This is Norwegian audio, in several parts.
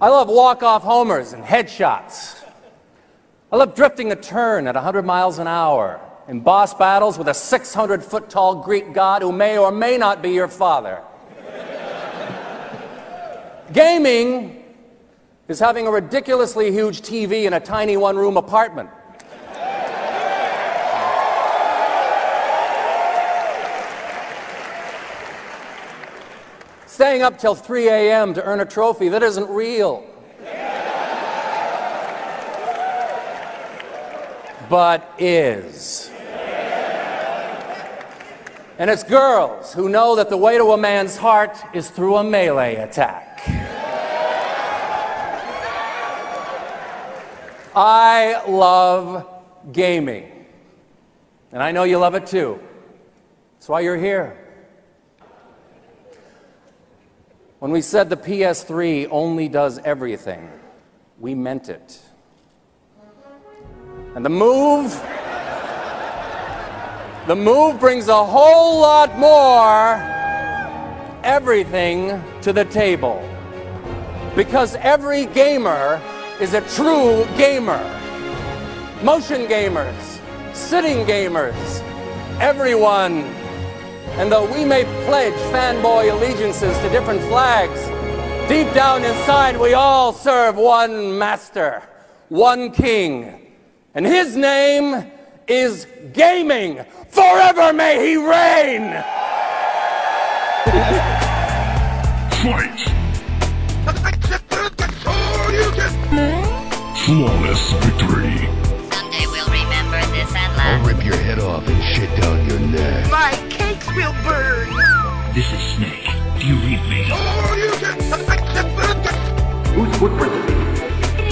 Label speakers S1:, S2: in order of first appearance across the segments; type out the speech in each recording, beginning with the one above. S1: I love walk-off homers and headshots. I love drifting a turn at 100 miles an hour in boss battles with a 600-foot tall Greek god who may or may not be your father. Gaming is having a ridiculously huge TV in a tiny one-room apartment. Staying up till 3 a.m. to earn a trophy that isn't real. but is. And it's girls who know that the way to a man's heart is through a melee attack. I love gaming. And I know you love it too. That's why you're here. When we said the PS3 only does everything, we meant it. And the move, the move brings a whole lot more everything to the table. Because every gamer is a true gamer. Motion gamers, sitting gamers, everyone. And though we may pledge fanboy allegiances to different flags, deep down inside we all serve one master, one king. And his name is Gaming. Forever may he reign!
S2: Fight!
S3: Flawless victory.
S4: Someday we'll remember this and laugh.
S5: I'll rip your head off and shit down your neck.
S6: My cakes will burn.
S2: This is Snake. Do you read me?
S7: Kitty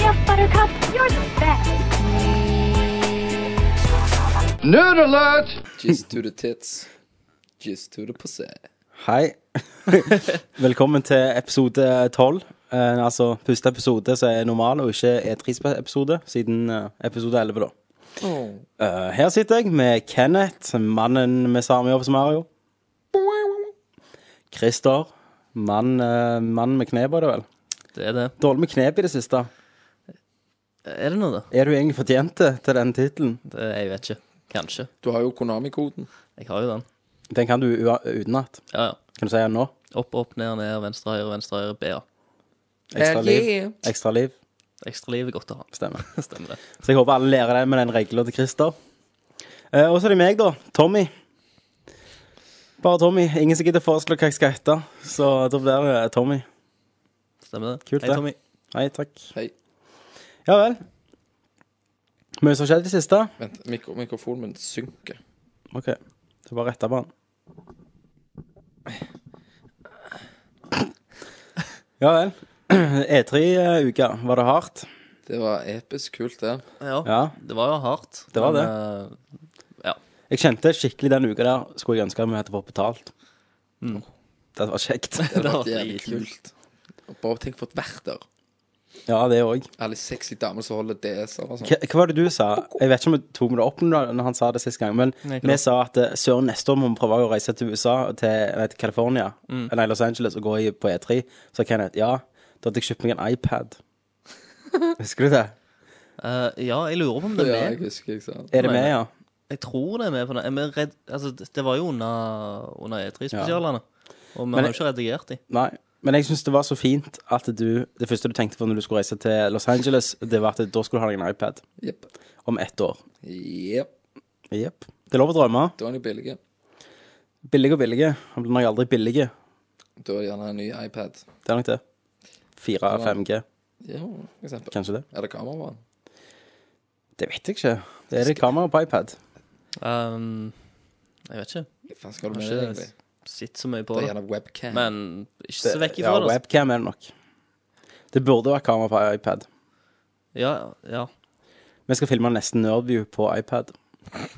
S7: up, Buttercup, you're the best.
S5: Nerd alert!
S8: Just to the tits. Just to the pussy.
S9: Hei. Velkommen til episode 12. Eh, altså første episode som er normal, og ikke E3-episode, siden eh, episode 11, da. Eh, her sitter jeg med Kenneth, mannen med samme jobb som Mario. Christer, mann, eh, mann med knep, er det vel?
S8: Det er det.
S9: Dårlig med knep i det siste.
S10: Er det noe, da?
S9: Er du egentlig fortjent til- til den tittelen?
S10: Det, jeg vet ikke. Kanskje.
S8: Du har jo Konami-koden.
S10: Jeg har jo den.
S9: Den kan du ua- utenat.
S10: Ja, ja.
S9: Kan du si den nå?
S10: Opp, opp, ned, ned, venstre, høyre, venstre, høyre, BA.
S9: Ekstra
S8: Hell yeah.
S9: liv. Ekstra liv.
S10: Ekstra liv er godt å ha.
S9: Stemmer.
S10: Stemmer det.
S9: Så jeg håper alle lærer det med den regla til Christer. Eh, og så er det meg, da. Tommy. Bare Tommy. Ingen som gidder foreslå hva jeg skal hete, så da blir det eh, Tommy.
S10: Stemmer det.
S9: Kult,
S10: Hei,
S9: det.
S10: Tommy.
S9: Hei, takk.
S8: Hei.
S9: Ja vel. Mye som har skjedd i det siste.
S8: Vent, mikro mikrofonen min synker.
S9: OK. Så bare rette på den. Ja vel. E E3-uka. Var det hardt?
S8: Det var episk kult, det.
S10: Ja,
S9: Ja.
S10: Det var jo hardt.
S9: Det var
S10: men, eh,
S9: Jeg kjente skikkelig den uka der skulle jeg ønske vi hadde fått betalt.
S10: Mm.
S9: Oh, Det var kjekt.
S8: Det
S10: Det var
S8: var jævlig
S10: dritkult.
S8: kult. Og bare tenk for et verter.
S9: Ja, det òg.
S8: Alle sexy damer som holder DS-er og sånn.
S9: Hva, hva var det du sa? Jeg vet ikke om vi tok det opp når når han sa det sist gang, men
S10: Nei, ikke
S9: vi
S10: da.
S9: sa at eh, søren, neste år må vi prøve å reise til USA, til, nei, til California,
S10: Mm.
S9: eller Los Angeles, og gå i, på E3. Så sa Kenneth ja, da hadde jeg kjøpt meg en iPad. Husker du det?
S10: eh, ja, jeg lurer på om det
S8: Ja,
S10: er
S8: jeg
S10: med.
S8: husker jeg sa det.
S9: Er det med, ja?
S10: Jeg tror det er med på den. Er vi redd, altså, det det var jo under, under E3-spesialene. Og vi har
S9: Men-
S10: jo ikke redigert de.
S9: Nei. Men jeg syns det var så fint at du Det første du tenkte på når du skulle reise til Los Angeles, det var at da skulle du ha deg en iPad.
S8: Jepp.
S9: Om ett år.
S8: Jepp.
S9: Jepp. Det er lov å drømme.
S8: Da er den jo billig.
S9: Billig og billig. Han blir nok aldri billig. Det
S8: Da er det gjerne en ny iPad.
S9: er nok det. 4-5G,
S8: Ja, for eksempel.
S9: kanskje det.
S8: Er det kamera på den?
S9: Det vet jeg ikke. Det er det kamera på iPad.
S10: Um, jeg vet ikke.
S8: Hva faen skal du med
S10: Jeg
S8: det,
S10: har
S8: egentlig?
S10: ikke sett så mye på
S8: Det er
S10: det.
S8: gjerne webcam.
S10: Men ikke se vekk
S9: ja,
S10: ifra det. altså.
S9: webcam er det nok. Det burde vært kamera på iPad.
S10: Ja, ja.
S9: Vi skal filme nesten Nerdview på iPad.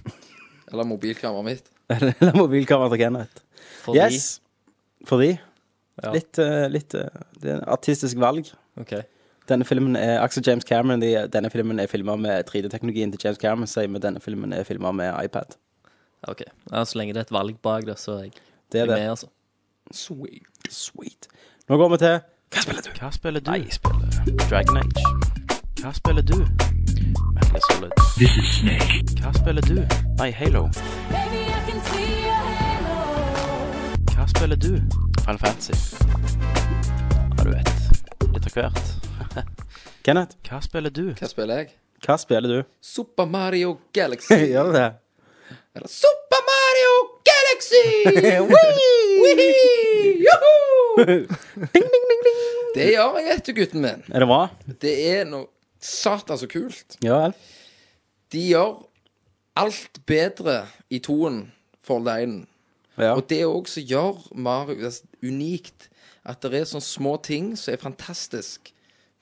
S8: Eller mobilkameraet mitt.
S9: Eller mobilkamera til Kenneth.
S10: Fordi
S9: Yes. Fordi
S10: Ja.
S9: Litt, eh, litt eh, Det er en artistisk valg.
S10: OK.
S9: Denne filmen er Axel James Cameron de, Denne filmen er filma med 3D-teknologien til James Cameron, sier vi denne filmen er filma med iPad.
S10: ok. Ja, så lenge det er et valg bak det, så er jeg,
S9: Det
S10: jeg
S9: er det.
S10: med, altså.
S8: Sweet.
S9: Sweet. Nå går vi til Hva spiller du?
S11: Hva spiller du? Jeg spiller Dragon Age. Hva spiller du? Metal Gear Solid.
S2: This is Snake.
S11: Hva spiller du? Nei, Halo. Hva spiller du? Final Fantasy. Ja, du vet. Litt av hvert.
S9: Kenneth,
S11: Hva spiller du?
S8: Hva spiller jeg?
S9: hva spiller du?
S8: Super Mario Galaxy.
S9: Gjør du det?
S8: Eller Super Mario Galaxy! Wee! Joho! Det gjør jeg, vet du, gutten min.
S9: Er det bra?
S8: Det er noe satan så kult.
S9: Ja vel.
S8: De gjør alt bedre i toen for Linen.
S9: Ja.
S8: Og det er òg som gjør Mario altså, unikt. At det er sånne små ting som er fantastisk,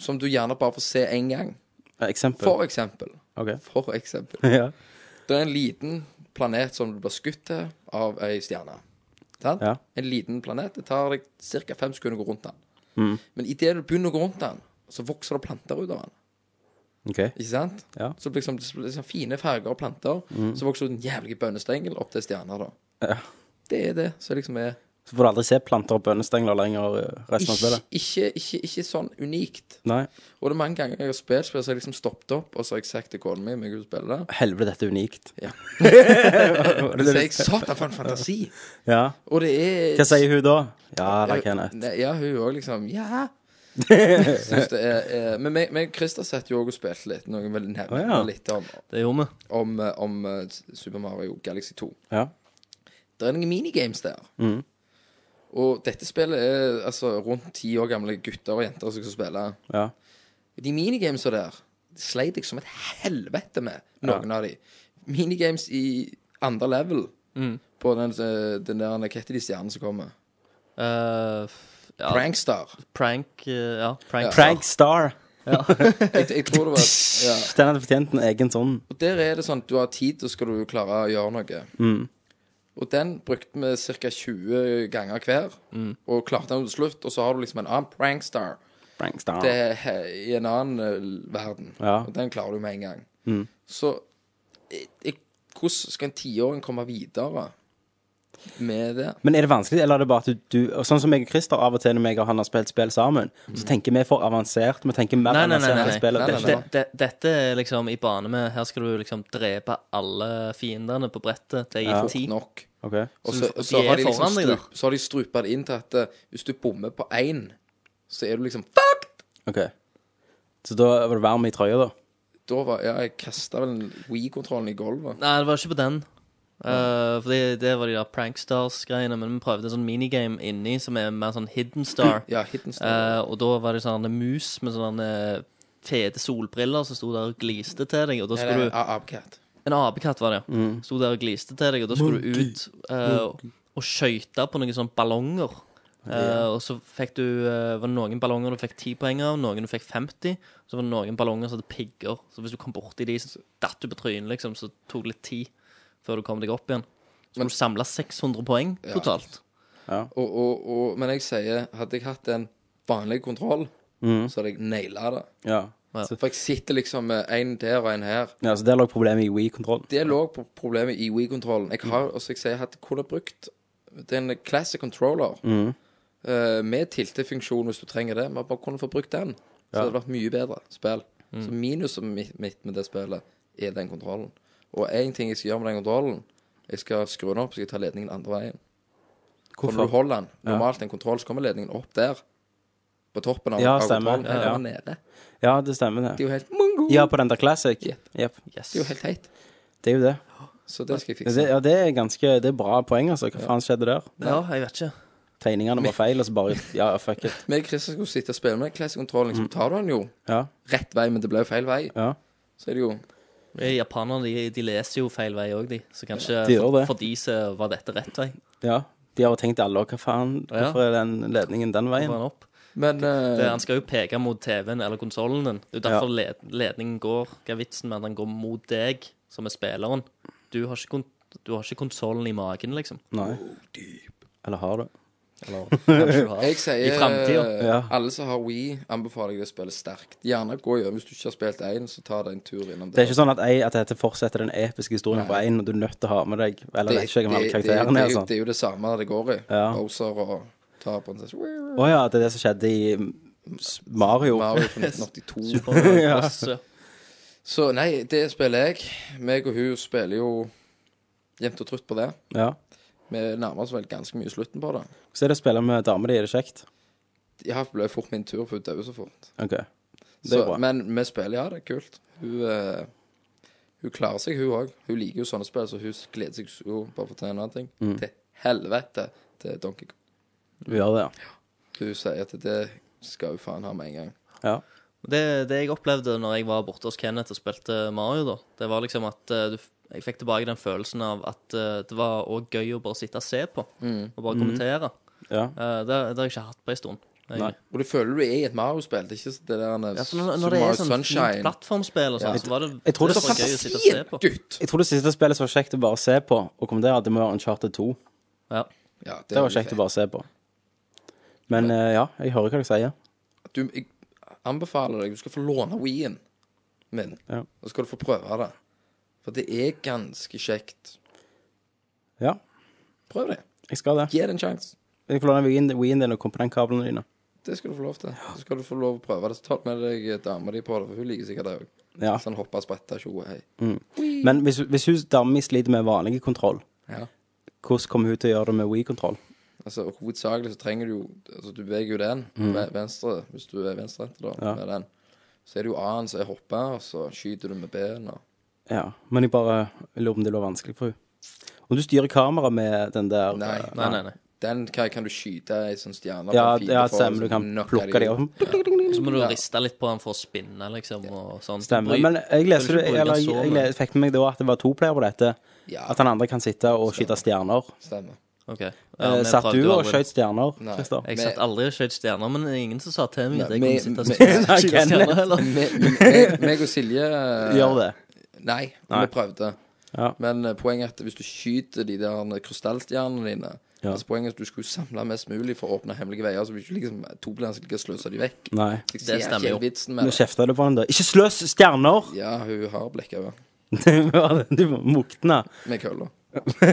S8: som du gjerne bare får se én gang.
S9: Eksempel.
S8: For eksempel.
S9: Ok.
S8: For eksempel.
S9: Ja.
S8: Det er en liten planet som du blir skutt til av ei stjerne. Sant?
S9: Ja.
S8: En liten planet. Det tar deg ca. fem sekunder å gå rundt den.
S9: Mm.
S8: Men idet du begynner å gå rundt den, så vokser det planter ut av den.
S9: Ok.
S8: Ikke sant?
S9: Ja. Mm.
S8: Så det blir liksom, det blir liksom fine farger og planter. Så vokser det en jævlig bønnestengel opp til stjerner, da.
S9: Ja.
S8: Det er det som liksom er
S9: Så får du aldri se planter og bønnestengler lenger eh, resten av
S8: ikke,
S9: spillet.
S8: ikke, ikke, ikke sånn unikt.
S9: Nei.
S8: Og det er mange ganger jeg har spilt spill, så har jeg liksom stoppet opp, og så har jeg sagt til kona mi om jeg vil spille det.
S9: Helvete, dette er unikt.
S8: Ja.
S9: Var det
S8: Så
S9: det
S8: jeg
S9: du-
S8: satan for en fantasi!
S9: ja.
S8: Og det er
S9: Hva sier hun da? Ja
S11: Eh,
S9: da, Kenneth.
S8: Nei, Ja, hun òg, liksom. Ja! Synes det er, er Men meg meg og Christer satt jo òg og spilte litt, noe jeg vil nevne
S9: Å, ja.
S8: litt om,
S10: Det gjorde vi.
S8: om, eh, om eh, Super Mario Galaxy 2.
S9: Ja.
S8: Det er noen minigames der. Og dette spillet er altså rundt ti år gamle gutter og jenter som skal spille.
S9: Ja.
S8: De minigamesa der sleit jeg som et helvete med, noen av de. Minigames i andre level på den, eh, den der Hva heter de stjernene som kommer?
S10: Eh, f- ja, prank.
S8: Prankstar.
S10: eh, ja, prank.
S9: Prankstar.
S8: Jeg, jeg tror det var ja.
S9: Den hadde fortjent en egen sånn.
S8: Og der er det sånn at du har tid, og skal du klare å gjøre noe. Og den brukte vi ca. 20 ganger hver, og klarte den til slutt. Og så har du liksom en annen prankstar
S9: Prankstar.
S8: det er he- i en annen eh, verden,
S9: Ja.
S8: og den klarer du med en gang. Så jeg, jeg, hvordan skal en tiåring komme videre med det?
S9: Men er det vanskelig, eller er det bare at du, du og Sånn som jeg og Christer av og til når jeg og han har spilt spill sammen, så tenker vi for avansert. Vi tenker mer
S10: Mm. Nei, nei, nei.
S9: avansert
S10: nei,
S9: enn spillet.
S8: Nei,
S10: nei.
S9: Det er
S8: nei,
S10: Det, det, dette er liksom i bane med Her skal du liksom drepe alle fiendene på brettet. Det er gitt ti.
S8: Nok.
S9: ikke- ok.
S8: Og
S10: Så
S8: så,
S10: de
S8: så,
S10: er
S8: har de liksom
S10: foran deg,
S8: strup, så har de strupa det inn til at eh, hvis du bommer på én, så er du liksom fucked!
S9: ok. Så da var det varm i trøya, da?
S8: Da var ja, jeg kasta vel Wii-kontrollen i gulvet.
S10: Nei, det var ikke på den. Eh, for det, det var de der prankstars-greiene. Men vi prøvde en sånn minigame inni som er mer sånn hidden star.
S8: Ja, Hidden
S10: Eh,
S8: Star.
S10: og da var det sånne mus med sånne fete solbriller som sto der og gliste til deg. Og da skulle
S8: Eller
S10: du
S8: A- Abcat.
S10: En apekatt var det, ja.
S8: Mm.
S10: Sto der og gliste til deg, og da skulle du ut eh, og skøyte på noen sånne ballonger. Eh, og så fikk du eh, var det noen ballonger du fikk 10 poeng av, noen du fikk 50. Så var det noen ballonger som hadde pigger. Så hvis du kom borti de, så datt du på trynet, liksom. Så tok det litt tid før du kom deg opp igjen. Så skulle du samla 600 poeng totalt.
S8: Og, og, og, men jeg sier, hadde jeg hatt en vanlig kontroll, så hadde jeg naila det.
S9: Ja.
S8: For jeg sitter liksom med én der og én her.
S9: ja så der lå problemet i Wii-kontrollen.
S8: Det lå på problemet i Wii-kontrollen. Jeg
S9: Mm.
S8: har, og så jeg sier, jeg hadde kunne brukt den classic controller
S9: Mm.
S8: eh, med tiltefunksjon hvis du trenger det. Man bare kunne få brukt den. Så hadde det vært mye bedre spill.
S9: Mm.
S8: Så minuset mitt mitt med det spillet er den kontrollen. Og én ting jeg skal gjøre med den kontrollen, jeg skal skru den opp, så jeg tar ledningen andre veien. For når du holder den normalt en kontroll, så kommer ledningen opp der. På toppen av,
S9: Ja,
S8: av
S9: stemmer.
S8: kontrollen.
S9: Ja,
S8: Eller
S9: ja.
S8: nede.
S9: Ja, det stemmer,
S8: Det
S9: det.
S8: er jo helt mongo.
S9: Ja, på den der Classic.
S8: Yep.
S9: Yep.
S10: Yes.
S8: Det er jo helt teit.
S9: Det er jo det.
S8: Så det skal jeg
S9: Ja,
S8: fikse.
S9: det, ja, det er ganske Det er bra poeng, altså. Hva faen skjedde der?
S10: Ja, jeg vet ikke.
S9: Tegningene var feil, og så bare Ja, ja, fuck it.
S8: Men Christer skulle sitte og spille med Classic Control, liksom tar du den jo
S9: Mm. Ja.
S8: rett vei, men det ble jo feil vei.
S9: Ja.
S8: Så er det jo
S10: Eh, Japanerne de, de leser jo feil vei òg, de. Så kanskje
S9: de gjør
S10: for,
S9: det.
S10: for de så var dette rett vei.
S9: ja. De har jo tenkt alle òg, hva faen?
S10: Ja.
S9: Hvorfor er den ledningen den
S10: Var
S9: veien?
S10: han opp.
S8: Men eh,
S10: Det, han skal jo peke mot TV-en eller konsollen din. Det er jo derfor led ledningen går. Hva er vitsen med at den går mot deg, som er spilleren? Du har ikke, kon du har ikke konsollen i magen, liksom.
S9: Nei. Eller har du?
S10: Kanskje du har.
S8: jeg sier
S10: I fremtiden.
S8: eh,
S9: Ja.
S8: alle som har Wii, anbefaler jeg deg å spille sterkt. Gjerne gå gjennom. Hvis du ikke har spilt én, så ta deg en tur innom
S9: Det er ikke sånn at, jeg, at dette fortsetter den episke historien på én, og du er nødt til å ha med deg Eller det, vet ikke hvem alle
S8: det,
S9: karakterene
S8: det,
S9: er. og
S8: jo-
S9: sånn
S8: det er jo det samme det går i.
S9: Ja.
S8: Bowser og ta prinsesse
S9: Å ja, det er det som skjedde i s- Mario.
S8: Mario fra 1982.
S9: Ja.
S10: Masse.
S8: Så nei, det spiller jeg. Meg og hun spiller jo jevnt og trutt på det.
S9: Ja.
S8: Vi nærmer oss vel ganske mye slutten på det.
S9: Hvordan er det å spille med dame di? Er det kjekt?
S8: Ja, det ble fort min tur, for hun døde så fort.
S9: OK. Det
S8: Så,
S9: er bra.
S8: men vi spiller, ja, det er kult. Hun, eh, hun klarer seg, hun òg. Hun liker jo sånne spill, så hun gleder seg jo bare for å ta en annen ting.
S10: Mm.
S8: Til helvete til Donkey Kong.
S9: Vi gjør det, ja.
S8: Hun sier at det skal hun faen ha med en gang.
S9: ja.
S10: Det, det jeg opplevde når jeg var borte hos Kenneth og spilte Mario, da, det var liksom at eh, du, f- jeg fikk tilbake den følelsen av at eh, det var òg gøy å bare sitte og se på,
S8: Mm.
S10: og bare kommentere.
S9: ja.
S10: Eh, det, det har jeg ikke hatt på en stund. egentlig.
S9: Mm. Nei.
S8: Og du føler du er i et Mario-spill. Det er ikke det der eh,
S10: Ja, for
S8: Super
S10: når, når det
S8: Mario
S10: er sånn fint plattformspill og sånn,
S8: Ja.
S10: så var det,
S9: Jeg tror det
S10: var
S9: var
S10: gøy å sitte og se på.
S8: Gutt!
S9: Jeg tror det siste spillet som var kjekt å bare se på og kommentere, det må være Uncharted 2.
S10: Ja.
S8: Ja,
S9: Det var kjekt å bare se på. Men eh, ja, jeg hører hva dere sier.
S8: du, jeg anbefaler deg, du skal få låne Wien min,
S9: Ja.
S8: og så skal du få prøve det. For det er ganske kjekt.
S9: Ja,
S8: Prøv det.
S9: jeg skal det.
S8: Gi det en sjanse.
S9: Jeg får låne Wien Wien din og komme på den kablene dine.
S8: Det skal du få lov til. Så skal du få lov å prøve det. Så ta med deg eh, dama di på det, for hun liker sikkert det òg.
S9: Ja. Mm.
S8: Sånn hoppe, sprette, tjo og hei.
S9: Men hvis, hvis hun dama mi sliter med vanlig kontroll,
S8: Ja.
S9: hvordan kommer hun til å gjøre det med Wii-kontroll?
S8: Altså, hovedsakelig så trenger du jo Altså, du beveger jo den ve- venstre, hvis du er venstrehendt, da,
S9: Mm. Ja.
S8: med den. Så er det jo A-en som er hoppe, og så skyter du med B-en, og
S9: Ja, men jeg bare jeg lurer på om det lå vanskelig for henne. Om du styrer kameraet med den der
S8: Nei.
S9: eh,
S10: Nei, nei, nei.
S8: Den kan, kan du skyte ei sånn stjerne
S9: Ja,
S8: på en
S9: ja
S8: fiende for,
S9: stemmer.
S8: og
S9: Du
S8: så
S9: kan
S8: knocke
S9: plukke dem
S8: de ut.
S9: opp.
S10: Så må du riste litt på den for å spinne, liksom, og sånn.
S9: Stemmer.
S10: Du bry-
S9: Men jeg leste
S10: du
S9: det,
S10: ikke bruker
S9: eller
S10: så
S9: jeg, jeg
S10: mye.
S9: le- fikk med meg da at det var to player på dette.
S8: Ja.
S9: At han andre kan sitte og skyte stjerner.
S8: Stemmer.
S10: Ok. Ja,
S9: Eh,
S10: vi
S9: Satt
S10: prøvde
S9: du og
S10: aldri.
S9: skjøt stjerner,
S8: Nei.
S9: Christer?
S10: Jeg
S8: Vi-
S10: satt aldri og skjøt stjerner, men det er ingen som sa til meg at jeg
S8: Nei,
S10: kunne
S8: vi-
S10: sitte og
S8: vi-
S10: skjøte
S9: Nei,
S10: stjerner
S9: Kenneth.
S10: heller.
S8: Me- me- Meg og Silje eh,
S9: Gjør det.
S8: Nei,
S9: Nei.
S8: vi prøvde.
S9: Ja.
S8: Men eh, poenget er at hvis du skyter de der krystallstjernene dine
S9: Ja.
S8: Altså Poenget er at du skulle samle mest mulig for å åpne hemmelige veier. Så vil ikke liksom Toblan skal ikke sløse de vekk.
S9: Nei.
S8: Jeg
S10: Det
S8: ser
S10: stemmer
S8: ikke
S10: jo.
S8: vitsen
S9: Nå
S8: med det.
S9: kjefta du på han da. Ikke sløs stjerner!
S8: Ja, hun har blekka
S9: Det var det. Du mukna.
S8: med kølla.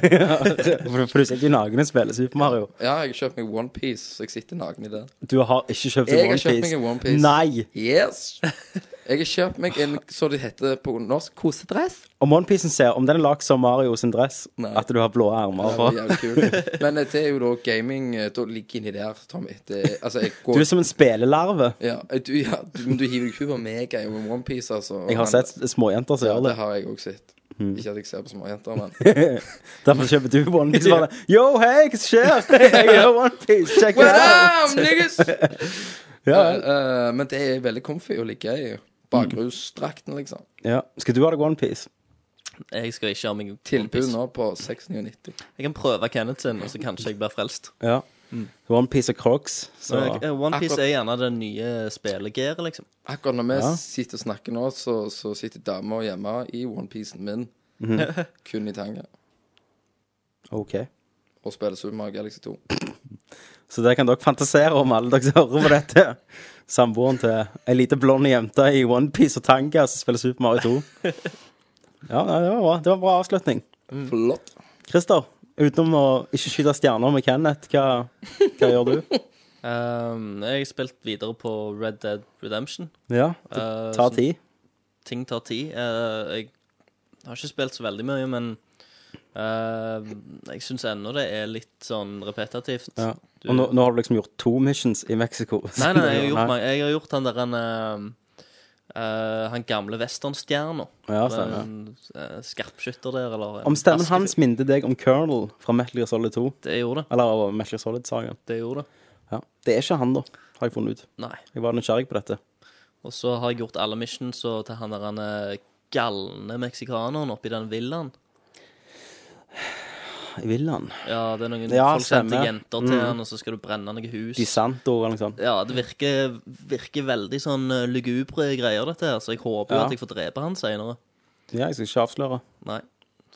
S9: For for du sitter jo naken og spiller Super Mario.
S8: Ja, jeg har kjøpt meg OnePiece, så jeg sitter naken i den.
S9: Du har ikke kjøpt
S8: Jeg
S9: deg
S8: har
S9: One
S8: kjøpt
S9: Piece.
S8: meg en One Piece.
S9: Nei!
S8: Yes! Jeg har kjøpt meg en, så det heter på norsk, kosedress.
S9: Om OnePiecen ser Om den er lagd som Mario sin dress,
S8: Nei.
S9: at du har blå ermer
S8: Det
S9: på
S8: var jævlig kult. Men eh, det er jo da gaming eh, Da ligger inni der, Tommy. Det, er- altså, jeg går
S9: Du er som en spelelarve.
S8: Ja, eh, du, ja, du, men du hiver jo ikke på meg jeg, med OnePiece, altså.
S9: Jeg har sett Hmm. småjenter som
S8: ja,
S9: gjør
S8: det.
S9: det.
S8: har jeg også sett. Ikke at jeg ser på så mange jenter, men
S9: Derfor kjøper du OnePiece. Bare yo, hei, hva skjer? Jeg gjør OnePiece, check it out!
S8: Damn, niggas!
S9: Ja,
S8: Eh, eh, men det er veldig comfy å ligge i. Bakrusdrakten, liksom.
S9: ja. Skal du ha deg OnePiece?
S10: Jeg skal ikke ha meg
S8: Tilbud
S10: kompis.
S8: nå på 699.
S10: Jeg kan prøve Kenneth sin, og så kanskje jeg blir frelst.
S9: Ja.
S8: Mm.
S9: OnePiece og Crocs. Så
S10: Men, eh, One Piece
S8: Akkurat-
S10: er gjerne det nye spillegearet, liksom.
S8: Akkurat når vi
S9: Ja.
S8: sitter og snakker nå, så, så sitter dama hjemme i onepiecen min,
S9: Mhm.
S8: kun i tanga,
S9: OK.
S8: og spiller Super Mario Galaxy 2.
S9: Så der kan dere fantasere om alle dere som hører på dette. Samboeren til ei lita blond jente i OnePiece og tanga som spiller Super Mario 2. Ja, nei, det var bra. Det var en bra avslutning.
S8: Flott.
S9: Christer, utenom å ikke skyte stjerner med Kenneth, hva, hva gjør du?
S10: Um, jeg har spilt videre på Red Dead Redemption.
S9: Ja,
S10: Eh,
S9: det tar
S10: som-
S9: tid.
S10: ting tar tid. Eh, jeg har ikke spilt så veldig mye, men eh, jeg syns ennå det er litt sånn repetitivt.
S9: Ja.
S10: Du-
S9: Og nå, nå har du liksom gjort to missions i Mexico.
S10: Nei, nei, jeg har gjort, mange. Jeg har gjort han der han eh, eh, Han gamle westernstjerna.
S9: Ja,
S10: Den, eh, skarpskytter der, eller eh, en
S9: Om stemmen
S10: rask
S9: hans
S10: fyr.
S9: minte deg om Colonel fra Metal Gear Solid 2.
S10: Det gjorde det.
S9: Eller av Metal Gear Solid-saken.
S10: det gjorde det.
S9: Ja. Det er ikke han, da, har jeg funnet ut.
S10: Nei.
S9: Jeg var nysgjerrig på dette.
S10: Og så har jeg gjort alle missions og til han der han eh, galne meksikaneren oppi den villaen.
S9: Jeg vil han.
S10: Ja, det er noen
S9: Ja,
S10: folk sendte
S9: stemmer. Mm.
S10: jenter til han, og så skal du brenne noen hus.
S9: De Santo eller noe sånt.
S10: Ja, det virker, virker veldig sånn eh, lugubre greier, dette her, så jeg håper jo
S9: Ja.
S10: at jeg får drepe han seinere.
S9: Ja, jeg skal ikke avsløre.
S10: Nei.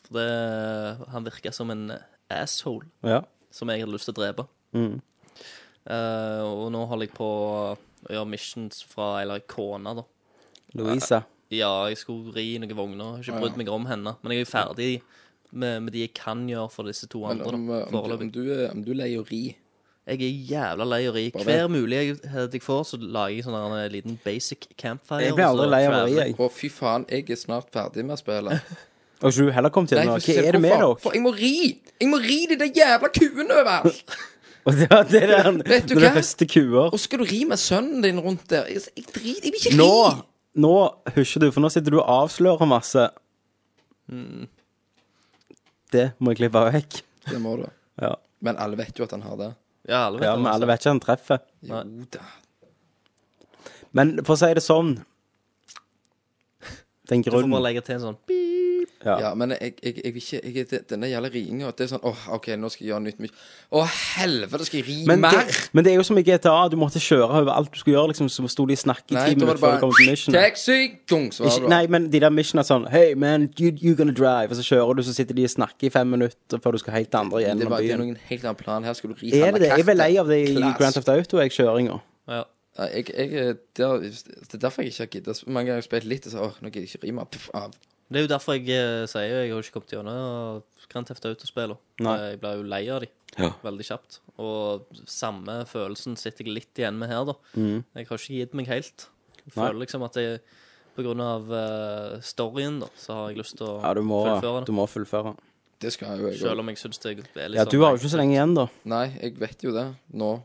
S10: For det Han virker som en eh, asshole
S9: Ja.
S10: som jeg hadde lyst til å drepe.
S9: Mm.
S10: Eh, og nå holder jeg på å gjøre missions fra eller kona, da.
S9: Louisa.
S10: Ja, jeg skulle ri noen vogner. Har ikke brydd meg om henne. Men jeg er jo ferdig med, med de jeg kan gjøre for disse to
S8: Men
S10: andre,
S8: om,
S10: da.
S8: eh, om, du- om,
S10: Foreløpig.
S8: du, er- om du leier å ri,
S10: Jeg er jævla lei å ri.
S8: Bare
S10: Hver mulighet jeg får, så lager jeg sånn her en liten basic campfire.
S9: Jeg blir
S10: og så
S9: aldri lei av å ri,
S10: traveler.
S9: jeg.
S8: Å, fy faen, jeg er snart ferdig med å spille.
S9: Og ikke du heller kom til
S8: Nei,
S9: nå. Hva
S8: for se-
S9: er det med
S8: for faen,
S9: dere?
S8: For jeg må ri! Jeg må ri de der jævla kuene overalt!
S9: Og det var det der,
S8: Vet du
S9: når du
S8: hva?
S9: høster kuer.
S8: Og skal du ri med sønnen din rundt der? Jeg, jeg driter Jeg vil ikke ri!
S9: Nå, nå husjer du, for nå sitter du og avslører masse.
S10: Mm.
S9: Det må jeg klippe vekk.
S8: Det må du.
S9: Ja,
S8: Men alle vet jo at han har det.
S10: Ja, alle vet altså?
S9: ja men
S10: det.
S9: alle vet ikke han treffer.
S8: Jo da.
S9: Men for å si det sånn Den
S10: Du får
S9: grunnen
S10: bare legge til en sånn beep.
S8: Ja, men jeg, jeg, jeg vil ikke jeg, det- Denne gjelder riinga. Det er sånn åh, OK, nå skal jeg gjøre nytt mye. Å, helvete, skal jeg ri
S9: men
S8: mer?
S9: det, men det er jo som i GTA, du måtte kjøre over alt du skulle gjøre, liksom, så sto de og snakket i
S8: Nei,
S9: ti
S8: da
S9: minutter
S8: var det
S9: før du kom til mission.
S8: bare Taxi! Dung, så var
S9: Ikke,
S8: det
S9: nei, men de der missionene er sånn Hey man, you, you gonna drive Og så kjører du, så sitter de og snakker i fem minutter Før du skal helt andre
S8: det
S9: gjennom
S8: var det er
S9: byen
S8: noen helt annen plan. Her skal du ri
S9: Er det det? Jeg er vel lei av det i
S8: Klass.
S9: Grand Theft Auto Jeg kjøringer
S10: Ja.
S8: Ja, Jeg, jeg, er- det, er, det er derfor jeg ikke har giddet. Så Mange ganger har jeg spilt litt, og så åh, nå gidder jeg ikke ri mer. Puff, av.
S10: Det er jo derfor jeg eh, sier jeg har ikke kommet gjennom Grand Theft Auto-spillene.
S9: Nei.
S10: Jeg ble jo lei av de
S9: Ja.
S10: veldig kjapt. Og samme følelsen sitter jeg litt igjen med her, da. Jeg har ikke gitt meg helt. Jeg
S9: Mm. Nei.
S10: føler liksom at jeg på grunn av eh, storyen, da, så har jeg lyst til å
S9: Ja, du må
S10: fullføre
S9: Du
S10: det.
S9: må fullføre
S8: Det skal jo jeg
S10: Selv
S8: òg.
S10: om jeg syns det er litt sånn
S9: Ja, du har jo ikke så lenge igjen da
S8: Nei, jeg vet jo det nå.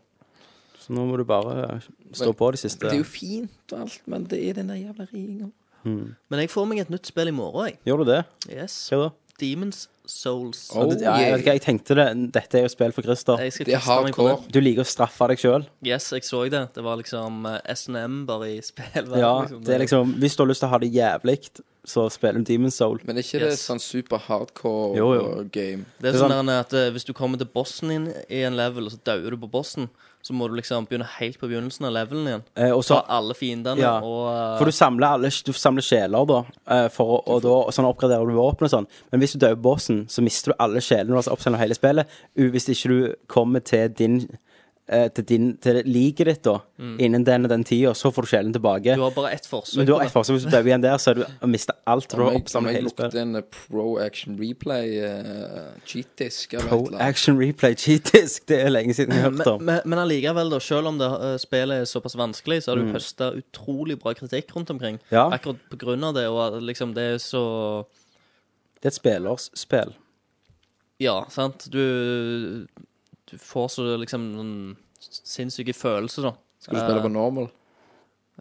S9: Så nå må du bare eh, stå
S8: Men-
S9: på de siste
S8: Det er jo fint og alt, men det er den der jævla riinga.
S10: Men jeg får meg et nytt spill i morgen, jeg.
S9: Gjør du det?
S10: Yes.
S9: Hva da?
S10: Demons Souls.
S8: Oh,
S9: ja, jeg, vet
S8: yeah.
S9: ikke, jeg tenkte det Dette er jo spill for Christer
S10: Jeg skal
S8: Det er
S10: kaste meg på det.
S8: hardcore.
S9: Du liker å straffe deg selv
S10: Yes, jeg så det. Det var liksom eh, SNM bare i spillverden.
S9: Ja, det er liksom Hvis du har lyst til å ha det jævligt Så spiller du Demon's Soul
S8: Men er ikke det
S10: Yes.
S8: sånn super hardcore
S9: Jo, jo.
S8: game?
S10: Det er
S9: Det er
S10: sånn der at eh, Hvis du kommer til bossen din i en level, og så dauer du på bossen, så må du liksom begynne helt på begynnelsen av levelen igjen.
S9: Eh, og så-
S10: Ta alle fiendene
S9: Ja.
S10: og eh,
S9: For du samler, alle, du samler sjeler, da, eh, for å, og da og sånn oppgraderer du våpen og sånn. Men hvis du dør bossen, så mister du alle sjelene du har oppsendt hele spillet. u- Hvis ikke du kommer til din eh, til, din, til liket ditt da innen den og den tida, så får du sjelen tilbake.
S10: du har bare ett forsøk.
S9: Men du har
S10: på
S9: ett
S10: det.
S9: forsøk. Hvis du dør igjen der, så har du har mistet alt. Du
S8: Om
S9: har
S8: jeg, om
S9: oppsamlet
S8: jeg
S9: hele
S8: lukter
S9: spillet.
S8: en eh, pro action replay eh, cheat disk eller
S9: Pro
S8: et eller annet.
S9: Action Replay Cheatisk. Det er lenge siden jeg har hørt om.
S10: Men, men, men allikevel, da, selv om det, eh, spillet er såpass vanskelig, så har du høsta utrolig bra kritikk rundt omkring.
S9: Mm. Ja.
S10: Akkurat på grunn av det, og at liksom det er så
S9: Det er et spillersspill.
S10: Ja, sant? Du, du får så liksom noen sinnssyke følelser, da.
S8: Skal du
S10: Eh,
S8: spille på normal?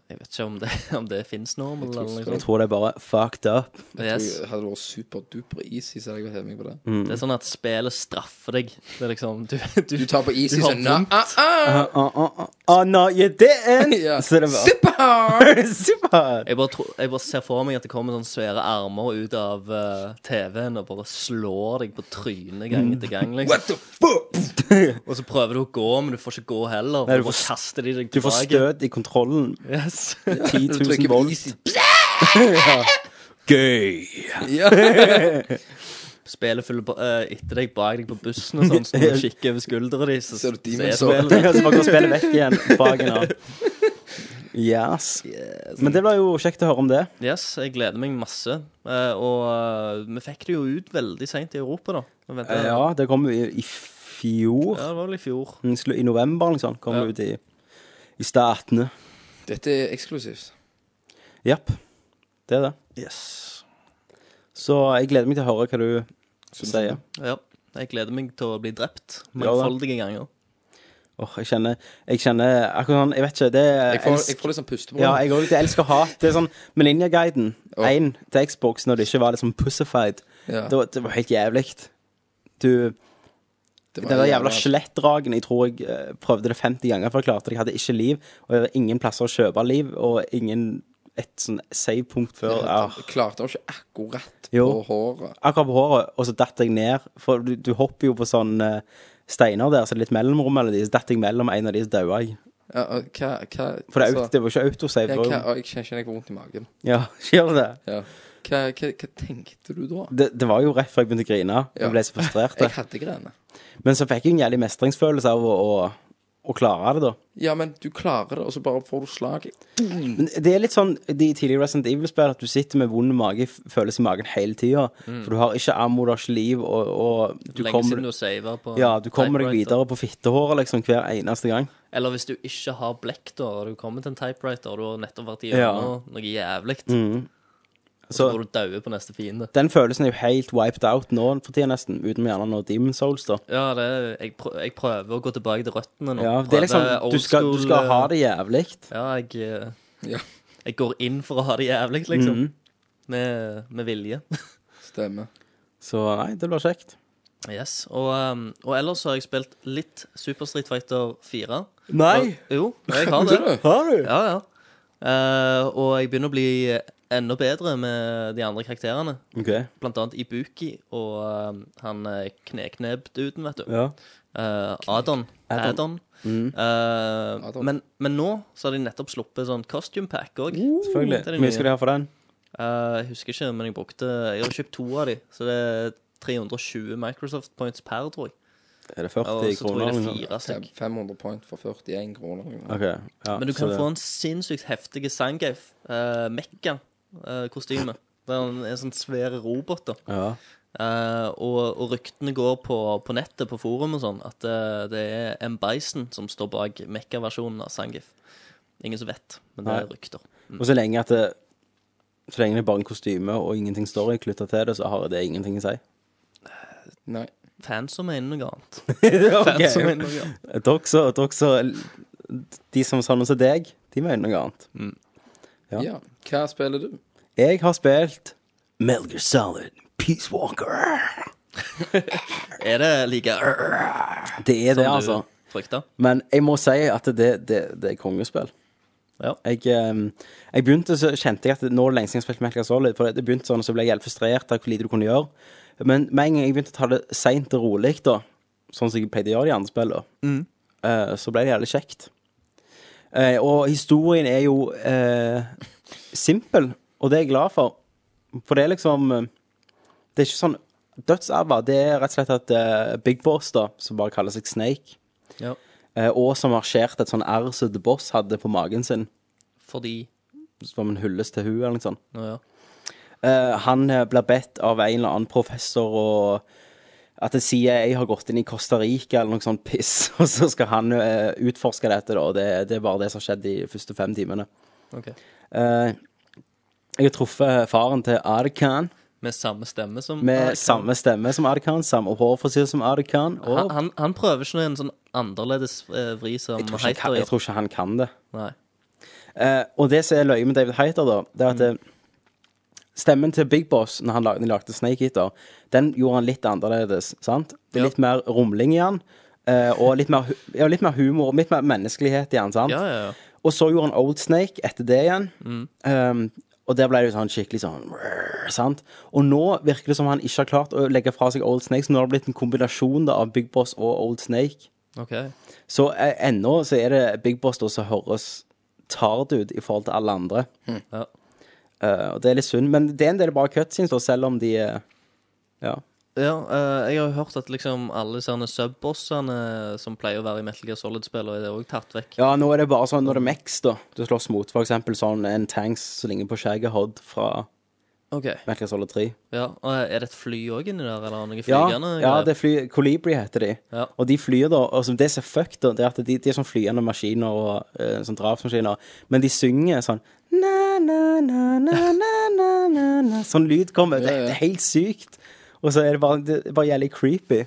S10: Jeg vet ikke om det, om det fins normal
S8: tror
S10: eller
S8: ikke
S10: noe
S9: Jeg
S10: sånt.
S9: tror det er bare fucked up.
S8: Jeg
S10: Yes.
S8: tror jeg hadde vært superduper easy, så hadde jeg hevet meg på det.
S10: Det er sånn at spillet straffer deg. Det er liksom Du, du,
S8: Du tar på easy,
S10: har
S8: så
S9: sånn,
S8: na,
S10: vondt.
S8: ah, ah,
S9: Uh, uh, uh, uh. Oh, no, you didn't!
S8: Ja. ah.
S9: Så det var
S8: Super hard!
S9: Super!
S10: jeg, bare tror- jeg bare ser for meg at det kommer sånne svære armer ut av eh, TV-en og bare slår deg på trynet gang etter gang.
S9: Mm.
S8: What
S10: Liksom.
S8: the fuck?
S10: Og så prøver du å gå, men du får ikke gå heller.
S9: Nei, du
S10: for
S9: får-
S10: bare kaster de deg
S9: Du får
S10: tilbake.
S9: støt i kontrollen.
S10: Yes.
S9: 10
S8: Du
S9: 000
S8: trykker på
S9: volt.
S8: easy.
S9: Gøy!
S8: Ja.
S10: Spillet følger ba- eh, etter deg bak deg på bussen og sånn, så når du kikker over skuldra di, så
S8: Ser du
S10: så
S8: Demon's
S10: er
S8: Soul?
S10: spillet der.
S9: Så bare går spillet vekk igjen bak en annen. Yes. Men det blir jo kjekt å høre om det.
S10: Yes, jeg gleder meg masse. Eh, og eh, vi fikk det jo ut veldig seint i Europa, da. Vi ventet-
S9: Eh, Ja, det kom jo i, i fjor.
S10: ja, det var vel i fjor.
S9: Mm, slu- I november eller noe sånt. Kom
S10: Ja.
S9: det ut i, i statene.
S8: Dette er eksklusivt.
S9: Japp. Det er det. Så jeg gleder meg til å høre hva du sier.
S10: Ja. Jeg gleder meg til å bli drept
S9: Ja, da.
S10: mangfoldige ganger.
S9: Åh, jeg kjenner Jeg kjenner akkurat sånn Jeg vet ikke, det er
S8: Jeg får, jeg får litt sånn puste på
S9: Ja,
S8: meg.
S9: jeg òg. Det elsker hat. Det er sånn Melinja-guiden.
S8: Ja.
S9: Én til Xbox når det ikke var liksom pussified.
S8: Ja.
S9: Det, var- det var helt jævlig. Du
S8: Det
S9: Den der jævla skjelettdragen, jeg tror jeg eh, prøvde det 50 ganger før jeg klarte det. Jeg hadde ikke liv, og det var ingen plasser å kjøpe liv, og ingen et sånn save-punkt før. Ah.
S8: Jeg klarte han ikke akkurat på
S9: Jo.
S8: håret.
S9: Akkurat på håret, og så datt jeg ned, for du, du hopper jo på sånn eh, steiner der, så det er litt mellomrom mellom de, så datt jeg mellom en av de, så daua jeg.
S8: Ja, og hva, hva
S9: For det, er
S8: altså,
S9: jo- det var jo ikke autosave.
S8: ja,
S9: det var
S8: hva,
S9: jo-
S8: å, Jeg kjenner kjenner jeg får vondt i magen.
S9: Ja, gjør det det?
S8: Ja. Hva, hva, hva tenkte du da?
S9: det? Det var jo rett før jeg begynte å grine,
S8: Ja.
S9: og ble så frustrert.
S8: Jeg hadde grener.
S9: Men så fikk jeg en jævlig mestringsfølelse av å, å å klare det, da.
S8: Ja, men du klarer det, og så bare får du slag.
S9: Men det er litt sånn de tidligere Resident Evil-spillene at du sitter med vond mage, f- følelse i magen hele tida.
S10: Mm.
S9: For du har ikke ammo, du har ikke liv, og, og du
S10: Lenge
S9: kommer,
S10: siden du har savet på
S9: ja, du kommer deg
S10: typewriter.
S9: videre på fittehåret liksom hver eneste gang.
S10: Eller hvis du ikke har blekk, da, og du kommer til en typewriter, og du har nettopp vært i
S9: Ja. Mm,
S10: hjørnet, noe jævlig, og så
S9: Så-
S10: går du daue på neste fiende.
S9: Den følelsen er jo helt wiped out nå for tida, nesten. Utenom gjerne når Demon Souls, da.
S10: Ja, det er, jeg, prø jeg prøver å gå tilbake til røttene nå.
S9: Ja, det er liksom,
S10: Prøver
S9: du skal,
S10: old
S9: du skal
S10: school,
S9: ha
S10: eh,
S9: det jævlig.
S10: Ja, jeg, eh,
S8: Ja.
S10: jeg går inn for å ha det jævlig, liksom.
S9: Mm.
S10: Med, med vilje.
S8: Stemmer.
S9: Så nei, det blir kjekt.
S10: Yes. Og, um, og ellers så har jeg spilt litt Super Street Fighter 4.
S9: Nei!
S10: Og, jo, jeg har det.
S9: Har du?
S10: Ja, ja. Eh, og jeg begynner å bli eh, enda bedre med de andre karakterene.
S9: Ok,
S10: Blant annet Ibuki og um, han eh, knekneb-duden, vet du.
S9: ja.
S10: Eh, Adon.
S9: Adon. Mm.
S10: Adon. Eh,
S8: Adon.
S10: men, men nå så har de nettopp sluppet sånn costume pack òg.
S9: Uh, Selvfølgelig.
S10: Mm,
S9: Hvor mye skal de ha for den?
S10: Eh, jeg husker ikke, men jeg brukte Jeg har kjøpt to av de, så det er 320 Microsoft points per, tror jeg.
S9: Er det
S10: Og
S9: 40
S10: så tror
S9: kroner? liksom.
S10: jeg det er
S9: eller noe?
S10: fire stykk.
S8: Fem- 500 point for 41 kroner.
S9: Ok, ja,
S10: Men du
S9: så
S10: kan
S9: det-
S10: få en sinnssykt heftig Zangief uh, eh, Mekka-kostyme. Det er en, en sånn svær robot, da.
S9: ja.
S10: Eh, og, og ryktene går på, på nettet, på forum og sånn, at eh, det er M. Bison som står bak Mekka-versjonen av Zangief. Ingen som vet, men det er
S9: Nei.
S10: rykter.
S9: Og så lenge at det, Så lenge det er bare en kostyme og ingenting story knytta til det, så har det ingenting å si.
S8: Nei.
S10: Fans som mener noe annet.
S9: Ok.
S10: Fans som mener noe annet.
S9: Dere så- dere så- De som er sånn som deg, de mener noe annet. Ja.
S8: Ja. Hva spiller du?
S9: Jeg har spilt Melger Solid Peace Walker.
S10: Er det like
S9: Det er det, altså.
S10: som du frykta?
S9: Men jeg må si at det, det, det er kongespill.
S10: Ja.
S9: Jeg, ehm, jeg begynte, så kjente jeg at nå er det lenge siden jeg har spilt Metal Gear Solid, for det begynte sånn, så ble jeg helt frustrert av hvor lite du kunne gjøre. Men med en gang jeg begynte å ta det seint og rolig, da, sånn som jeg pleide å gjøre i andre spill, da, eh, så ble det jævlig kjekt. Eh, og historien er jo eh, simpel, og det er jeg glad for. For det er liksom eh, Det er ikke sånn dødsarva. Det er rett og slett at eh, Big Boss, da, som bare kaller seg Snake,
S10: ja.
S9: eh, og som marsjerte et sånn R som The Boss hadde på magen sin
S10: Fordi
S9: som en hyllest til hun eller noe sånt.
S10: Å ja.
S9: Eh, han eh, blir bedt av en eller annen professor og at CIA har gått inn i Costa Rica eller noe sånt piss, og så skal han eh, utforske dette, da. og Det, det er bare det som har skjedd de første fem timene.
S10: Ok.
S9: Eh, jeg har truffet faren til Arkan
S10: Med samme stemme som
S9: med
S10: Arkan.
S9: samme stemme som Arkan, samme hårfrisyre som Arkan. Og
S10: han, han, han prøver ikke en sånn annerledes eh, vri som
S9: jeg, tror ikke,
S10: Heiter
S9: han- jeg
S10: gjør.
S9: tror ikke han kan det.
S10: Nei.
S9: Eh, og det som er løye med David Heiter, da, det er at
S10: Mm.
S9: eh, stemmen til Big Boss når han lagde, når de lagde Snake Eater, den gjorde han litt annerledes. sant? Det er
S10: Ja.
S9: Litt mer rumling i han, eh, og litt mer, hu- ja, litt mer humor, litt mer menneskelighet i han. sant?
S10: Ja, ja, ja. Mm.
S9: Og så gjorde han Old Snake etter det igjen. Um, og der ble det jo sånn skikkelig sånn sant? Og nå virker det som han ikke har klart å legge fra seg Old Snake, så nå har det blitt en kombinasjon da, av Big Boss og Old Snake.
S10: OK.
S9: Så eh, ennå så er det Big Boss da som høres tard ut i forhold til alle andre.
S10: Ja.
S9: Eh, og det er litt synd, men det er en del bra cutscenes, da, selv om de eh, Ja.
S10: Ja, eh, jeg har jo hørt at liksom alle sånne sub-bossene som pleier å være i Metal Gear Solid-spill, og det er også tatt vekk.
S9: Ja, nå er det bare sånn når det er Mex, da. Du slåss mot for eksempel sånn en tanks som ligner på Shagahod fra
S10: Ok.
S9: Metal Gear Solid 3.
S10: Ja, og eh, Er det et fly òg inni der, eller er det noe
S9: Ja,
S10: flygende?
S9: ja
S10: greier?
S9: det er fly Colibri heter de.
S10: Ja.
S9: Og de flyr, da. Og som det som er fucked, da, det er at de, de er sånn flyende maskiner og eh, sånn drapsmaskiner, men de synger sånn na, na, na, na, na, na, na, na. Sånn lyd kommer. Det, er- det er helt sykt. Og så er det bare, det er bare jævlig creepy.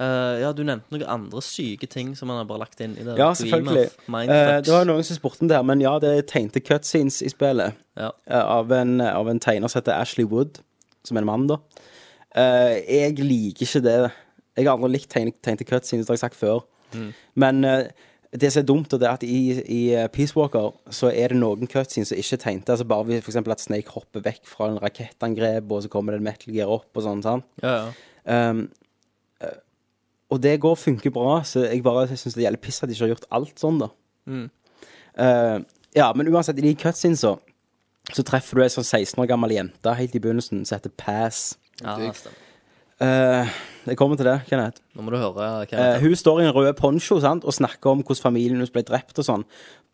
S10: Eh, ja, du nevnte noen andre syke ting som han har bare lagt inn i det.
S9: Ja, selvfølgelig. Eh, det var jo noen som spurte om det her, men ja, det er tegnte cutscenes i spillet
S10: Ja.
S9: eh, av, en, av en tegner som heter Ashley Wood, som er en mann, da. Eh, jeg liker ikke det. Jeg har aldri likt tegne, tegnte cutscenes, det har jeg sagt før. Men eh, det som er dumt, det er at i, i eh, Peace Walker så er det noen cutscenes som ikke er tegnte. Altså bare ved for eksempel at Snake hopper vekk fra en rakettangrep, og så kommer det en metal gear opp og sånn. sant?
S10: ja, ja.
S9: Um, eh, og det går og funker bra, så jeg bare syns det gjelder piss at de ikke har gjort alt sånn, da. Eh, ja, men uansett, i de cutscenesa så treffer du ei sånn 16 år gammel jente helt i begynnelsen som heter Pass.
S10: ja stemmer.
S9: Eh, jeg kommer til det, Kenneth.
S10: Nå må du høre. Kenneth.
S9: Eh, hun står i en rød poncho sant? og snakker om hvordan familien hennes ble drept og sånn.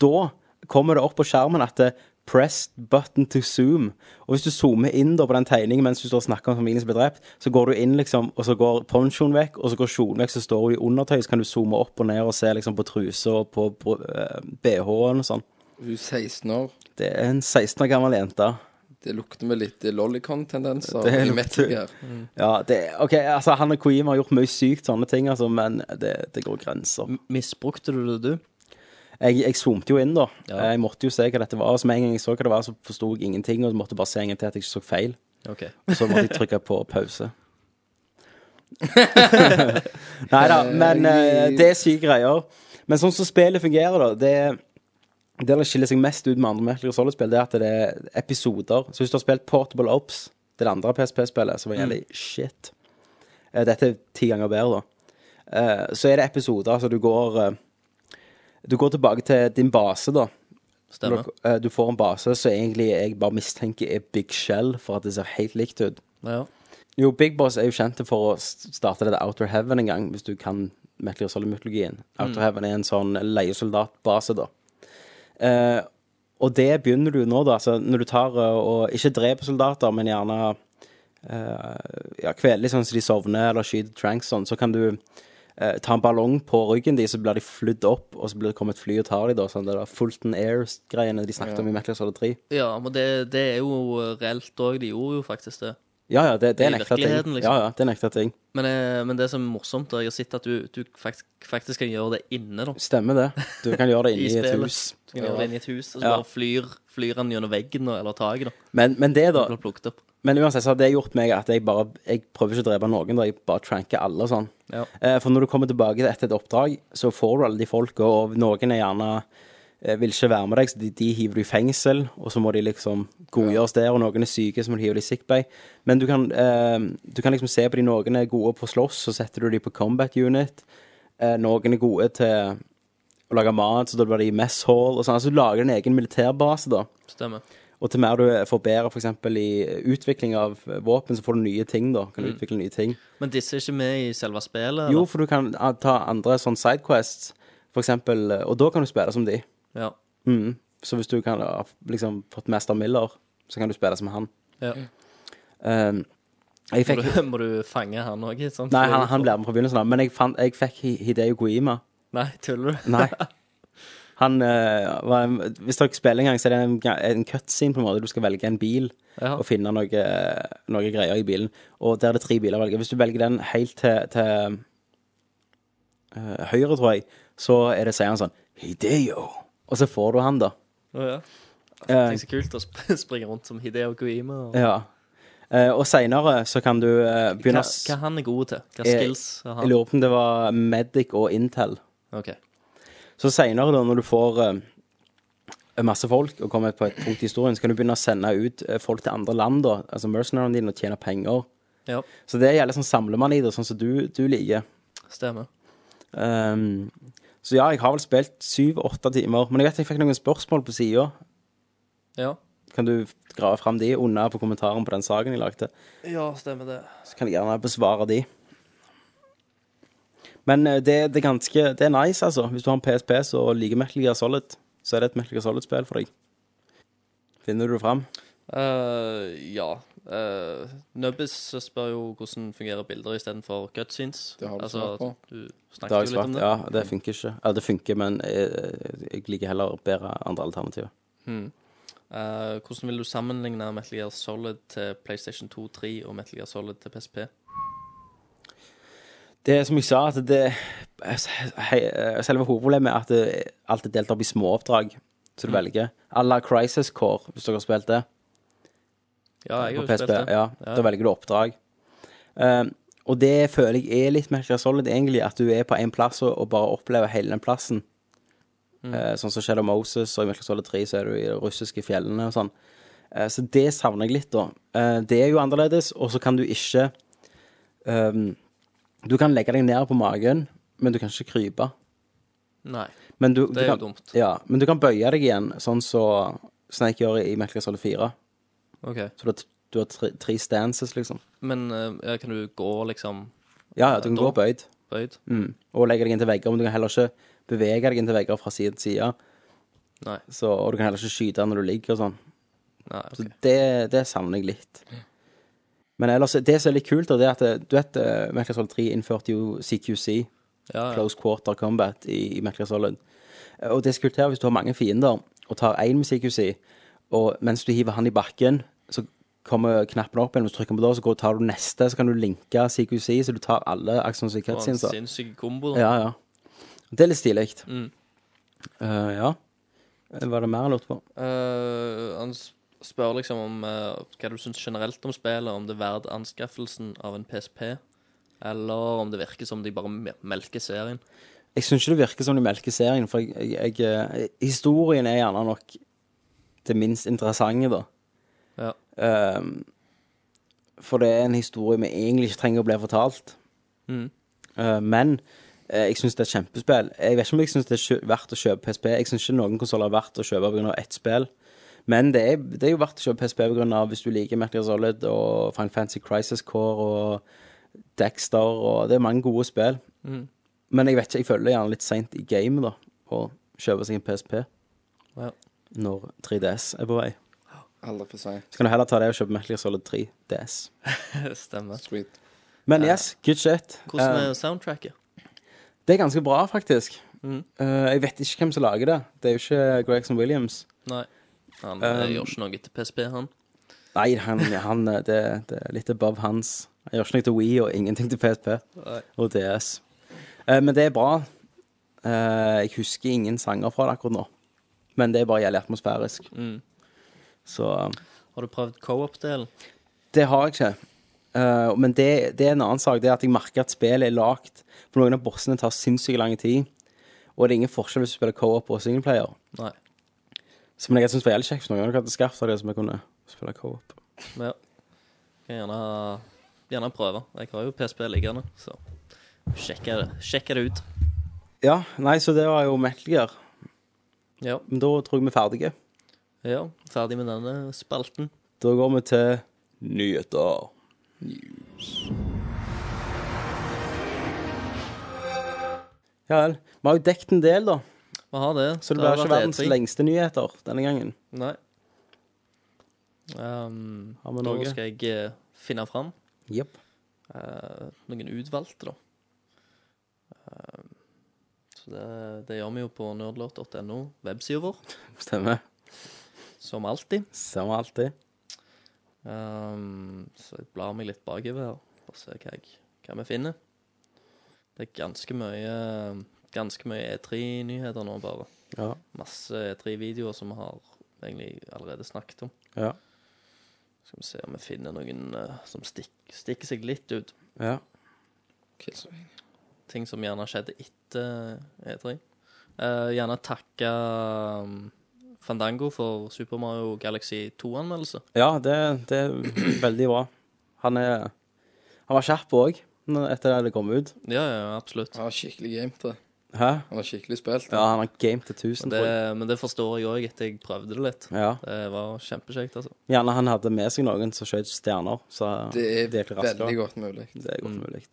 S9: Da kommer det opp på skjermen at det Press button to zoom. Og hvis du zoomer inn da på den tegningen mens du står og snakker om familien som ble drept, så går du inn, liksom, og så går ponchoen vekk, og så går kjolen vekk, så står hun i undertøy, så kan du zoome opp og ned og se liksom på trusa og på br- eh, BH-en og sånn.
S8: Hun er 16 år.
S9: Det er en 16 år gammel jente.
S8: Det lukter med litt lollicon-tendenser
S9: Det lukter-
S8: i
S9: Mm.
S8: Metal Gear.
S9: Ja, det OK, altså, han og Queem har gjort mye sykt sånne ting, altså, men det, det går grenser.
S10: Misbrukte du det, du?
S9: jeg, jeg zoomte jo inn, da.
S10: Ja.
S9: Jeg måtte jo se hva dette var. Og så med en gang jeg så hva det var, så forsto jeg ingenting, og så måtte jeg bare se en gang til at jeg ikke så feil.
S10: OK.
S9: Og så måtte jeg trykke på pause. Nei da, men eh, det er syke greier. Men sånn som spillet fungerer, da, det det det skiller seg mest ut med andre Metal Gear Solid-spill, det er at det er episoder. Så hvis du har spilt Portable Ops, det er det andre PSP-spillet, som var jævlig shit Eh, Dette er ti ganger bedre, da. Eh, Så er det episoder, altså du går eh, Du går tilbake til din base, da. Når
S10: Stemmer.
S9: Du, eh, du får en base som egentlig jeg bare mistenker er Big Shell, for at det ser helt likt ut.
S10: Ja.
S9: Jo, Big Boss er jo kjent for å s- starte det der Outer Heaven en gang, hvis du kan Metal Gear Solid-mytologien. Outer Heaven er en sånn leiesoldatbase, da. Eh, og det begynner du nå, da. Altså, når du tar eh, og ikke dreper soldater, men gjerne eh, ja, kveler litt sånn så de sovner, eller skyter tranks sånn, så kan du eh, ta en ballong på ryggen de, så blir de flydd opp, og så blir det kommet et fly og tar de, da. Sånn det der Fulton Airs-greiene de snakket om i Metal Gear Solid 3.
S10: ja, men det, det er jo reelt òg. De gjorde jo faktisk det.
S9: Ja, ja, det, det er
S10: I
S9: en ekte
S10: virkeligheten,
S9: ting.
S10: liksom.
S9: Ja, ja, det er en ekte ting.
S10: Men, eh, men det som er morsomt, er at jeg har sett at du, du faktisk, faktisk kan gjøre det inne. da
S9: Stemmer det. Du kan gjøre det
S10: I
S9: inni et
S10: spillet.
S9: hus.
S10: Du kan gjøre det inne i et hus, og så
S9: Ja.
S10: bare flyr, flyr han gjennom veggen da, eller taket. da
S9: Men, men det, da.
S10: Og blir plukket opp.
S9: Men uansett så har det gjort meg at jeg bare Jeg prøver ikke å drepe noen, da. Jeg bare tranker alle og sånn.
S10: Ja.
S9: Eh, For når du kommer tilbake etter et oppdrag, så får du alle de folka, og noen er gjerne eh, vil ikke være med deg, så de, de hiver du i fengsel, og så må de liksom godgjøres der, og noen er syke, så må du hive de i sickbay. Men du kan, eh, du kan liksom se på de noen er gode på å slåss, så setter du de på combat unit. Eh, noen er gode til å lage mat, så da blir de i mess hall, og sånn. Altså du lager en egen militærbase, da.
S10: Stemmer.
S9: Og til mer du forbedrer f.eks. i utvikling av våpen, så får du nye ting, da. Kan du utvikle nye ting.
S10: Men disse er ikke med i selve spillet?
S9: Jo, for du kan ah, ta andre sånn sidequests, f.eks., og da kan du spille som de.
S10: Eller?
S9: Mhm. Så hvis du kan ha liksom, fått Mester Miller, så kan du spille som han.
S10: Ja. ja.
S9: Ehm, jeg
S10: Må
S9: fikk
S10: du, må du fange han òg?
S9: Nei, han, han ble med fra begynnelsen av, men jeg, fant, jeg fikk Hi- Hideo Guima.
S10: Nei, tuller du?
S9: Nei. Han eh, var en, Hvis dere spiller en gang, så er det en, en cutscene, på en måte. Du skal velge en bil
S10: Ja.
S9: og finne noe, noe greier i bilen. Og der er det tre biler å velge. Hvis du velger den helt til, til eh, høyre, tror jeg, så er det, sier han sånn Hideo. Og så får du han, da.
S10: Å, ja.
S9: Eh,
S10: Tenk så kult å sp springe rundt som Hideo Koima. Og...
S9: ja. Eh, og seinere så kan du eh, begynne
S10: Hva,
S9: å s-
S10: hva han er god til? Hva
S9: Eh,
S10: skills har
S9: Jeg
S10: han?
S9: lurer på om det var Medic og Intel.
S10: Ok,
S9: Så senere da, når du får eh, masse folk og kommer på et punkt i historien, så kan du begynne å sende ut eh, folk til andre land, da, altså mercenariene dine, og tjene penger.
S10: ja,
S9: Så det gjelder sånn samlemann i det, sånn som du, du liker.
S10: stemmer.
S9: Ehm, så ja, jeg har vel spilt syv-åtte timer, men jeg vet jeg fikk noen spørsmål på sida.
S10: Ja.
S9: Kan du grave fram de under på kommentaren på den saken jeg lagde?
S10: ja, stemmer det.
S9: Så kan jeg gjerne besvare de. Men eh, det, det er ganske Det er nice, altså. Hvis du har en PSP som liker Metal Gear Solid, så er det et Metal Gear Solid-spill for deg. Finner du det fram?
S10: Eh, ja. Eh, Nubbis spør jo hvordan fungerer bilder istedenfor cutscenes.
S8: Det har du
S10: altså,
S8: svart på.
S10: du
S9: Det har
S10: snakket jo
S9: jeg
S10: litt
S9: svart.
S10: om det.
S9: Ja, det funker ikke. Ja, det funker, men jeg, jeg liker heller bedre andre alternativer.
S10: Hmm. Eh, hvordan vil du sammenligne Metal Gear Solid til PlayStation 2, 3 og Metal Gear Solid til PSP?
S9: Det er som jeg sa, at det hei, Selve hovedproblemet er at det, alt er delt opp i småoppdrag som du velger. À la Crisis Core, hvis dere har spilt det.
S10: Ja, jeg har
S9: på
S10: jo
S9: PSP.
S10: spilt det.
S9: Ja, Da velger du oppdrag. Um, og det føler jeg er litt Metal Gear Solid, egentlig, at du er på én plass og, og bare opplever hele den plassen.
S10: Mm.
S9: Eh, sånn som Shadow Moses, og i Metal Gear Solid 3 så er du i de russiske fjellene og sånn. Eh, så det savner jeg litt, da. Eh, det er jo annerledes, og så kan du ikke um, Du kan legge deg ned på magen, men du kan ikke krype.
S10: Nei.
S9: Men du,
S10: Det
S9: du
S10: er jo
S9: kan,
S10: dumt.
S9: Ja, men du kan bøye deg igjen, sånn som Snake gjør i Metal Gear Solid 4.
S10: OK.
S9: Så da t- Du har tre, tre stances, liksom.
S10: Men eh, ja, kan du gå, liksom
S9: Ja, ja, du kan
S10: Da-
S9: gå bøyd.
S10: bøyd?
S9: Mm. Og legge deg inntil vegger, men du kan heller ikke bevege deg inntil vegger fra side til side.
S10: Nei.
S9: Så, og du kan heller ikke skyte når du ligger og sånn.
S10: Nei,
S9: Så
S10: ok.
S9: det, det savner jeg litt. Men ellers, det som er litt kult, da, det er at det- du vet, eh, Metal Solid 3 innførte jo CQC,
S10: Ja, ja.
S9: Close Quarter Combat, i, i Metal Solid. Eh, Og det er så kult her, hvis du har mange fiender, og tar én med CQC, og mens du hiver han i bakken, så kommer knappen opp igjen, og så trykker du på det, og så går, tar du neste, så kan du linke CQC, så du tar alle actions i
S10: Det var en
S9: cutscenes. da.
S10: sinnssyk kombo. da.
S9: Ja, ja. Det er litt stilig.
S10: Mm.
S9: Eh, ja. Var det mer jeg lurte på?
S10: Eh, han s- spør liksom om eh, hva du syns generelt om spillet, om det er verdt anskaffelsen av en PSP, eller om det virker som de bare me- melker serien.
S9: Jeg syns ikke det virker som de melker serien, for jeg, jeg, jeg, historien er gjerne nok det minst interessante, da.
S10: Ja.
S9: Ehm, for det er en historie vi egentlig ikke trenger å bli fortalt.
S10: Mm.
S9: Eh, men eh, jeg syns det er et kjempespill. Jeg vet ikke om jeg syns det er kjø- verdt å kjøpe PSP. Jeg syns ikke noen konsoller er verdt å kjøpe pga. ett spill. Men det er, det er jo verdt å kjøpe PSP på grunn av hvis du liker Metal Gear Solid og Final Fantasy Crisis Core og Dexter og Det er mange gode spill.
S10: Mm.
S9: Men jeg vet ikke, jeg føler det er gjerne litt seint i gamet, da, å kjøpe seg en PSP
S10: Ja.
S9: når 3DS er på vei.
S8: Aldri for seint.
S9: Så kan du heller ta det og kjøpe Metal Gear Solid 3 DS.
S10: Stemmer.
S8: Street.
S9: Men yes, good shit.
S10: Hvordan
S9: Eh,
S10: er soundtracket?
S9: det er ganske bra, faktisk.
S10: Mm.
S9: Eh, jeg vet ikke hvem som lager det. Det er jo ikke Gregson Williams.
S10: Nei. Han eh,
S9: Um,
S10: gjør ikke noe til PSP, han.
S9: Nei, han, han eh, det, det er litt above hans. Han gjør ikke noe til Wii og ingenting til PSP
S10: Nei.
S9: og DS. Eh, men det er bra. Eh, jeg husker ingen sanger fra det akkurat nå. Men det er bare jævlig atmosfærisk.
S10: Mm.
S9: Så eh,
S10: Har du prøvd co-op-delen?
S9: Det har jeg ikke. Eh, men det, det er en annen sak. Det er at jeg merker at spillet er lagd For noen av bossene tar sinnssykt lang tid. Og det er ingen forskjell hvis du spiller co-op og singleplayer.
S10: Nei.
S9: Så, men jeg syns det var jævlig kjekt for noen hadde skaffet seg det som jeg kunne spille co-op.
S10: Men ja. Kan gjerne, gjerne prøve. Jeg har jo PSP liggende, så sjekke det, sjekke det ut.
S9: Ja, nei, så det var jo Metal Gear.
S10: Ja.
S9: Men da tror jeg vi er ferdige.
S10: ja. Ferdig med denne spalten.
S9: Da går vi til nyheter. Ja vel. Vi har jo dekket en del, da.
S10: Vi har det.
S9: Så det
S10: har
S9: blir ikke
S10: vært
S9: verdens
S10: E3.
S9: lengste nyheter denne gangen.
S10: Nei. Ehm,
S9: Har vi
S10: da
S9: noe?
S10: skal jeg eh, finne fram
S9: Jepp.
S10: eh, noen utvalgte, da. Ehm, så det, det gjør vi jo på nerdlåt.no, websida vår,
S9: Stemmer.
S10: som alltid.
S9: Som alltid.
S10: Ehm, så jeg blar meg litt bakover her, bare se hva, jeg, hva vi finner. Det er ganske mye Ganske mye E3-nyheter nå, bare.
S9: Ja.
S10: Masse E3-videoer som vi har egentlig allerede snakket om.
S9: Ja.
S10: Skal vi se om vi finner noen eh, som stikk, stikker seg litt ut.
S9: Ja.
S10: Ting som gjerne skjedde etter E3. Eh, gjerne takke um, Fandango for Super Mario Galaxy 2-anmeldelse.
S9: ja det, det er veldig bra. Han er Han var kjapp òg, etter det det kom ut.
S10: Ja, ja, absolutt.
S8: Han har skikkelig gamet det.
S9: Hæ?
S8: Han har skikkelig spilt.
S9: Ja, han har game til
S10: Og
S9: 1000,
S10: Det,
S9: tror jeg.
S10: men det forstår jeg òg etter jeg prøvde det litt.
S9: Ja.
S10: Det var kjempekjekt, altså.
S9: Gjerne han hadde med seg noen som skjøt stjerner, så
S8: Det er
S9: det gikk raskere.
S8: veldig godt mulig.
S9: Det er godt mulig.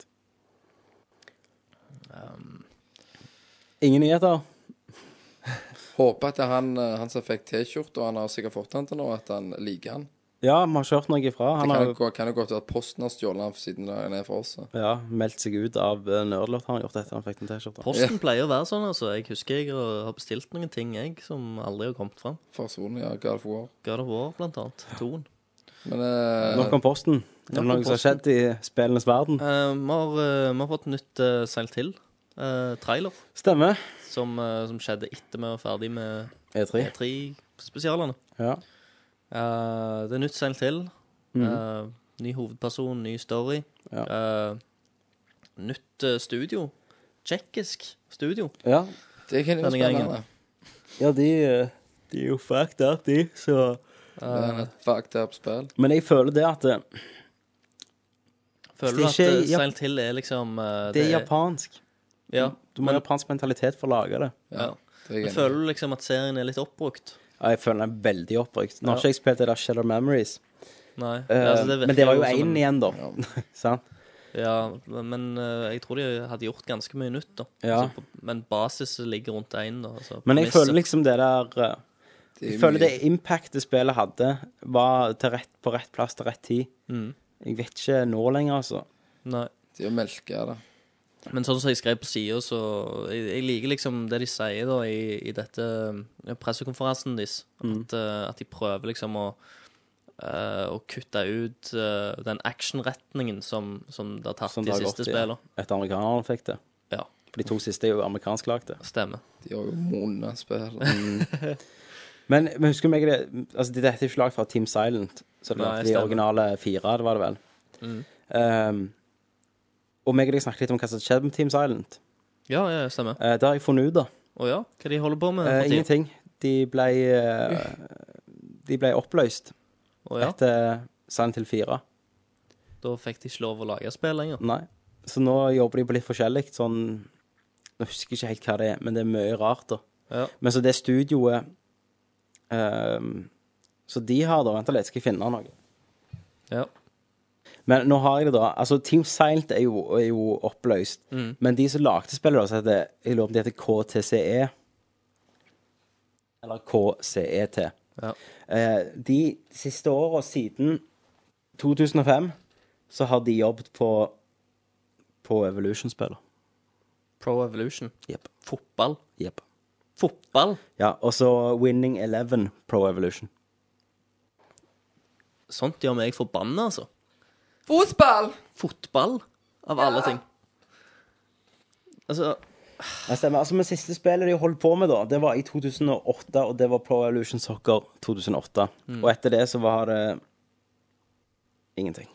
S9: Ingen nyheter?
S8: Håper at det er han, eh, han som fikk T-skjorte, og han har sikkert fått den til nå, at han liker han.
S9: Ja, vi har ikke hørt noe ifra.
S8: Det
S9: Han
S8: kan
S9: har
S8: jo gå- kan jo godt være at Posten har stjålet han siden han er fra oss. så.
S9: ja, meldt seg ut av eh, Nerdlot. Han har gjort dette, han fikk den T-skjorta.
S10: Posten pleier å være sånn, altså. Jeg husker jeg har har bestilt noen ting jeg som aldri har kommet fram.
S8: Personlig, ja. God of War.
S10: God of War, blant annet. Toen.
S8: Men eh,
S9: Nok om Posten. Er
S10: nok
S9: det
S10: om
S9: noe som har skjedd i spillenes verden?
S10: Eh, vi, har, eh, vi har fått nytt uh, seil til. eh, trailer.
S9: Stemmer.
S10: som, eh, som skjedde etter vi var ferdig med E
S9: E3.
S10: E3-spesialene.
S9: Ja. Mhm.
S10: Eh, det er nytt seil til. Eh, ny hovedperson, ny story.
S9: Ja.
S10: Eh, nytt eh, studio. Tsjekkisk studio.
S9: ja.
S8: det kan jo
S10: Denne gangen.
S8: spennende.
S9: Ja, de, eh, de er jo fucked up, de, så
S8: Det
S9: Ah.
S8: er et fucked up spill.
S9: Men jeg føler det at eh, det,
S10: Føler
S9: Det
S10: du
S9: er
S10: at
S9: ikke
S10: uh,
S9: Jap-
S10: seil til er liksom eh,
S9: det er japansk.
S10: Ja.
S9: Du må ha japansk mentalitet for å lage det.
S10: ja. Men
S8: Det er jeg enig i.
S10: føler du liksom at serien er litt oppbrukt?
S9: Ja, jeg føler den er veldig opprykt. Nå har ikke jeg spilt det der Shadow Memories,
S10: Nei.
S9: Eh,
S10: altså, det virker
S9: men det var jo
S10: som
S9: én
S10: en-
S9: igjen, da. Sant?
S10: Ja, men eh, jeg tror de hadde gjort ganske mye nytt, da.
S9: Ja.
S10: Altså, på- men basis ligger rundt én, da. Altså,
S9: Men jeg
S10: premisset.
S9: føler liksom det der eh,
S8: er
S9: Jeg føler
S8: mye-
S9: det impactet spillet hadde, var til rett, på rett plass til rett tid.
S10: Mm.
S9: Jeg vet ikke nå lenger, altså.
S10: Nei.
S8: Det å melke det.
S10: Men sånn som jeg skrev på sida, så jeg, jeg liker liksom det de sier da i, i dette eh, pressekonferansen deres.
S9: Mm.
S10: At, eh, at de prøver liksom å eh, å kutte ut eh, den actionretningen som, som det har tatt
S9: Som
S10: de
S9: det har
S10: siste
S9: gått i.
S10: spillene.
S9: Et amerikaner fikk det.
S10: Ja.
S9: For de to siste er jo amerikansklagte.
S10: Stemmer.
S8: De har jo Mm. monnespill.
S9: Men, men husker du meg det Altså, dette er ikke lag fra Team Silent. Så det
S10: Nei,
S9: var de
S10: stemmer. Mm.
S9: originale fire, det var det vel. Um, og meg og deg snakket litt om hva som skjedde med Team Silent.
S10: Ja, ja, stemmer.
S9: Eh, det har jeg funnet ut av.
S10: Å ja, hva de holder på med?
S9: Eh,
S10: for tiden?
S9: ingenting. De ble eh, De ble oppløst
S10: Å ja,
S9: etter Silent Hill 4.
S10: da fikk de ikke lov å lage spill lenger.
S9: Nei. Så nå jobber de på litt forskjellig. Sånn Nå husker jeg ikke helt hva det er, men det er mye rart, da.
S10: Ja.
S9: Men så det studioet ehm, Så de har da Vent litt, skal jeg finne noe?
S10: Ja.
S9: Men nå har jeg det, da. Altså, Team Silent er jo, er jo oppløst. Men de som lagde spillet, da, så heter Jeg lurer på om de heter KTCE. E. Eller KCET.
S10: Ja.
S9: Eh, de siste åra siden 2005 så har de jobbet på På Evolution-spillet.
S10: Pro Evolution.
S9: Jepp.
S10: Fotball.
S9: Jepp.
S10: Fotball?
S9: Ja, og så Winning Eleven Pro Evolution.
S10: Sånt gjør meg forbanna, altså.
S8: Fotball!
S10: Fotball, av alle ting. Altså
S9: Ja, stemmer. Altså, men siste spillet de holdt på med, da, det var i 2008, og det var Pro Evolution Soccer 2008. Og etter det så var det ingenting.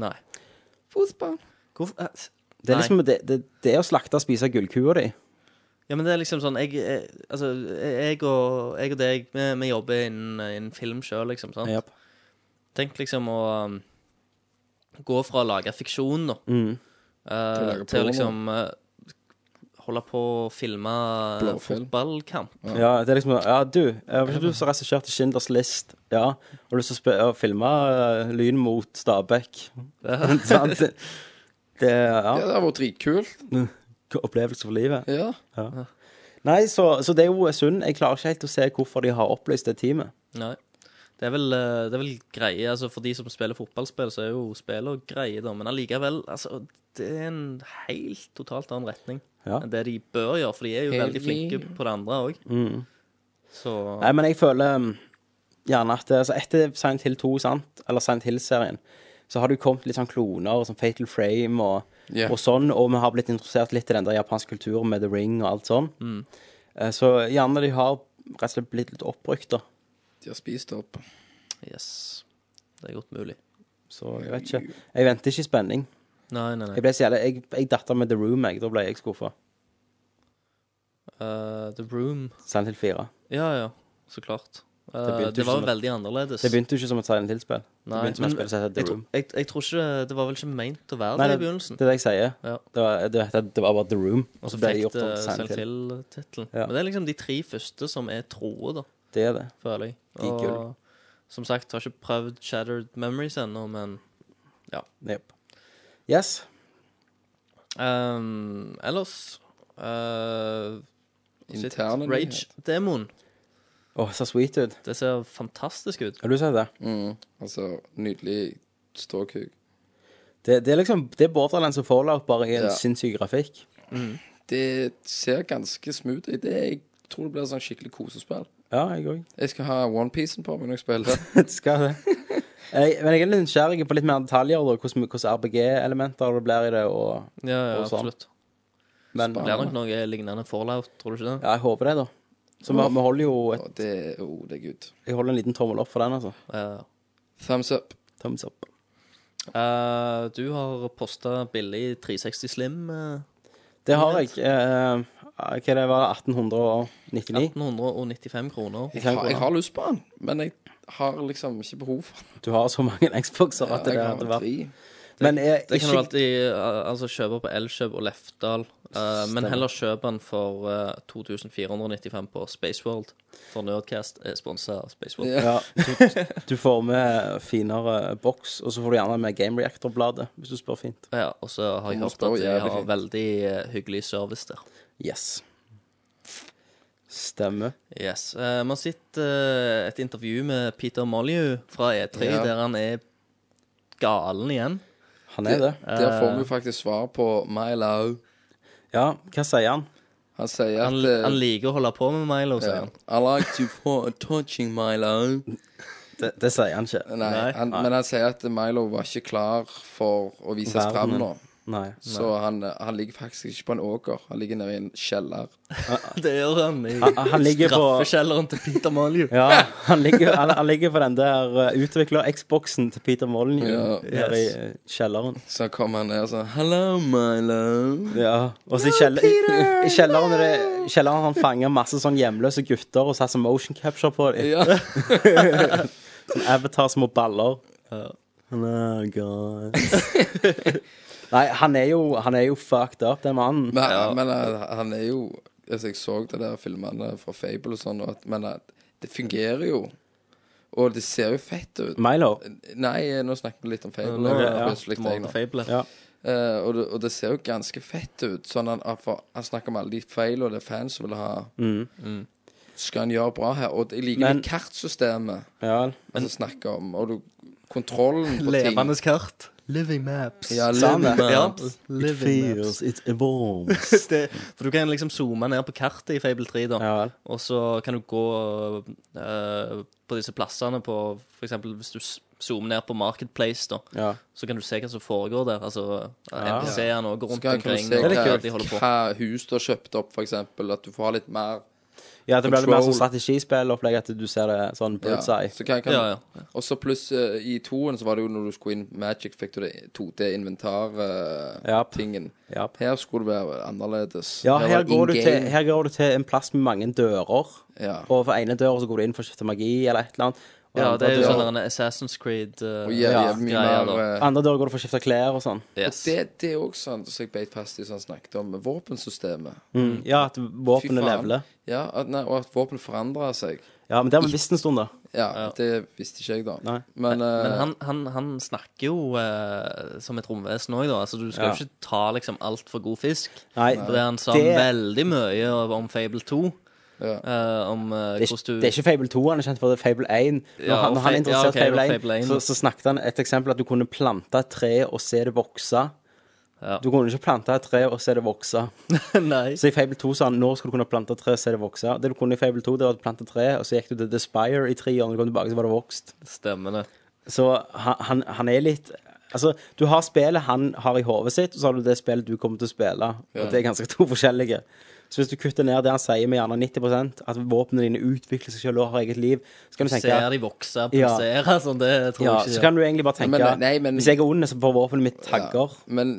S10: Nei.
S8: Fotball.
S10: Hvorfor eh, s-
S9: Det er
S10: Nei.
S9: liksom det, det, det er å slakte og spise gullkua di.
S10: Ja, men det er liksom sånn Jeg, jeg, altså, jeg, og, jeg og deg, vi, vi jobber innen, innen film sjøl, liksom. sant?
S9: Japp.
S10: Tenk liksom å um, gå fra å lage fiksjon, da, eh,
S8: Til å lage
S10: til å
S8: porno.
S10: liksom eh, holde på å filme eh,
S8: Blåfilm.
S10: fotballkamp.
S9: Ja, det er liksom Ja, du, eh, var ikke du som regisserte Schindlers List? Ja. Og du som spe- og filma eh, Lyn mot Stabæk? Sant? Det, det
S8: Ja,
S9: Ja.
S8: det har vært dritkult.
S9: Opplevelse for livet.
S8: Ja.
S9: Nei, så, så det er jo synd. Jeg klarer ikke helt å se hvorfor de har oppløst det teamet.
S10: Nei. Det er, vel, eh, det er vel greie, altså For de som spiller fotballspill, så er jo spillet greie, da. Men allikevel, altså, det er en helt totalt annen retning
S9: Ja.
S10: enn det de bør gjøre. For de er jo
S8: Helt
S10: veldig flinke
S8: enig.
S10: på det andre òg. Så
S9: Mm. Nei, men jeg føler um, gjerne at det- altså Etter Silent Hill 2, sant? eller Silent Hill-serien, så har det jo kommet litt sånn kloner, sånn Fatal Frame og,
S8: Ja.
S9: og sånn, og vi har blitt interessert litt i den der japanske kulturen med The Ring og alt sånn.
S10: Mm.
S9: Eh, Så gjerne de har rett og slett blitt litt oppbrukt, da.
S8: De har spist opp.
S10: yes. Det er godt mulig.
S9: Så jeg vet ikke. Jeg venter ikke i spenning.
S10: Nei, nei, nei.
S9: Jeg ble så jævlig Jeg, jeg datt av med The Room, jeg. Da ble jeg skuffa.
S10: Eh, The Room.
S9: Silent Hill 4.
S10: Ja, ja. Så klart. Eh,
S9: Det begynte
S10: det
S9: ikke
S10: var
S9: som
S10: jo
S9: et-
S10: veldig annerledes.
S9: Det begynte jo ikke som et Silent Hill-spill. Det
S10: Nei,
S9: begynte som
S10: men
S9: et spill som heter
S10: jeg,
S9: The
S10: tro,
S9: Room.
S10: jeg, jeg tror ikke det- Det var vel ikke meint å være det i
S9: Nei, det,
S10: begynnelsen.
S9: det er det jeg sier.
S10: Ja.
S9: Det, var, det, heter- det var bare The Room.
S10: Og så
S9: ble det
S10: fikk
S9: gjort
S10: det
S9: om til
S10: Silent Hill-tittelen.
S9: Ja.
S10: Men det er liksom de tre første som er troe, da,
S9: Det er det.
S10: føler jeg.
S9: De er
S10: Og
S9: gull.
S10: som sagt, har ikke prøvd Shattered Memories ennå, men
S9: Yep. Yes.
S10: ehm, ellers eh,
S8: Interne
S10: Rage-demoen.
S9: Åh, så sweet ut.
S10: Det ser fantastisk ut.
S9: Har du sett det?
S8: Mm. Altså, nydelig ståkuk.
S9: det? Det er liksom Det er borderlands og fallout, bare i en
S8: Ja.
S9: sinnssyk grafikk.
S8: Det ser ganske smooth ut. Det- Jeg tror det blir sånn skikkelig kosespill.
S9: Ja, jeg òg.
S8: Jeg skal ha onepiecen på meg når jeg spiller det.
S9: Skal det. Jeg, men jeg er litt nysgjerrig på litt mer detaljer, da, hvordan, hvordan RBG-elementer det blir i det. Og,
S10: Ja, ja
S9: Og sånn.
S10: absolutt.
S9: men
S10: Det blir nok noe lignende Fallout, tror du ikke det?
S9: ja, jeg håper det, da. Så vi, vi holder jo et,
S8: Og det Å, det er good.
S9: Jeg holder en liten tommel opp for den, altså.
S10: Ja.
S8: Thumbs up.
S9: Thumbs up.
S10: Eh, du har posta billig 360 Slim. eh,
S9: Det har jeg. Eh, hva det var 1899?
S10: 1895 kroner.
S8: Jeg har, jeg har lyst på den, men jeg har liksom ikke behov for den.
S9: Du har så mange Xboxer at
S8: Jeg
S9: det
S8: har
S9: hadde
S8: en
S9: vært
S8: tre.
S9: Men jeg,
S10: Det kan du
S9: ikke,
S10: alltid eh, altså, kjøpe på Elkjøp og Lefdal. Eh, men heller kjøp den for eh, 2495 på Spaceworld. For Nerdcast er sponsa av Spaceworld.
S9: Ja, du, du får med finere boks, og så får du gjerne med Game Reactor-bladet, hvis du spør fint.
S10: Ja, og så har jeg
S9: Du må
S10: hørt
S9: spå
S10: at de
S9: jævlig
S10: har
S9: fint.
S10: veldig eh, hyggelig service der.
S9: Yes. Stemmer.
S10: Yes. Eh, man sitter eh, et intervju med Peter Molyu fra E3,
S8: Ja.
S10: der han er galen igjen.
S9: Han er det. Eh.
S8: Der får vi faktisk svar på Milo.
S9: Ja, hva sier han?
S8: Han sier at
S10: Han,
S8: eh,
S10: han liker å holde på med Milo, sier
S8: ja,
S10: han.
S8: I like to for touching Milo.
S9: Det, det sier han ikke.
S8: Nei, han, Men han sier at Milo var ikke klar for å vises
S9: Verden.
S8: fram nå.
S9: Nei.
S8: Så han, han ligger faktisk ikke på en åker. Han ligger nede i en kjeller.
S10: Det gjør han i
S9: Han, han ligger på
S10: straffekjelleren til Peter Molyu.
S9: ja, han ligger, han, han ligger på den der uh, utvikler-Xboxen til Peter Mollen
S8: Ja.
S9: her i uh, kjelleren.
S8: Så kommer han ned og sånn Hello, Milo.
S9: Ja, og så i, kjell i kjelleren er det kjelleren har han fanger masse sånn hjemløse gutter og satt som motion capture på dem.
S8: Ja.
S9: Sånn Avatar små baller. Hello, guys. Nei, han er jo, han er jo fucked up, den mannen.
S8: Men, men eh, han er jo altså, Jeg så det der filmene fra Fable og sånn, og at, men eh, det fungerer jo. Og det ser jo fett ut.
S9: Milo.
S8: Nei, eh, nå snakker vi litt om Fable.
S10: Nå
S8: og
S9: ja, ja.
S8: plutselig jeg nå.
S9: Ja.
S8: Eh, og, det, og det ser jo ganske fett ut. Sånn han, han får- han snakker om alle de feil og det er fans vil ha.
S10: Mm.
S8: Skal han gjøre bra her? Og jeg liker
S9: Mm. Men-
S8: det kartsystemet
S9: Ja.
S8: han snakker om, og du, kontrollen på ting.
S10: Levende kart. Living maps.
S8: Ja,
S9: Sa han det?
S8: living
S10: Ja,
S8: maps.
S10: living maps.
S9: it evolves.
S10: Det, for du kan liksom zoome ned på kartet i Fable 3, da.
S9: Ja vel.
S10: Og så kan du gå eh, på disse plassene på For eksempel hvis du s- zoomer ned på Marketplace, da.
S9: Ja.
S10: Så kan du se hva som foregår der. Altså
S8: Ah.
S9: Ja.
S10: NPC-ene og går
S8: Så
S10: rundt
S8: kan, kan du
S10: omkring.
S8: se
S10: og
S9: Det er
S8: hva,
S10: de holder på.
S8: hva hus du har kjøpt opp, for eksempel. At du får ha litt mer
S9: ja, det blir litt mer
S8: Control.
S9: sånn strategispillopplegg at du ser det sånn
S8: Ja,
S9: bird's eye.
S8: så kan, kan,
S10: Ja, ja.
S8: Og så pluss eh, i toen så var det jo når du skulle inn Magic, fikk du det 2D-inventar-tingen.
S9: Japp.
S8: Uh, tingen.
S9: Japp.
S8: Her skulle det være annerledes.
S9: Ja,
S8: var
S9: her
S8: det
S9: går, du
S8: in-game.
S9: til, her går du til en plass med mange dører.
S8: Ja.
S9: Og for ene døra så går du inn for å skifte magi eller et eller annet. Og
S10: Ja,
S9: andre
S10: det er jo
S9: dører-
S10: sånn der en Assassin's Creed uh,
S8: Og jævlig
S9: Ja,
S8: mye
S10: greier,
S8: mer eh,
S9: Andre dører går du for å skifte klær og sånn.
S10: Yes.
S8: Det, det er også sånn som jeg beit fast i, som han snakket om, våpensystemet.
S9: Ja, at Mm. våpenet leveler.
S8: Ja, at, nei, og at våpen forandrer seg.
S9: Ja, men det har vi visst en stund, da.
S8: Ja, det visste ikke jeg, da.
S9: Nei.
S8: Men, eh,
S10: Men han, han, han snakker jo eh, som et romvesen òg, da. Altså, du skal
S9: Ja.
S10: jo ikke ta liksom alt for god fisk.
S9: Nei,
S10: For det sånn han sa
S9: Det-
S10: veldig mye om Fable 2.
S8: Ja.
S10: eh, om eh,
S9: Det er, ikke,
S10: hvordan du
S9: det er ikke Fable 2 han er kjent for, det er Fable 1. Når
S10: Ja,
S9: han,
S10: og
S9: når
S10: Fa-
S9: han er interessert
S10: ja, ok,
S9: i Fable
S10: det
S9: 1,
S10: var Fable 1,
S9: så,
S10: da.
S9: så snakket han et eksempel at du kunne plante et tre og se det vokse.
S10: Ja.
S9: Du kunne ikke plante et tre og se det vokse.
S10: Nei.
S9: Så i Fable 2 sa han nå skal du kunne plante et tre og se det vokse. Det du kunne i Fable 2, det var at du plantet et tre, og så gikk du til Despire i tre år, og når du kom tilbake, så var det vokst.
S10: Stemmer det.
S9: Så han, han, han er litt Altså, du har spillet han har i hodet sitt, og så har du det spillet du kommer til å spille. Og det er ganske to forskjellige. Så hvis du kutter ned det han sier med gjerne 90 at våpnene dine utvikler seg selv og har eget liv, så kan du tenke
S10: Ser de vokse,
S9: Ja.
S10: pulsere sånn, det tror
S9: ja,
S10: jeg
S9: Så
S10: ikke.
S9: kan du egentlig bare tenke
S8: Men- nei, men-
S9: Hvis jeg er ond, så får våpenet mitt tagger.
S8: men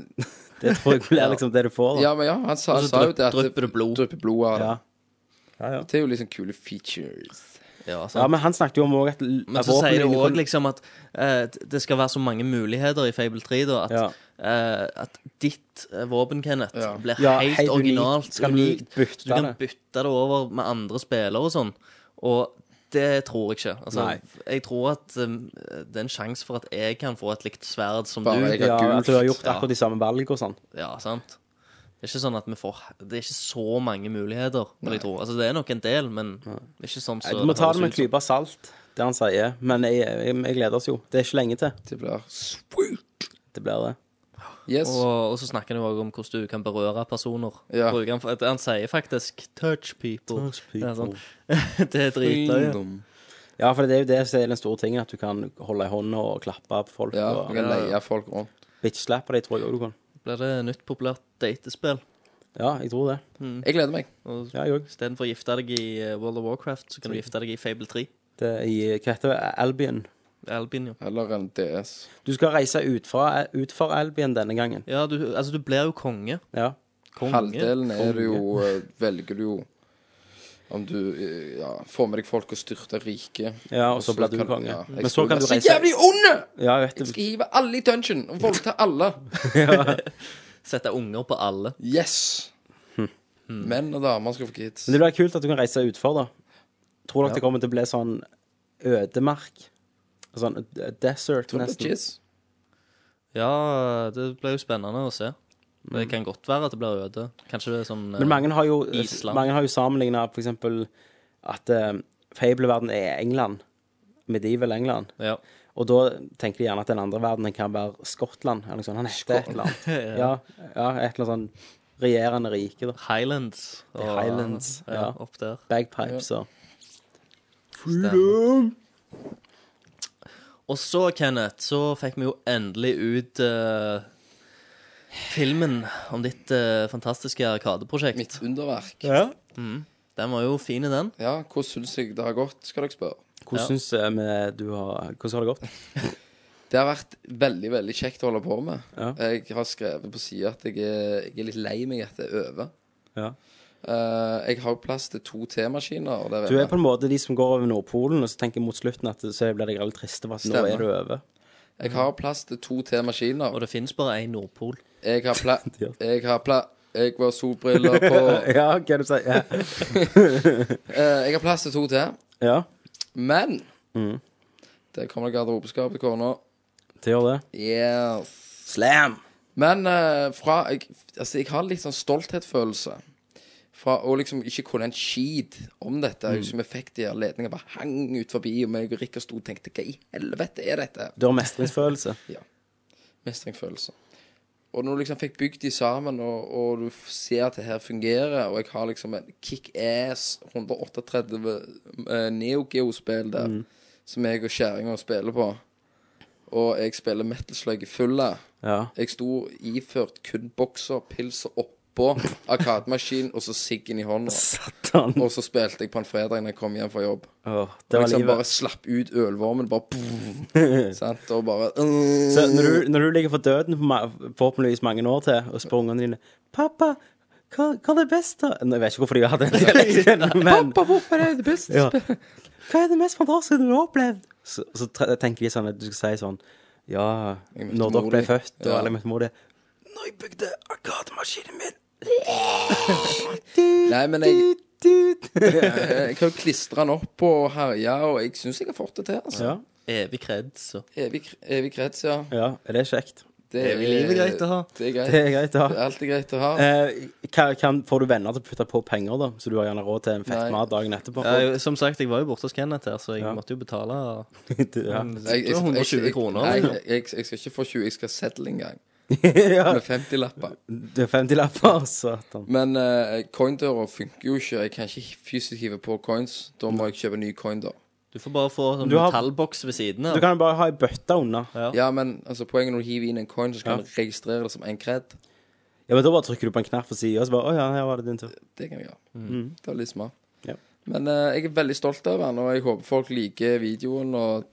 S9: Det tror jeg blir liksom det du får. Da.
S8: Ja, men ja, han sa,
S10: Og så
S8: sa jo
S10: drypp-
S8: det at
S10: drypper det blod.
S8: drypper blod av det.
S9: Ja. Ja, ja.
S8: Det er jo liksom kule features.
S10: Ja, sant.
S9: Ja, men han snakket jo om også at l-
S10: Men
S9: at
S10: så sier det
S9: dine
S10: òg
S9: kunne-
S10: liksom at eh, det skal være så mange muligheter i Fable 3, da, at, eh, at ditt eh, våpen, Kenneth,
S8: Ja.
S10: blir
S9: Ja,
S10: helt,
S9: helt unikt.
S10: originalt.
S9: Så kan du bytte
S10: så du kan
S9: det.
S10: bytte det over med andre spillere og sånn. Og det tror jeg ikke. Altså,
S9: Nei.
S10: jeg tror at eh, det er en sjanse for at jeg kan få et likt sverd som
S8: Bare
S10: du.
S8: jeg.
S9: ja,
S8: gult.
S9: At du har gjort
S10: Ja.
S9: akkurat de samme valg og sånn.
S10: Ja, sant? Det er ikke sånn at vi får Det er ikke så mange muligheter, vil jeg tro. Altså, det er nok en del, men ikke sånn så
S9: Du må ta
S10: høres
S9: det med en
S10: ut som.
S9: klype salt, det han sier. Men jeg, jeg, jeg gleder oss jo. Det er ikke lenge til.
S8: Det blir sweet.
S9: Det blir det.
S8: Yes.
S10: Og, og så snakker han jo også om hvordan du kan berøre personer.
S8: Ja.
S10: Bruker han, for- at han sier faktisk 'touch people'. Det er, sånn. det er dritløye.
S8: Ungdom.
S9: Ja, for det er jo det som er den store tingen, at du kan holde i hånda og klappe på folk.
S8: Ja, du
S9: og
S8: kan leie folk rundt.
S9: bitch-slappe dem, tror jeg også du kan.
S10: Blir det nytt populært datespill?
S9: Ja, jeg tror det.
S8: Jeg gleder meg.
S10: Og
S9: Ja, jeg òg.
S10: Istedenfor å gifte deg i eh, World of Warcraft, så kan du gifte deg i Fable 3.
S9: Det er i Hva heter det? Albion.
S10: Albin, jo.
S8: Eller en DS.
S9: Du skal reise ut fra, ut fra Albion denne gangen.
S10: Ja, du, altså, du blir jo konge.
S9: Ja.
S10: Konge.
S8: Halvdelen er det jo eh, Velger du jo om du eh, ja, får med deg folk og styrter riket.
S9: Ja, og så blir du
S8: kan-
S9: konge.
S8: ja, jeg
S9: Men så
S8: skulle
S9: kan du
S8: være Så
S9: reise
S8: jævlig onde!
S9: Ja, jeg vet
S8: Jeg
S9: det.
S8: skal hive alle i dungeon og voldta alle.
S10: Sette unger på alle.
S8: Yes! Menn og damer skal få kids.
S9: Hmm. Men det blir kult at du kan reise utfor, da. Tror dere det kommer til å bli sånn ødemark? Sånn eh, desert,
S8: Tror du det er
S9: nesten.
S8: kids?
S10: Ja, det blir jo spennende å se. Det kan godt være at det blir øde. Kanskje det er sånn eh,
S9: Men mange har jo,
S10: Island.
S9: mange har jo sammenligna f.eks. at uh, fabelverden er England. Medieval England.
S10: eh, Ja.
S9: Og da tenker de gjerne at den andre verdenen kan være Skottland. Eller noe sånt. Han heter et eller annet. ja, ja, et eller annet sånn regjerende rike, da.
S10: Highlands. Og,
S9: Highlands,
S10: Ja,
S9: ja.
S10: Opp der.
S9: Bagpipes og
S10: Og så, Kenneth, så fikk vi jo endelig ut eh, filmen om ditt eh, fantastiske Arkadeprosjekt.
S8: Mitt underverk.
S10: Den var jo fin, den.
S8: Ja, hvordan syns jeg det har gått, skal dere spørre.
S9: Hvordan
S10: Ja.
S9: syns eh, vi du har Hvordan har det gått?
S8: Det har vært veldig veldig kjekt å holde på med.
S9: Ja.
S8: Jeg har skrevet på sida at jeg er, jeg er litt lei meg at det er over.
S9: Ja.
S8: Eh, jeg har jo plass til to T-maskiner. og der
S9: Du er
S8: inne.
S9: på en måte de som går over Nordpolen, og så tenker mot slutten at så blir jeg litt triste for at nå
S8: Stemmer.
S9: er du over.
S8: Jeg har plass til to T-maskiner.
S10: Og det fins bare én Nordpol.
S8: Jeg har pla...
S9: Ja.
S8: Jeg har pla... Jeg var solbriller på
S9: Ja, hva er det du sier? Ja.
S8: Eh, Jeg har plass til to til.
S9: ja,
S8: Men
S10: Mm.
S8: Der kommer det garderobeskap til kona.
S9: det gjør det.
S8: Yes.
S9: Slam!
S8: Men eh, fra jeg, Altså, jeg har litt sånn stolthetsfølelse. Fra å liksom ikke kunne en skit om dette. Jeg
S10: Mm.
S8: husker vi fikk de her ledningene bare hang ut forbi, og meg og Rikard sto og tenkte Hva i helvete er dette?
S9: Du har mestringsfølelse.
S8: mestringsfølelse. Og når du liksom fikk bygd de sammen, og, og du f- ser at det her fungerer, og jeg har liksom en kick-ass 138 eh, Neo Geo-spill der, som jeg og kjerringa spiller på, og jeg spiller Metal Slug i fulle
S9: Ja.
S8: Jeg sto iført kun bokser, pilser oppå arkademaskin og så siggen i hånda.
S9: Satan.
S8: Og så spilte jeg på en fredag når jeg kom hjem fra jobb.
S9: Åh, det
S8: Og
S9: var
S8: liksom bare
S9: livet.
S8: slapp ut ølvormen, bare sant? Og bare øh.
S9: Så
S8: Mm.
S9: når du, når du ligger for døden for ma- forhåpentligvis mange år til, og spør ungene dine 'Pappa, hva, hva er det beste?' Nå, Jeg vet ikke hvorfor de har den dialekten, men
S8: hvorfor er det best?
S9: ja. Hva er det mest fantastiske du har opplevd? Så, så tre- tenker de sånn at du skal si sånn Ja,
S8: Jeg møtte
S9: når dere
S8: mor
S9: ble
S8: di.
S9: født, og
S8: Ja.
S9: alle møtte mor di Når jeg bygde arkademaskinen min
S8: Nei, men jeg,
S9: Tut.
S8: jeg kan jo klistre den opp og herje, og jeg syns jeg har fått det til. altså
S9: ja.
S10: Evig kreds. og-
S8: Evig, evig krets, ja.
S9: ja, det er kjekt.
S8: Det
S10: Evig liv er greit å ha.
S8: Det er
S9: Det
S8: greit.
S9: er greit, ja.
S8: Det er alltid greit å ha.
S9: Eh, kan, kan, får du venner til å putte på penger, da? Så du har gjerne råd til en
S8: Nei.
S9: fett mat dagen etterpå?
S10: Ja, jeg- som sagt, jeg var jo borte hos Kenneth her, så jeg
S9: Ja.
S10: måtte jo betale
S9: ja.
S8: Jeg- jeg- jeg-
S10: 120
S8: jeg-
S10: kroner. liksom.
S8: Nei, jeg, jeg, jeg skal ikke få 20, jeg skal settle en gang.
S9: ja.
S8: Med 50-lapper.
S9: Det er 50-lapper, satan.
S8: Men uh, coindøra funker jo ikke. Jeg kan ikke fysisk hive på coins. Da må jeg kjøpe ny coin, da.
S10: Du får bare få sånn
S9: Du har-
S10: metallboks ved siden av.
S9: Du kan jo bare ha ei bøtte unna.
S8: Ja, men altså, poenget er når du hiver inn en coin, så skal du registrere det som en kred.
S9: Ja, men Da bare trykker du på en knapp på sida, og så bare Å ja, her var det din tur.
S8: Det kan jeg gjøre. Det var litt smart.
S9: Mm. Ja.
S8: Men eh, jeg er veldig stolt av den, og jeg håper folk liker videoen og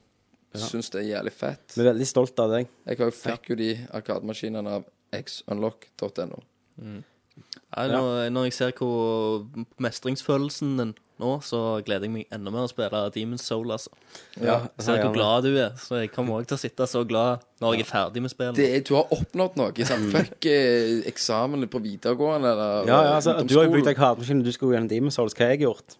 S8: syns det er jævlig fett.
S9: Vi er veldig stolt av deg.
S8: Jeg har jo fikk jo de arkademaskinene av xunlock.no.
S10: Nei, når, når jeg ser hvor mestringsfølelsen din nå, så gleder jeg meg enda mer å spille Demon's Soul, altså.
S8: Ja.
S10: Jeg ser
S9: Ja,
S10: hvor glad du er, så jeg kommer òg til å sitte så glad når jeg er ferdig med spillet.
S8: Det er, du har oppnådd noe. Sant? Fuck eh, eksamen på videregående eller
S9: Mm. Ja, ja, altså,
S8: ungdomsskolen.
S9: du har jo bygd deg kardemaskin, du skal jo gjennom Demon's Souls. Hva har jeg gjort?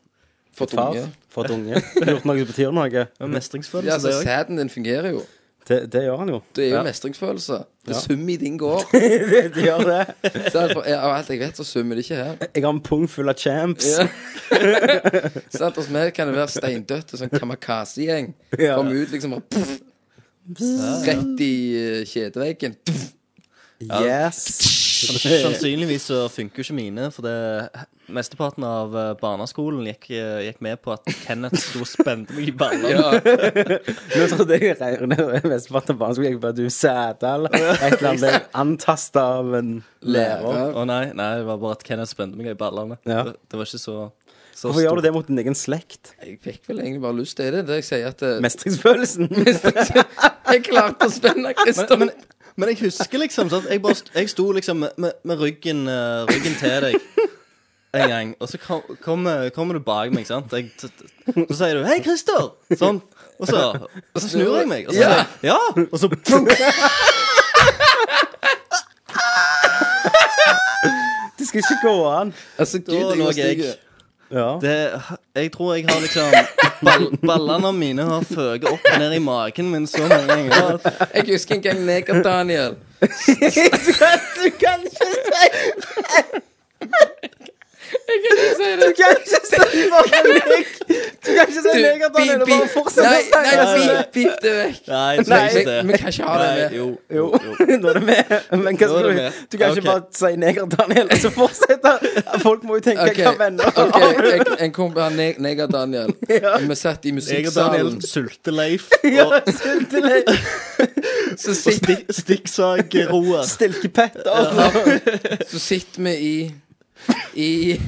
S8: for tunge.
S9: For tunge. Gjort noe som betyr noe.
S10: Det er mestringsfølelse,
S8: Ja, altså,
S10: det òg.
S8: Sæden din fungerer jo.
S9: Det, det gjør han jo.
S8: Det er jo mestringsfølelse. Det er sum i din gård.
S9: det gjør det.
S8: Så er det for- Av alt jeg vet, så summer det ikke her.
S9: Jeg har en pung full av champs.
S8: Ja. Sant? Hos meg kan det være steindøtte, sånn kamikaze-gjeng.
S9: Ja.
S8: Kom ut liksom og pff, rett i eh, kjedeveggen. Pff,
S9: Yes.
S10: Sannsynligvis så funker jo ikke mine, for det, mesteparten av eh, barneskolen gikk, eh, gikk med på at Kenneth sto og spente meg i ballene.
S8: Ja,
S9: Nå trodde jeg mesteparten av barna skulle jeg bare du sædal. Et eller annet ble antasta av en lærer.
S8: lærer.
S10: Å nei, nei, det var bare at Kenneth spente meg i ballene.
S9: Ja.
S10: Det, det var ikke så, så
S9: Hvorfor gjør du det mot din egen slekt?
S8: Jeg fikk vel egentlig bare lyst til det. Det jeg sier at eh,
S9: Mestringsfølelsen.
S8: Jeg klarte å spenne Kristian.
S10: Men, men, men jeg husker liksom sånn at jeg, bare, st- jeg sto liksom med, med, med ryggen, eh, ryggen til deg en gang, og så kom- kommer kom du bak meg, sant? Jeg, t- t- så sier du 'Hei, Christer!' Sånn. Og så, og så snur jeg meg, og så sier jeg 'Ja!' Og så
S9: Du skal ikke gå an.
S10: Altså,
S9: gud, jeg må stige.
S8: eh,
S9: Ja.
S10: det, Jeg tror jeg har liksom ball, Ballene mine har føket opp og ned i magen min så mange ganger. at-
S8: Jeg husker en gang meg og Daniel
S9: Du kan ikke si
S8: Jeg kan ikke si
S9: Du kan ikke si bare leg. Du kan ikke si
S8: Du,
S9: leg at han er
S8: beep,
S9: det bare
S8: beep.
S9: fortsett
S8: Nei,
S9: å si
S8: nei,
S9: det.
S8: beep, beep det vekk.
S10: Nei, jeg
S9: Nei,
S10: tror ikke det.
S8: vi- vi kan ikke ha det
S10: Nei,
S8: med.
S10: Jo.
S9: Jo, nå er det med. Men hva
S10: Nå er
S9: skal
S10: det
S9: du
S10: med.
S9: Du kan ikke
S10: Ok.
S9: bare si neger, Daniel, og så fortsette. Folk må jo tenke
S8: Ok,
S9: hva venner
S8: ok,
S9: har.
S8: jeg- En kompis av meg og Daniel Vi satt i
S10: Jeg og Daniel
S8: musikksalen
S10: Sulte-Leif
S9: Ja,
S10: og
S9: Stilke
S8: Så sitter
S10: stikk- stikksag-Roar.
S9: Stilkepetter.
S8: Så sitter vi i I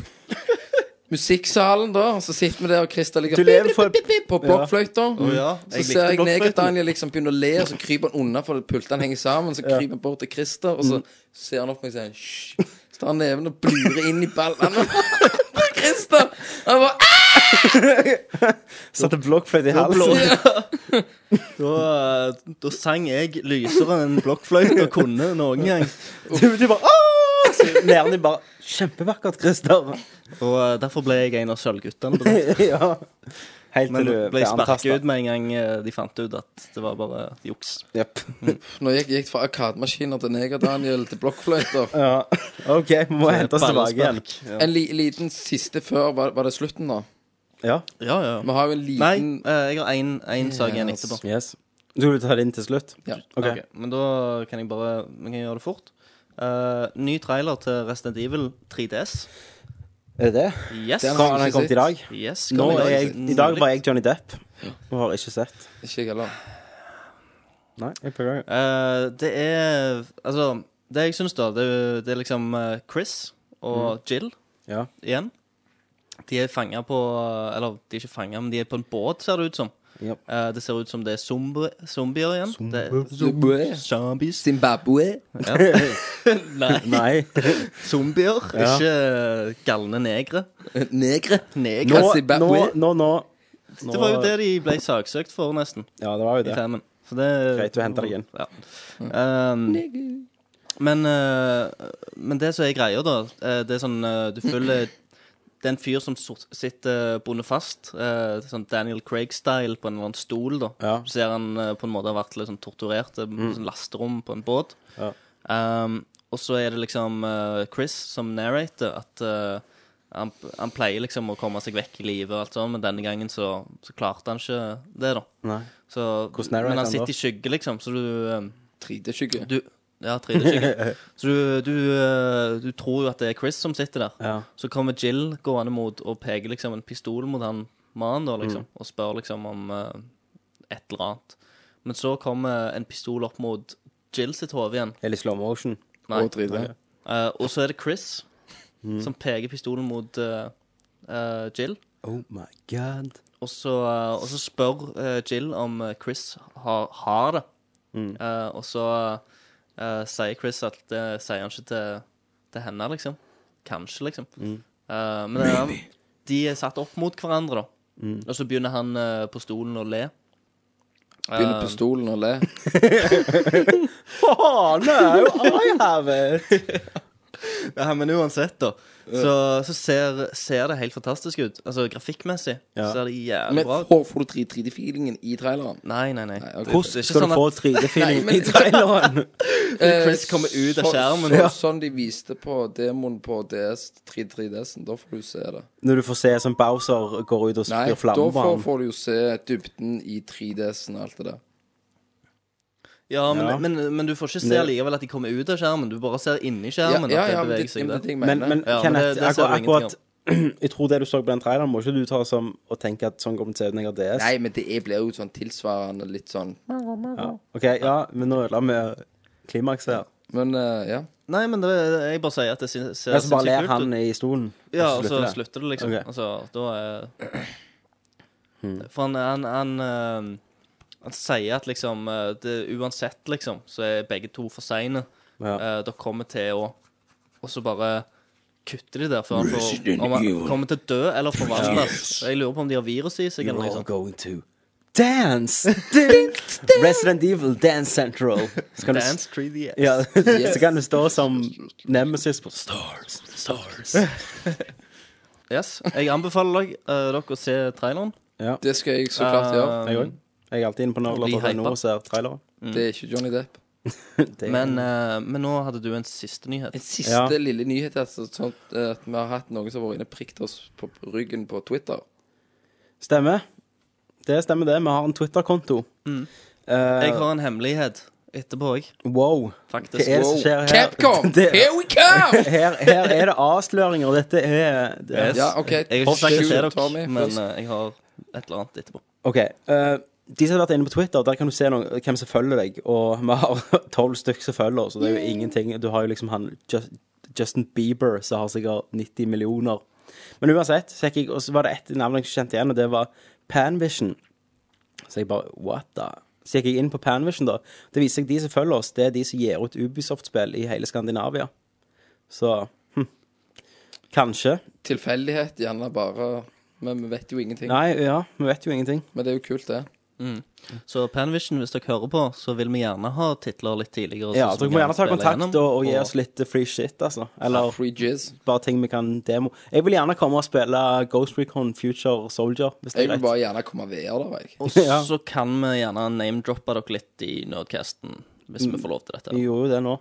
S8: musikksalen, da. Og så sitter vi der, og Christer ligger
S9: Du lever for-
S8: pip, pip, pip, på blokkfløyta.
S10: ja,
S8: Så
S10: jeg
S8: ser
S10: likte
S8: jeg Neger
S10: blokkfløyten.
S8: Daniel liksom begynne å le, og så kryper han unna fordi pultene henger sammen. Så kryper han bort til Christer, og
S9: Mm.
S8: så ser han opp på meg og sier hysj. Så tar han neven og blurer inn i ballen. Christer! Han bare «Ah!»
S9: Satte blokkfløyte i halsen.
S10: Da, eh, da sang jeg lysere enn blokkfløyte og kunne noen gang.
S9: Du, du bare Åh! Så Nerven din bare Kjempevakkert, Christer.
S10: Og eh, derfor ble jeg en av sølvguttene. på det.
S9: ja. Helt
S10: Men
S9: til du
S10: ble
S9: ble
S10: sparket
S9: antastet.
S10: ut med en gang eh, de fant ut at det var bare juks.
S9: Jep.
S8: Nå gikk jeg fra arkademaskiner til Neger Daniel til blokkfløyter.
S9: Ja. OK, vi må hente oss tilbake igjen.
S10: Ballespark.
S8: En li liten siste før. Var, var det slutten, da?
S9: Ja.
S10: Ja, ja.
S8: Vi har jo en
S10: Nei,
S8: liten
S10: eh, jeg har én sak igjen etterpå.
S9: Yes. Du vil ta det inn til slutt?
S8: Ja.
S9: OK.
S10: Ok, Men da kan jeg bare vi kan gjøre det fort. Eh, ny trailer til Resident Evil 3DS.
S9: Er det det?
S10: Yes.
S8: Den
S9: Kom, han har kommet i dag?
S10: yes
S9: Nå
S10: kommer
S9: er jeg, I dag var jeg
S10: nylig.
S9: Johnny Depp og har ikke sett.
S8: Ikke jeg heller.
S9: Nei, jeg prøver.
S10: Eh, Det er Altså, det jeg syns, da, det er, det er liksom eh, Chris
S9: Mm.
S10: og Jill
S9: Ja.
S10: igjen. De er fanga på Eller, de er ikke fanga, men de er på en båt, ser det ut som.
S9: Yep.
S10: Eh, det ser ut som det er zombi zombier igjen. Det, zombies.
S8: Zimbabwe.
S10: Nei,
S9: Nei.
S10: zombier.
S9: Ja. Eh,
S10: Ikke eh, galne negre.
S8: Negre.
S10: Negre.
S9: Nå,
S8: Zimbabwe.
S9: nå, nå, nå. nå
S10: Det var jo det de ble saksøkt for, nesten.
S9: Ja, det var jo
S10: I
S9: det.
S10: femmen. Så det
S9: Greit, du henter deg inn.
S10: Ja. Um, men, eh, men det som er greia, da, eh, det er sånn eh, Du følger det er en fyr som sort- sitter bonde fast, eh, sånn Daniel Craig-style, på en eller annen stol. da
S9: Ja. Mm.
S10: Du ser han eh, på en måte har vært litt sånn torturert, eh, på sånn lasterom på en båt.
S9: Ja.
S10: Um, og så er det liksom eh, Chris som narrater at eh, han, han pleier liksom å komme seg vekk i livet, og alt sånt, men denne gangen så, så klarte han ikke det, da.
S9: Nei.
S10: Så,
S9: Hvordan narrater
S10: men
S9: han
S10: han
S9: da?
S10: sitter i skygge, liksom, så du, eh,
S8: 3D-skygge.
S10: du Ja, 3D-skygge. så du, du, eh, du tror jo at det er Chris som sitter der.
S9: Ja.
S10: Så kommer Jill gående mot og peker liksom en pistol mot han mannen, da, liksom, og spør liksom om eh, et eller annet. Men så kommer en pistol opp mot Jill sitt hode igjen.
S9: Eller slow motion.
S10: Nei.
S8: Og 3D.
S10: Eh, og så er det Chris som peker pistolen mot eh, eh, Jill.
S9: Oh my god.
S10: Og så, eh, og så spør eh, Jill om eh, Chris har, har det. Eh, og så eh, sier Chris at det sier han ikke til, til henne, liksom. Kanskje, liksom. Eh, men det er, de er satt opp mot hverandre, da. Og så begynner han eh, på stolen å le. Um,
S8: Begynner på stolen og le.
S9: Faen, er jo I have it!
S10: Ja, men uansett, da. Så, så ser, ser det helt fantastisk ut. Altså grafikkmessig
S9: Ja.
S10: ser det jævlig
S8: Men
S10: bra ut.
S8: får, får du 3D-feelingen i traileren?
S10: Nei, nei, nei.
S8: Nei, ok.
S10: Det er ikke
S9: Skal du
S10: sånn at-
S9: få 3D-feeling i traileren?
S10: Chris kommer ut av
S8: Eh, Så-
S10: skjermen.
S8: så- Sånn de viste på demoen på DS, 3DS-en. Da får du se det.
S9: Når du får se som Bowser går ut og
S8: Nei,
S9: spyr
S8: da
S9: flammer på
S8: får,
S9: ham.
S8: får du jo se dybden i 3DS-en og alt det der.
S10: Ja, men,
S9: Ja.
S10: Men, men du får ikke se
S9: Det-
S10: likevel at de kommer ut av skjermen. Du bare ser inni
S8: Ja,
S10: skjermen
S8: ja,
S10: at
S8: ja,
S10: det
S8: men
S10: beveger
S8: det,
S10: seg
S8: men det
S10: der.
S8: jeg
S9: Men,
S8: mener.
S9: men
S10: Ja, men
S9: Kenneth,
S10: det- det ser
S9: akkurat,
S10: du ingenting
S9: akkurat Jeg tror det du så på den traileren, må ikke du ta som å tenke at sånn kommer det til å se ut når jeg har DS.
S8: Nei, men det er- blir jo sånn tilsvarende litt sånn
S9: Ok, ja, men nå ødela vi klimakset her.
S8: Men eh, ja.
S10: Nei, men det, jeg bare sier at det syns- ser
S9: Jeg skal bare
S10: sinnssykt
S9: ler
S10: kult
S9: han i stolen.
S10: ut. Ja, og så slutter det, liksom.
S9: Ok. Hmm.
S10: Altså, da er For han, han, han eh, Han sier at liksom eh, det, Uansett, liksom, så er begge to for seine.
S9: Ja.
S10: Eh, Dere kommer til å Og så bare kutter de der før han får Om han kommer til å dø eller forvandles. Jeg lurer på om de har viruset i seg. eller noe sånt.
S9: going to Dance! Resident Evil Dance Central. Så kan du-
S10: Dance 3DS.
S9: Ja, så kan du stå som Nemesis på Stars, Stars.
S10: Yes. Jeg anbefaler deg, eh, dere å se traileren. Eh,
S9: Ja.
S8: Det skal jeg så
S10: Ah,
S8: klart gjøre.
S9: Jeg òg. Jeg er alltid inne på
S10: Bli
S9: Nerdlot.no
S10: hypa.
S9: og ser traileren.
S10: mm.
S8: Det er ikke Johnny Depp.
S9: Det er-
S10: Men, eh, men nå hadde du en siste nyhet.
S8: En siste lille nyhet er altså, sånn at vi har hatt noen som har vært inne og prikket oss på ryggen på Twitter.
S9: Stemmer. Det stemmer, det. Vi har en Twitter-konto. Eh,
S10: Jeg har en hemmelighet etterpå òg,
S9: wow. Hva
S10: faktisk.
S9: er det som
S8: Wow.
S9: skjer her?
S8: Capcom!
S9: Det-
S8: Here we come!
S9: Her, her er det avsløringer. Dette er det,
S10: Yes.
S8: Ja, OK.
S10: Jeg har ikke sagt det til
S8: Shoot, Tommy,
S10: dere, men
S8: først.
S10: eh, jeg har et eller annet etterpå.
S9: OK. eh, de som har vært inne på Twitter, der kan du se noen, hvem som følger deg. Og vi har tolv stykk som følger, oss, så det er jo ingenting. Du har jo liksom han Just, Justin Bieber, som har sikkert 90 millioner. Men uansett, så gikk jeg, og så var det ett navn jeg ikke kjente igjen, og det var Panvision. Så jeg bare What the? Så gikk jeg inn på Panvision, da. Det viser seg de som følger oss, det er de som gir ut Ubisoft-spill i hele Skandinavia. Så hm. Kanskje.
S8: Tilfeldighet, gjerne bare. Men vi vet jo ingenting.
S9: Nei, ja, vi vet jo ingenting.
S8: Men det er jo kult, det.
S10: Så Panvision, hvis dere hører på, så vil vi gjerne ha titler litt tidligere.
S9: Ja,
S10: så-
S9: dere
S10: som
S9: må gjerne ta
S10: spiller
S9: kontakt
S10: gjennom,
S9: og, og gi oss litt free shit, altså. Eller
S8: Free jizz.
S9: bare ting vi kan demo. Jeg vil gjerne komme og spille Ghost Recon Future Soldier, hvis det
S8: Jeg
S9: er
S8: vil
S9: greit.
S8: bare gjerne komme videre der, jeg.
S10: Og
S9: Ja.
S10: så kan vi gjerne name-droppe dere litt i Nerdcasten, hvis vi får lov til dette.
S9: Vi gjorde jo det nå.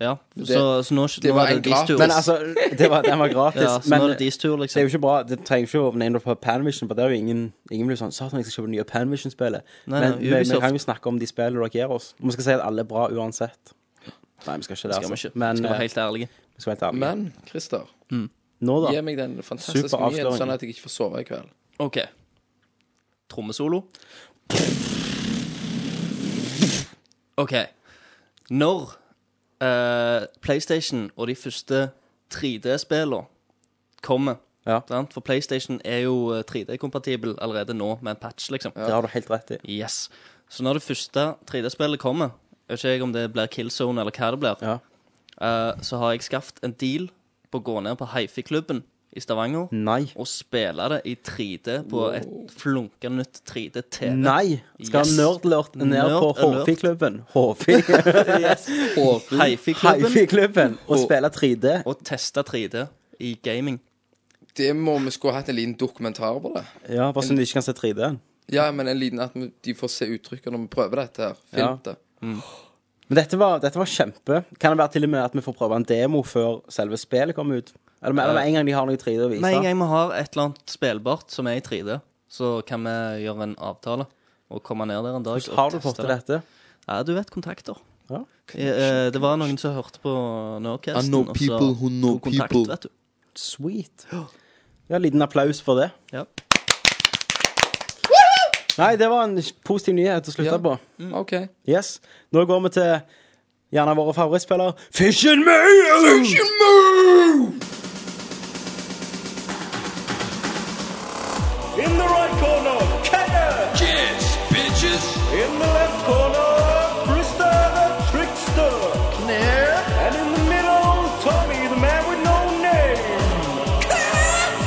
S10: Ja, så, så nå,
S8: det
S10: nå
S8: var
S10: er
S8: en
S10: det deres
S8: gratis-
S10: tur.
S9: Men altså, det var, den var gratis.
S10: ja, så
S9: men
S10: nå er det
S9: det
S10: deres tur,
S9: er jo
S10: liksom.
S9: ikke bra. Det trenger ikke å name på Panvision, for det er jo ingen Ingen blir sånn Satan, jeg skal kjøpe det nye Panvision-spillet.
S10: Nei,
S9: Men
S10: nei,
S9: vi, vi
S10: Ubisoft.
S9: kan jo snakke om de spillene dere gir oss. Og Vi skal si at alle er bra uansett. Nei, vi skal ikke det.
S10: Skal vi
S9: Altså.
S10: ikke.
S9: Men
S10: skal være
S9: eh,
S10: helt ærlige.
S9: vi skal være helt ærlige.
S8: Men Christer,
S9: Nå, da.
S8: gi meg den fantastiske
S9: Super
S8: nyheten,
S9: avsløring.
S8: sånn at jeg ikke får sove i kveld.
S10: OK. Trommesolo. OK. Når eh, PlayStation og de første 3D-spillene kommer
S9: Ja.
S10: sant? For PlayStation er jo eh, 3D-kompatibel allerede nå med en patch, liksom.
S9: Det har du helt rett i.
S10: Yes. Så når det første 3D-spillet kommer, jeg vet ikke jeg om det blir Killzone eller hva det blir,
S9: Ja.
S10: eh, så har jeg skaffet en deal på å gå ned på Hifi-klubben i Stavanger
S9: Nei.
S10: og spille det i 3D på et flunkende nytt 3D-TV.
S9: Nei! Skal
S10: Yes.
S9: Nerdlert ned
S10: Nerd
S9: på
S10: alert.
S9: HV-klubben
S10: Hifi-klubben
S9: HV-klubben og spille 3D.
S10: og teste 3D i gaming.
S8: Det må vi skulle hatt en liten dokumentar på det.
S9: Ja, Bare sånn de ikke kan se 3D-en.
S8: Ja, men en liten at vi- de får se uttrykket når vi prøver dette her. Film
S9: Ja.
S8: det.
S9: Men dette var, dette var kjempe. Kan det være til og med at vi får prøve en demo før selve spillet kommer ut? Eller med, eller med en gang de har noe 3D å vise?
S10: Med en gang vi har et eller annet spillbart som er i 3D, så kan vi gjøre en avtale og komme ned der en dag og
S9: Har du fått
S10: teste
S9: til dette?
S10: Ja, du vet kontakter.
S9: Ja.
S10: Eh, eh, Det var noen som hørte på Nerdcasten,
S8: I know
S10: og så
S8: people who know
S10: tok kontakt,
S8: people.
S10: vet du.
S9: Sweet. Ja, en liten applaus for det.
S10: Ja.
S9: Nei, det var en positiv nyhet å slutte
S8: Ja. Mm,
S9: på.
S8: OK.
S9: Yes. Nå går vi til gjerne våre favorittspillere. Fish and Mayo!
S12: In the right corner, Kaya. Kids, bitches. In the left corner, Brewster the trickster. Claire. And in the middle, Tommy the man with no name.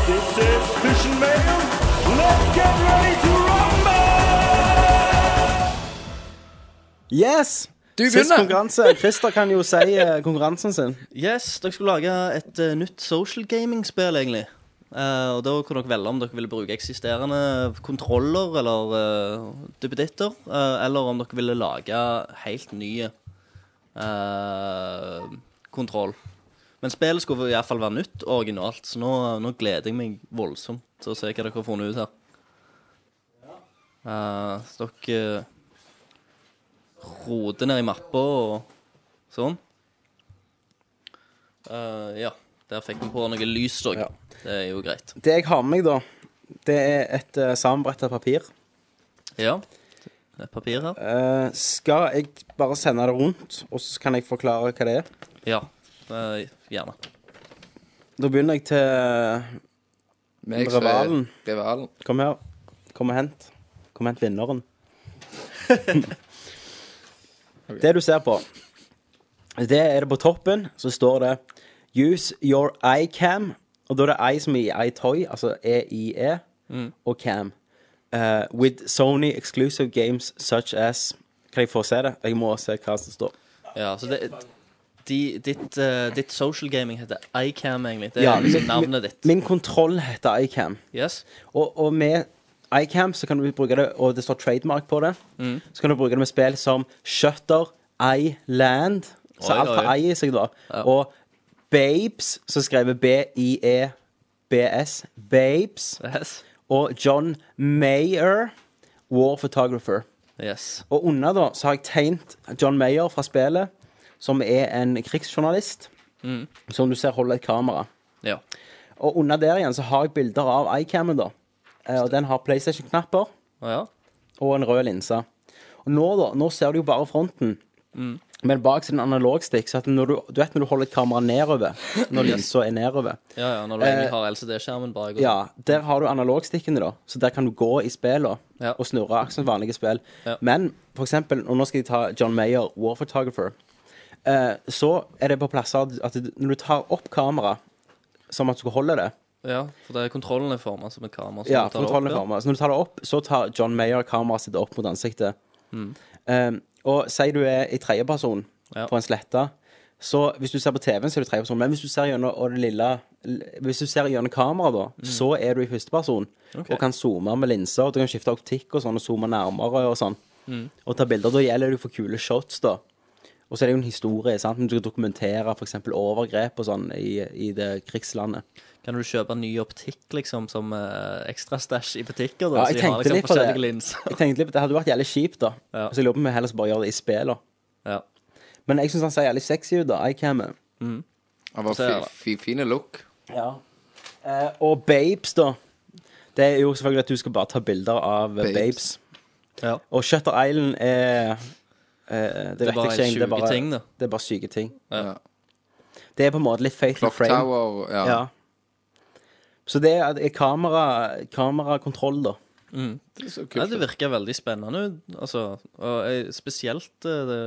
S12: this is Fish and Mayo. Let's get ready to rumble!
S9: Yes!
S8: Du
S9: Sist
S8: begynner.
S9: konkurranse. Christer kan jo si eh, konkurransen sin.
S10: Yes, dere skulle lage et eh, nytt social gaming-spill, egentlig. Eh, og da kunne dere velge om dere ville bruke eksisterende kontroller eller eh, duppeditter, eh, eller om dere ville lage helt nye eh, kontroll. Men spillet skulle i hvert fall være nytt og originalt, så nå, nå gleder jeg meg voldsomt til å se hva dere har funnet ut her. Eh, så dere eh, roter ned i mappa og sånn. Eh, ja. Der fikk vi på noe lys òg.
S9: Ja.
S10: Det er jo greit.
S9: Det jeg har med meg, da, det er et uh, sammenbretta papir.
S10: Ja. Det er papir her.
S9: Eh, skal jeg bare sende det rundt, og så kan jeg forklare hva det er?
S10: Ja. Eh, gjerne.
S9: Da begynner jeg til
S8: Meg som er
S9: Rivalen.
S8: Rivalen.
S9: Kom her. Kom og hent. Kom og hent vinneren. Det du ser på, det er det på toppen, så står det Use your iCam. E Og da er det i som i iToy, altså EIE, og cam. eh, with Sony exclusive games such as Kan jeg få se det? Jeg må se hva som står.
S10: Ja, så det, de, ditt, eh, ditt social gaming heter iCam, egentlig. Det er
S9: Ja,
S10: liksom
S9: min-
S10: navnet ditt.
S9: Min kontroll heter iCam.
S10: Yes.
S9: Og, og med iCam så kan du bruke det, og det står trademark på det,
S10: Mm.
S9: så kan du bruke det med spill som Shutter, iLand, så
S10: Oi,
S9: alt har
S10: oi.
S9: i i seg, da, og Babes, som skriver B-I-E-B-S, Babes, og John Mayer, War Photographer.
S10: Yes.
S9: Og under da så har jeg tegnet John Mayer fra spillet, som er en krigsjournalist,
S10: Mm.
S9: som du ser holder et kamera.
S10: Ja.
S9: Og under der igjen så har jeg bilder av iCamen, da. Eh, Og den har PlayStation-knapper
S10: Ja.
S9: og en rød linse. Og nå, da, nå ser du jo bare fronten.
S10: Mm.
S9: Men bak er det en analogstikk, så at når du, du vet når du holder et kamera nedover, når
S10: Yes.
S9: linsa er nedover
S10: ja, ja, når du
S9: Eh,
S10: egentlig har LCD-skjermen bak. og-
S9: Ja, der har du analogstikkene, da. Så der kan du gå i spillene og snurre akkurat som vanlige spill.
S10: Ja.
S9: Men for eksempel, og nå skal jeg ta John Mayer, War Photographer, eh, så er det på plasser at du- når du tar opp kamera som at du skal holde det
S10: ja, for det er kontrollen er forma som et kamera. så
S9: Ja,
S10: du tar det opp,
S9: kontrollen er framme. Så når du tar det opp, så tar John Mayer kameraet sitt opp mot ansiktet.
S10: Mm.
S9: Um, og si du er i tredjeperson
S10: Ja.
S9: på en slette, så hvis du ser på TV-en, så er du tredjeperson. Men hvis du ser gjennom og det lille Hvis du ser gjennom kameraet, da, så er du i førsteperson.
S10: Mm. Ok.
S9: Og kan zoome med linser, og du kan skifte optikk og sånn, og zoome nærmere og sånn.
S10: Mm.
S9: Og ta bilder. Da gjelder det jo for kule shots, da. Og så er det jo en historie, sant. Men du skal dokumentere f.eks. overgrep og sånn i, i det krigslandet.
S10: Kan du kjøpe ny optikk liksom som eh, ekstra stæsj i butikker? Da,
S9: Ja,
S10: så
S9: jeg
S10: de har,
S9: tenkte
S10: liksom,
S9: litt på det.
S10: forskjellige linser.
S9: Jeg tenkte litt, på- Det hadde vært jævlig kjipt, da. Så jeg lurer på om vi heller skal bare gjøre det i spillet.
S10: Ja.
S9: Men jeg syns han ser jævlig sexy ut, da. iCamen.
S10: Mm.
S8: Han var
S9: Så er det.
S8: fi, fi, fine look.
S9: Ja. Eh, og Babes, da. Det er jo selvfølgelig at du skal bare ta bilder av eh,
S8: Babes.
S9: Babes.
S10: Ja.
S9: Og Shutter Island er eh, det,
S8: er
S9: vet
S8: bare
S9: jeg ikke, det er
S8: sjuke
S9: bare
S8: ting, da.
S9: Det er bare syke ting.
S8: Ja.
S9: Det er på en måte litt fatal
S8: Clock
S9: frame.
S8: Tower, ja.
S9: Så det er er kamera, kamerakontroll, da.
S10: Mm.
S8: Det,
S10: Nei, det virker veldig spennende. ut, Altså, og eh, spesielt eh, det,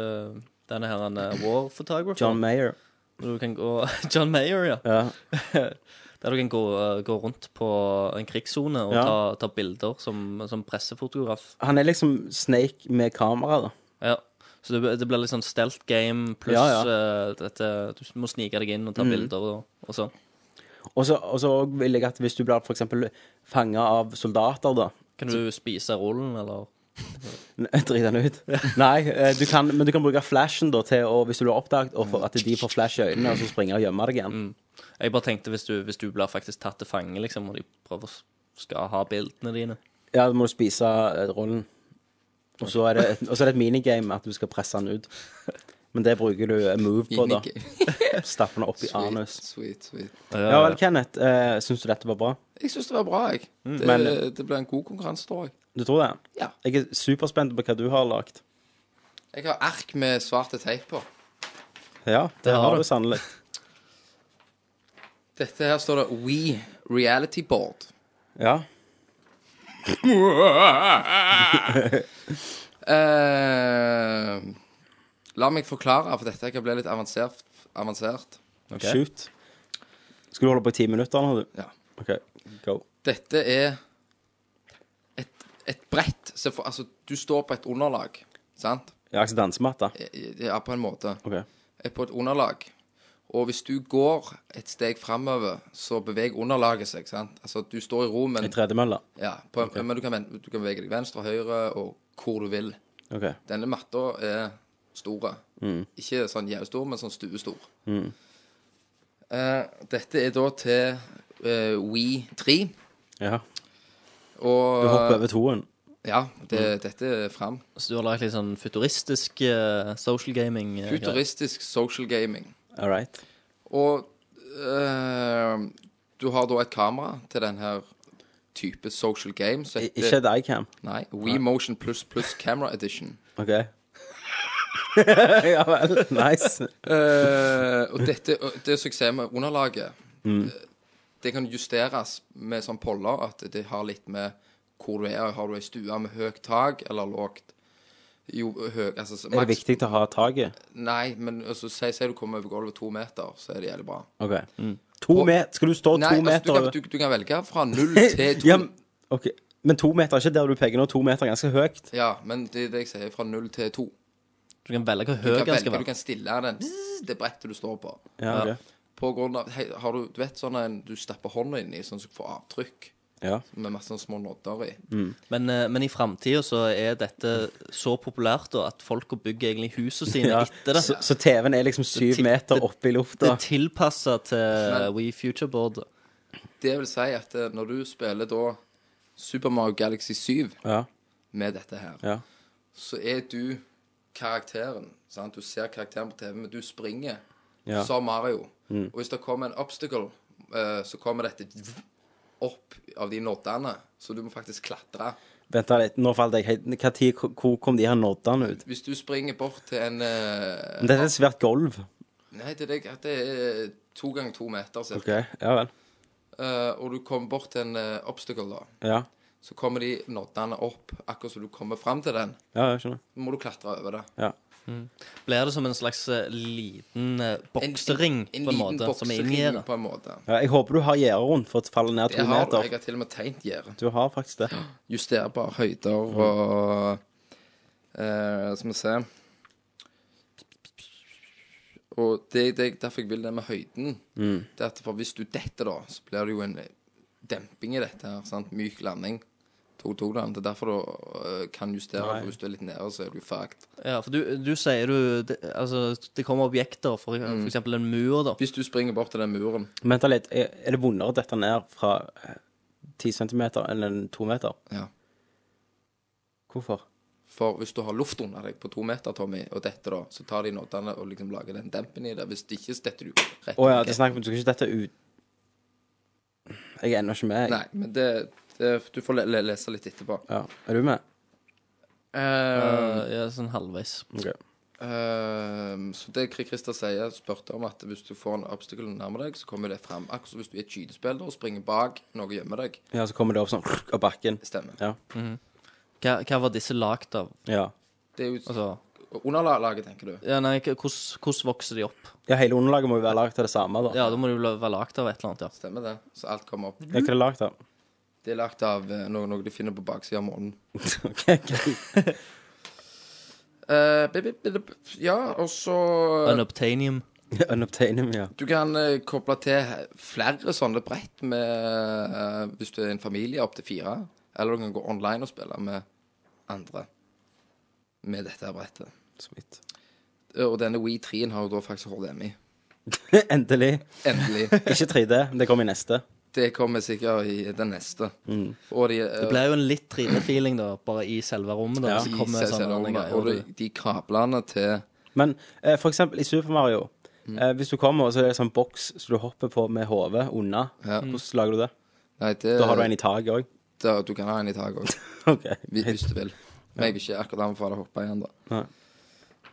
S10: denne her han, eh, War Photographer.
S9: John Mayer.
S10: Hvor Du kan gå, John Mayer, ja. Der du kan gå, eh, gå rundt på en krigssone og
S9: Ja.
S10: ta, ta bilder som, som pressefotograf.
S9: Han er liksom Snake med kamera, da.
S10: Ja. Så det, det blir litt sånn stelt game pluss
S9: Ja,
S10: eh, dette Du må snike deg inn og ta
S9: Mm.
S10: bilder og, og sånn.
S9: Og så, og så vil jeg at hvis du blir for eksempel fanget av soldater da
S10: Kan du spise rollen, eller?
S9: Nei, Drit den ut Nei, eh, du kan, men du kan bruke flashen da til å, Hvis du blir oppdaget Og for at de får flash i øynene Og så springer og gjemmer deg igjen
S8: Mm.
S10: Jeg bare tenkte hvis du, hvis du blir faktisk tatt til fange, liksom, og de prøver å s- skal ha bildene dine.
S9: Ja, da må du spise eh, rollen Og så er det et, og så er det et minigame At du skal presse den ut Men det bruker du eh, move på da Stappe den opp i anus
S8: Sweet, sweet.
S9: Ja vel, Kenneth, eh, synes du dette var bra?
S8: Jeg syns det var bra, jeg.
S9: Mm.
S8: Det,
S9: Men-
S8: det ble en god konkurranse, tror jeg.
S9: Du tror det?
S8: Ja.
S9: Jeg er superspent på hva du har lagt
S8: Jeg har ark med svarte teip på.
S9: Ja, det,
S8: har
S9: har
S8: du.
S9: du sannelig
S8: Dette her står det We Reality Board.
S9: Ja
S8: Eh, la meg forklare, for dette kan bli litt avansert. avansert.
S9: Shoot. Skal du holde på i ti minutter nå, du?
S8: Ja.
S9: OK, go.
S8: Dette er et, et brett. Se for, altså, du står på et underlag, sant?
S9: Ja, altså dansematta?
S8: Ja, på en måte.
S9: Ok.
S8: Er på et underlag. Og hvis du går et steg framover, så beveger underlaget seg. sant? Altså, Du står i ro, men,
S9: I tredemølla?
S8: ja, på, en- men du, kan, ven- du kan bevege deg venstre, høyre og hvor du vil.
S9: OK.
S8: Denne matta er store.
S9: Mm.
S8: Ikke sånn jævlig stor, men sånn stuestor.
S9: Mm.
S8: Eh, dette er da til uh, We 3.
S9: Ja.
S8: Og
S9: Du hopper over toen.
S8: Ja, det,
S9: Mm.
S8: dette er fram.
S10: Så du har lagt litt sånn futuristisk eh, social gaming? eh,
S8: Futuristisk social gaming.
S9: All right.
S8: Og eh, du har da et kamera til denne type social game. Så
S9: I- Ikke et iCam.
S8: Nei. We Motion pluss pluss Camera Edition.
S9: OK. ja vel. Nice.
S8: Eh, og dette, og det som jeg ser med underlaget, eh,
S9: Mm.
S8: det kan justeres med sånn poller at det har litt med hvor du er. Har du ei stue med høyt tak eller lågt? Jo, høy, altså,
S9: Er det viktig å ha taket?
S8: Nei, men altså, si, si du kommer over gulvet to meter, så er det jævlig bra.
S9: OK. To meter Skal du stå
S8: Nei,
S9: to
S8: altså,
S9: meter
S8: du, kan,
S9: over?
S8: du, du kan velge fra null til to.
S9: Ja, men- OK. Men to meter er ikke der du peker nå. To meter er ganske høyt.
S8: Ja, men det er det jeg sier, fra null til to.
S10: Du kan velge hvor
S8: Du
S10: høy
S8: kan
S10: den skal
S8: velge, du
S10: være.
S8: kan stille den bzz, det brettet du står på.
S9: Ja, ok.
S8: På grunn av hei, Har du Du vet sånn en du stapper hånda inn i, sånn som får avtrykk,
S9: Ja.
S8: med masse sånne små nodder i.
S9: Mm.
S10: Men, eh, men i framtida så er dette så populært da, at folk bygger egentlig husene sine
S9: Ja,
S10: etter det.
S9: Så, så TV-en er liksom syv meter oppe i
S10: Det
S9: lufta.
S10: er tilpassa til
S8: Men-
S10: We Future Board.
S8: Det vil si at eh, når du spiller da Super Mario Galaxy 7
S9: Ja.
S8: med dette her,
S9: Ja.
S8: så er du karakteren. Sant? Du ser karakteren på TV, men du springer
S9: Ja.
S8: som Mario.
S9: Mm.
S8: Og hvis det kommer en obstacle, eh, så kommer dette opp av de noddene, så du må faktisk klatre.
S9: Vent da litt, nå falt jeg helt Hva tid, Hvor kom de her noddene ut?
S8: Hvis du springer bort til en eh,
S9: Men Dette er et svært gulv.
S8: Nei, det er, det- at det er to ganger to meter, cirka.
S9: OK. Ja vel.
S8: Eh, og du kommer bort til en eh, obstacle, da.
S9: Ja.
S8: Så kommer de noddene opp, akkurat som du kommer fram til den.
S9: Ja, jeg skjønner.
S8: Så må du klatre over det.
S9: Ja.
S10: Blir det som en slags eh, liten eh, boksering,
S8: en
S10: på en
S8: liten
S10: måte, som er inni
S8: boksering,
S10: det?
S8: på en måte.
S9: Ja, jeg håper du har gjerde rundt for å falle ned
S8: Det
S9: to
S8: har du.
S9: meter.
S8: Jeg har til og med tegnet gjerde.
S9: Du har faktisk det.
S8: Justerbar høyder og eh, Skal vi se Og det, det er derfor jeg vil det med høyden.
S9: Mm.
S8: Det er at for Hvis du detter, da, så blir det jo en demping i dette. her, sant? Myk landing. Tok, tok den. Det er derfor du eh, kan justere.
S10: Nei.
S8: For hvis du er litt nede, så er du fucked.
S10: Ja, for du, du sier du det, Altså, det kommer objekter, for, eh,
S8: Mm.
S10: for eksempel en mur, da.
S8: Hvis du springer bort til den muren
S9: Vent da litt. Er er det vondere å dette ned fra eh, 10 centimeter enn en to meter?
S8: Ja.
S9: Hvorfor?
S8: For hvis du har luft under deg på to meter, Tommy, og detter, da, så tar de noddene og liksom lager den dempen i det. Hvis det ikke, så detter du rett
S9: Å ja, det er snakk om du skal ikke dette ut Jeg er ennå ikke med.
S8: Nei,
S9: Jeg.
S8: men det, det Du får le le lese litt etterpå.
S9: Ja. Er du med?
S10: Eh, ja, sånn halvveis.
S9: OK.
S8: Ehm, så det Kri- Christer sier, spurte om at hvis du får en obstacle nærme deg, så kommer det frem. Akkurat som hvis du er et skytespiller og springer bak noe gjemmer deg.
S9: Ja, så kommer det opp sånn av bakken.
S8: Stemmer.
S9: Ja.
S10: Hva, hva var disse lagd av?
S9: ja.
S8: Det er jo
S10: Altså,
S8: underlaget, tenker du.
S10: ja, nei, k- hvordan hvordan vokser de opp?
S9: Ja, hele underlaget må jo være lagd av det samme, da.
S10: Ja, da må de vel være lagd av et eller annet, ja.
S8: Stemmer det. Så alt kommer opp.
S9: Ja, hva er det lagd av?
S8: Det er lagt av eh, noe, noe de finner på baksida av månen.
S9: OK, greit.
S8: Eh, bip, bip, bip, bip. ja, og så
S10: Unobtainium.
S9: Unobtainium, ja.
S8: Du kan eh, koble til flere sånne brett med eh, Hvis du er en familie opp til fire. Eller du kan gå online og spille med andre med dette her brettet. Eh,
S9: Sweet.
S8: Og denne Wii 3-en har jo da faktisk HDMI.
S9: Endelig.
S8: Endelig.
S9: Ikke 3D, men det kommer i neste.
S8: Det kommer sikkert i den neste. Og de, eh,
S10: Det ble jo en litt 3D-feeling, da, bare i selve rommet. da,
S9: Ja.
S10: så kommer
S8: de
S10: sånne
S8: CCR-ene,
S10: greier.
S8: og de, de kablene til
S9: Men eh, for eksempel i Super Mario, eh, hvis du kommer, og så er det sånn boks som du hopper på med hodet unna,
S8: Ja.
S9: hvordan lager du det?
S8: Nei, det
S9: Da har du en i taket òg.
S8: da- Du kan ha en i taket òg.
S9: OK.
S8: Hvis- Hvis du vil. Men jeg vil ikke akkurat anbefale å hoppe igjen, da.
S9: Nei.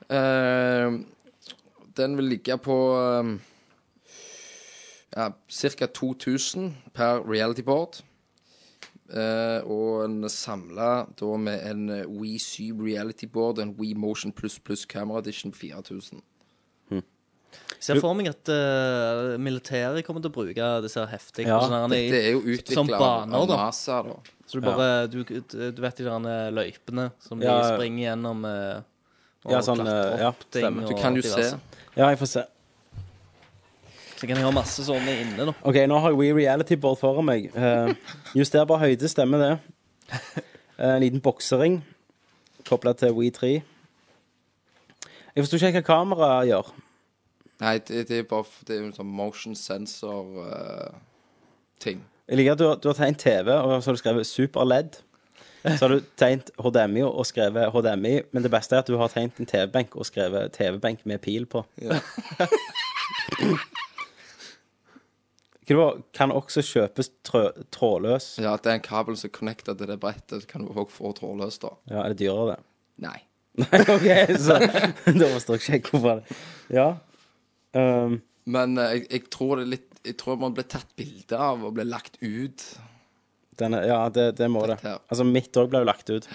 S8: Eh, den vil ligge på um, ja, ca. 2000 per reality board. Eh, og en samla da med en We7 reality board og en We Motion pluss pluss camera edition på 4000.
S10: Ser for meg at eh, militæret kommer til å bruke disse her heftige
S9: Ja,
S10: og sånne her i-
S8: Dette er jo
S10: som
S8: utvikla av
S10: baner,
S8: av
S10: da.
S8: NASA, da.
S10: Så du bare du, du vet de der eh, løypene som de
S9: Ja.
S10: springer gjennom eh, og
S9: Ja, sånn, eh,
S10: klatrer
S9: ja,
S10: opp ting
S9: stemmer.
S8: Du
S10: og
S8: kan jo
S10: diverse.
S8: se.
S9: Ja, jeg får se.
S10: Så kan jeg ha masse sånne inne, da.
S9: OK, nå har jeg We Reality Board foran meg. Eh, justerbar høyde, stemmer det. Eh, En liten boksering kobla til We 3. Jeg forstår ikke helt hva kameraet gjør.
S8: Nei, det, det er bare f- Det er jo en sånn motion eh, sensor-ting.
S9: Jeg liker at du har, du har tegnet TV, og så har du skrevet Super-LED. Så har du tegnet HDMI og skrevet HDMI, men det beste er at du har tegnet en TV-benk og skrevet TV-benk med pil på.
S8: Ja.
S9: Hva det var, kan også kjøpes trø, trådløs.
S8: ja, at det er en kabel som connecter til det brettet, så kan du også få trådløst, da.
S9: Ja, er det dyrere, det?
S8: Nei.
S9: Nei, OK, så da forstår jeg ikke hvorfor det Ja. Um,
S8: Men eh, jeg, jeg tror det er litt Jeg tror man ble tatt bilde av og ble lagt ut.
S9: denne, ja, det, det må det.
S8: Dette her.
S9: Altså, mitt òg ble jo lagt ut.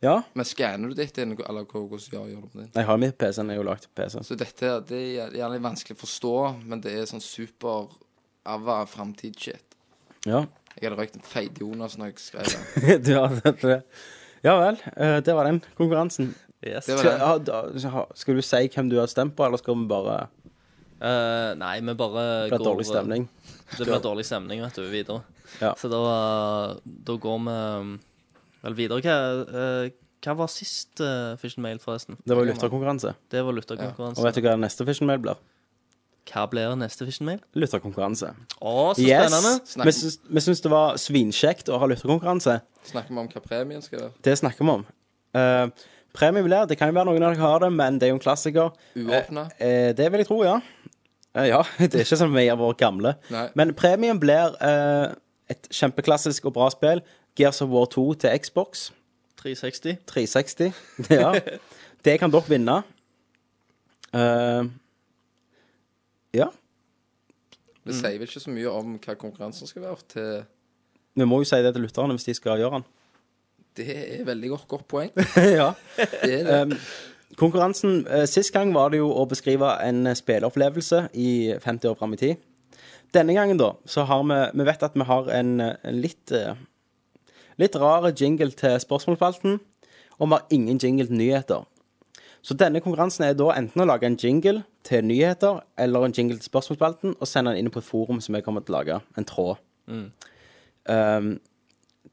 S9: Ja.
S8: Men skanner du ditt inn, eller hva- hvordan gjør, gjør du det?
S9: Jeg har mitt PC, den er jo lagd til PC.
S8: Så dette her, det er gjerne litt vanskelig å forstå, men det er sånn super ava framtidsshit.
S9: Ja.
S8: Jeg hadde røykt en tredje Jonas når jeg skrev det.
S9: du har det. det. Ja vel, eh, det var den konkurransen.
S8: Yes.
S9: Skal,
S8: Det var den.
S9: ja, da- ha- skal du si hvem du har stemt på, eller skal vi bare
S10: Eh, nei, vi bare eh,
S9: Det blir dårlig stemning.
S10: Det blir dårlig stemning, vet du, videre.
S9: Ja.
S10: Så da, da går vi um, vel videre. Hva, eh, hva var sist uh, Fish and Mail, forresten?
S9: Det var jo lytterkonkurranse.
S10: Det var lytterkonkurranse.
S9: Og vet du hva neste Fish and Mail blir?
S10: Hva blir neste Fish and Mail?
S9: Lytterkonkurranse.
S10: Å, så spennende!
S8: Snakk-
S9: Vi syns- Vi syns det var svinkjekt å ha lytterkonkurranse.
S8: Snakker vi om hva premien skal være?
S9: Det snakker vi om. Eh, premie vil jeg, Det kan jo være noen av dere har det, men det er jo en klassiker.
S8: Uåpnet?
S9: Eh, eh, det vil jeg tro, ja. Eh, ja, Det er ikke som vi er våre gamle.
S8: Nei.
S9: Men premien blir eh, et kjempeklassisk og bra spill. Gears of War 2 til Xbox
S10: 360.
S9: 360. Ja. Det kan dere vinne. Eh, ja. mm.
S8: Det sier vel ikke så mye om hva konkurransen skal være. Til
S9: Vi må jo si det til lytterne hvis de skal gjøre den.
S8: det er veldig godt, godt poeng.
S9: ja.
S8: Det er det.
S9: Um, konkurransen eh, Sist gang var det jo å beskrive en eh, spilleopplevelse i 50 år fram i tid. Denne gangen, da, så har vi Vi vet at vi har en, eh, en litt eh, Litt rar jingle til spørsmålsspalten, og vi har ingen jingle til nyheter. Så denne konkurransen er da enten å lage en jingle til nyheter eller en jingle til spørsmålsspalten og sende den inn på et forum som jeg kommer til å lage. En tråd. Um,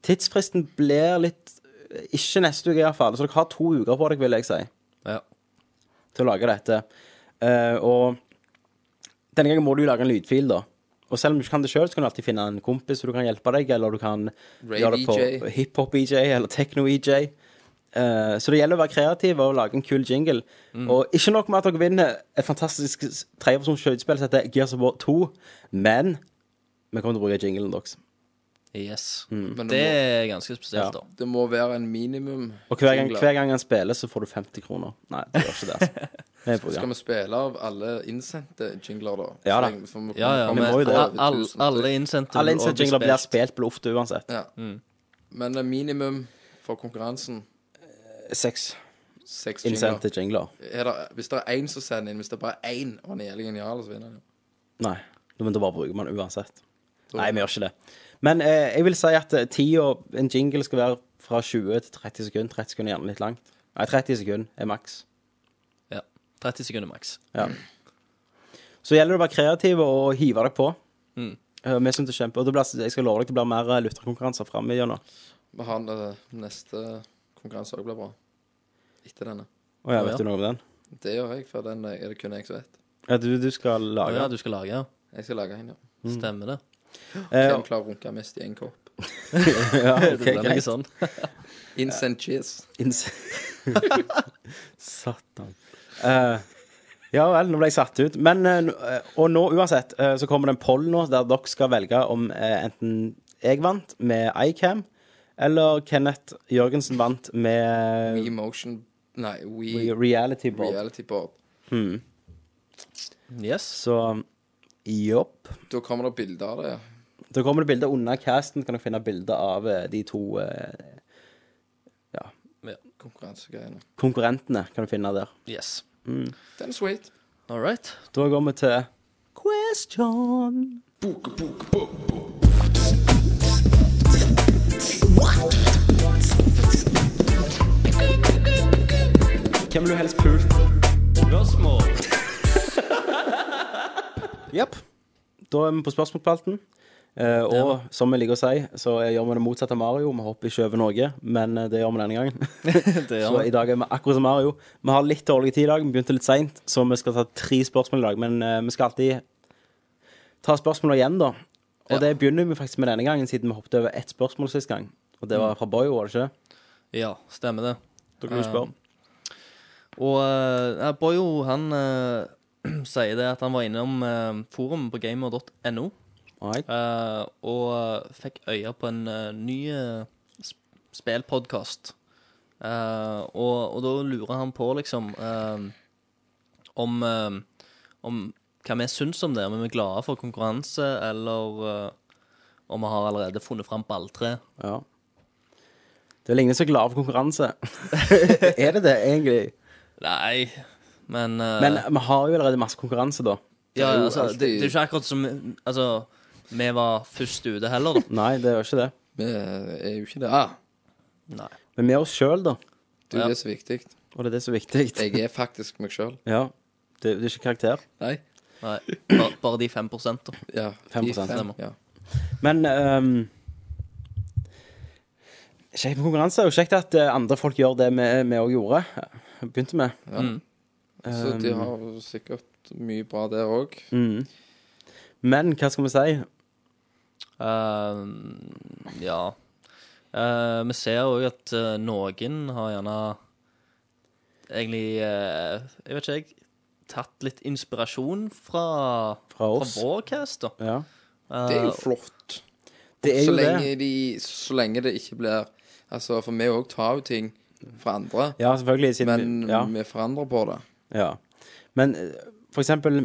S9: tidsfristen blir litt eh, Ikke neste uke, iallfall. Så dere har to uker på dere, vil jeg si,
S10: Ja.
S9: til å lage dette. Eh, og denne gangen må du jo lage en lydfil, da. Og selv om du ikke kan det sjøl, så kan du alltid finne en kompis som du kan hjelpe deg, eller du kan
S8: Ray
S9: gjøre det på
S8: EJ.
S9: hiphop-EJ eller techno-EJ. Eh, så det gjelder å være kreativ og lage en kul jingle.
S8: Mm.
S9: Og ikke nok med at dere vinner et fantastisk s- trepersons skøytespill som heter Gears of War 2, men vi kommer til å bruke jinglen deres.
S10: Yes.
S9: Mm.
S8: Men
S10: Det
S8: det må,
S10: er ganske spesielt, da.
S8: det må være en minimum.
S9: Og hver gang,
S8: jingler.
S9: hver gang han spiller, så får du 50 kroner. Nei, det gjør ikke det. Altså. Vi er på gang.
S8: Skal vi spille av alle innsendte jingler, da?
S9: Ja
S8: Så
S9: da.
S8: lenge- for
S10: Ja, ja,
S8: komme
S10: men
S9: må jo det.
S10: al-
S8: over
S10: al-
S8: 1000.
S10: alle Mm. innsendte
S9: Alle
S10: vil også bli
S9: innsendingene blir
S10: spilt.
S9: spilt på luftet uansett.
S8: Ja. Men eh, minimum for konkurransen
S9: Seks
S8: seks
S9: innsendte
S8: jingler.
S9: jingler.
S8: Er det, hvis det er én som sender inn, hvis det er bare én og han er jævlig genial, så vinner han jo.
S9: Nei, men da bare bruker man uansett.
S10: Sånn.
S8: Da-
S9: Nei, vi gjør ikke det. Men eh, jeg vil si at eh, tida en jingle skal være fra 20 til 30 sekunder. 30 sekunder er gjerne litt langt. Nei, 30 sekunder er maks.
S10: Ja. 30 sekunder maks.
S9: Ja. Så gjelder det å være kreativ og hive deg på.
S10: Mm.
S9: Eh, Vi synes det er kjempe, og det blir, Jeg skal love deg det blir mer eh, lytterkonkurranser framme gjennom.
S8: Vi har en, eh, neste konkurranse òg blir bra. Etter denne.
S9: Å
S10: Å,
S9: ja,
S10: ja.
S9: vet du noe om den?
S8: Det gjør jeg, for den eh, er det kun jeg som vet.
S9: Ja, Mm. du, du skal
S10: Å
S9: lage
S10: ja,
S9: den.
S10: du skal lage, ja.
S8: Jeg skal lage en, ja.
S10: Stemmer det.
S9: Eh,
S8: Hvem klarer å runke mest i en kopp?
S9: ja,
S10: Det
S9: ok,
S10: blir
S9: greit.
S10: noe sånn.
S8: Incent cheese.
S9: Inns... Satan. Eh, ja vel, nå ble jeg satt ut. Men, eh, nå- eh, og nå uansett, eh, så kommer det en poll nå der dere skal velge om eh, enten jeg vant med iCam, eller Kenneth Jørgensen vant med
S8: We motion Nei, we,
S9: Re- Reality Board.
S8: reality board.
S10: Yes.
S9: Så jopp.
S8: Da kommer det bilder av det. ja.
S9: Da kommer det bilder under casten. Kan dere finne bilder av eh, de to eh,
S8: Konkurransegreiene.
S9: konkurrentene? Kan du finne der.
S10: Yes.
S8: Den er sweet.
S10: All right.
S9: Da går vi til question. Hvem vil du helst pult?
S10: Spørsmål.
S9: Jepp. Da er vi på spørsmålspalten. Eh, og som vi liker å si, så eh, gjør vi det motsatte av Mario. Vi hopper ikke over noe, men eh, det gjør vi denne gangen.
S10: Det
S9: så i dag er vi akkurat som Mario. Vi har litt dårlig tid i dag, vi begynte litt seint, så vi skal ta tre spørsmål i dag. Men eh, vi skal alltid ta spørsmålene igjen, da. Og det begynner vi faktisk med denne gangen, siden vi hoppet over ett spørsmål sist gang. Og det var fra Boyo, var det ikke? det?
S10: Ja, stemmer det.
S9: Mm. Da kan du spørre.
S10: Og eh, ja, Boyo, han eh, sier det at han var innom uh, forum på gamer.no
S9: Alright.
S10: eh, og eh, fikk øye på en eh, ny eh, sp spillpodkast. Eh, og, og da lurer han på, liksom, eh, om, eh, om hva vi syns om det. Om vi er glade for konkurranse, eller eh, om vi har allerede funnet fram balltre.
S9: Ja. Det ligner så glad for konkurranse. er det det, egentlig?
S10: Nei, men, eh,
S9: Men vi har jo allerede masse konkurranse, da.
S10: Ja,
S8: er jo
S10: altså, det,
S8: alltid-
S10: det er jo ikke akkurat som Altså, vi var først ute heller, da.
S9: Nei, det var ikke det.
S8: Vi er jo ikke det. Ah,
S10: Nei.
S9: Men vi er oss sjøl, da.
S8: du, det er så viktig.
S9: Og det er det som er viktig.
S8: Jeg er faktisk meg sjøl.
S9: Ja. Det, det er ikke karakter.
S8: Nei.
S10: Nei. Bare, bare de 5 da.
S8: Ja.
S9: 5%.
S8: de fem, Ja.
S9: Men um, Kjekt med konkurranse. Og kjekt at eh, andre folk gjør det vi vi òg gjorde. Begynte med.
S8: Ja. Så de
S9: Um,
S8: har sikkert mye bra der òg.
S9: Mm. Men hva skal vi si?
S10: Eh, ja. Eh, vi ser òg at eh, noen har gjerne egentlig eh, Jeg vet ikke, jeg. Tatt litt inspirasjon fra,
S9: Fra oss.
S10: vår cast, da.
S9: Ja.
S8: Det er
S10: Eh,
S8: jo flott.
S9: Det er
S8: så,
S9: jo det.
S8: lenge de, så lenge det ikke blir Altså, for vi òg tar jo ting fra andre,
S9: Ja, selvfølgelig. Siden,
S8: men
S9: ja.
S8: vi forandrer på det.
S9: Ja. Men eh, for eksempel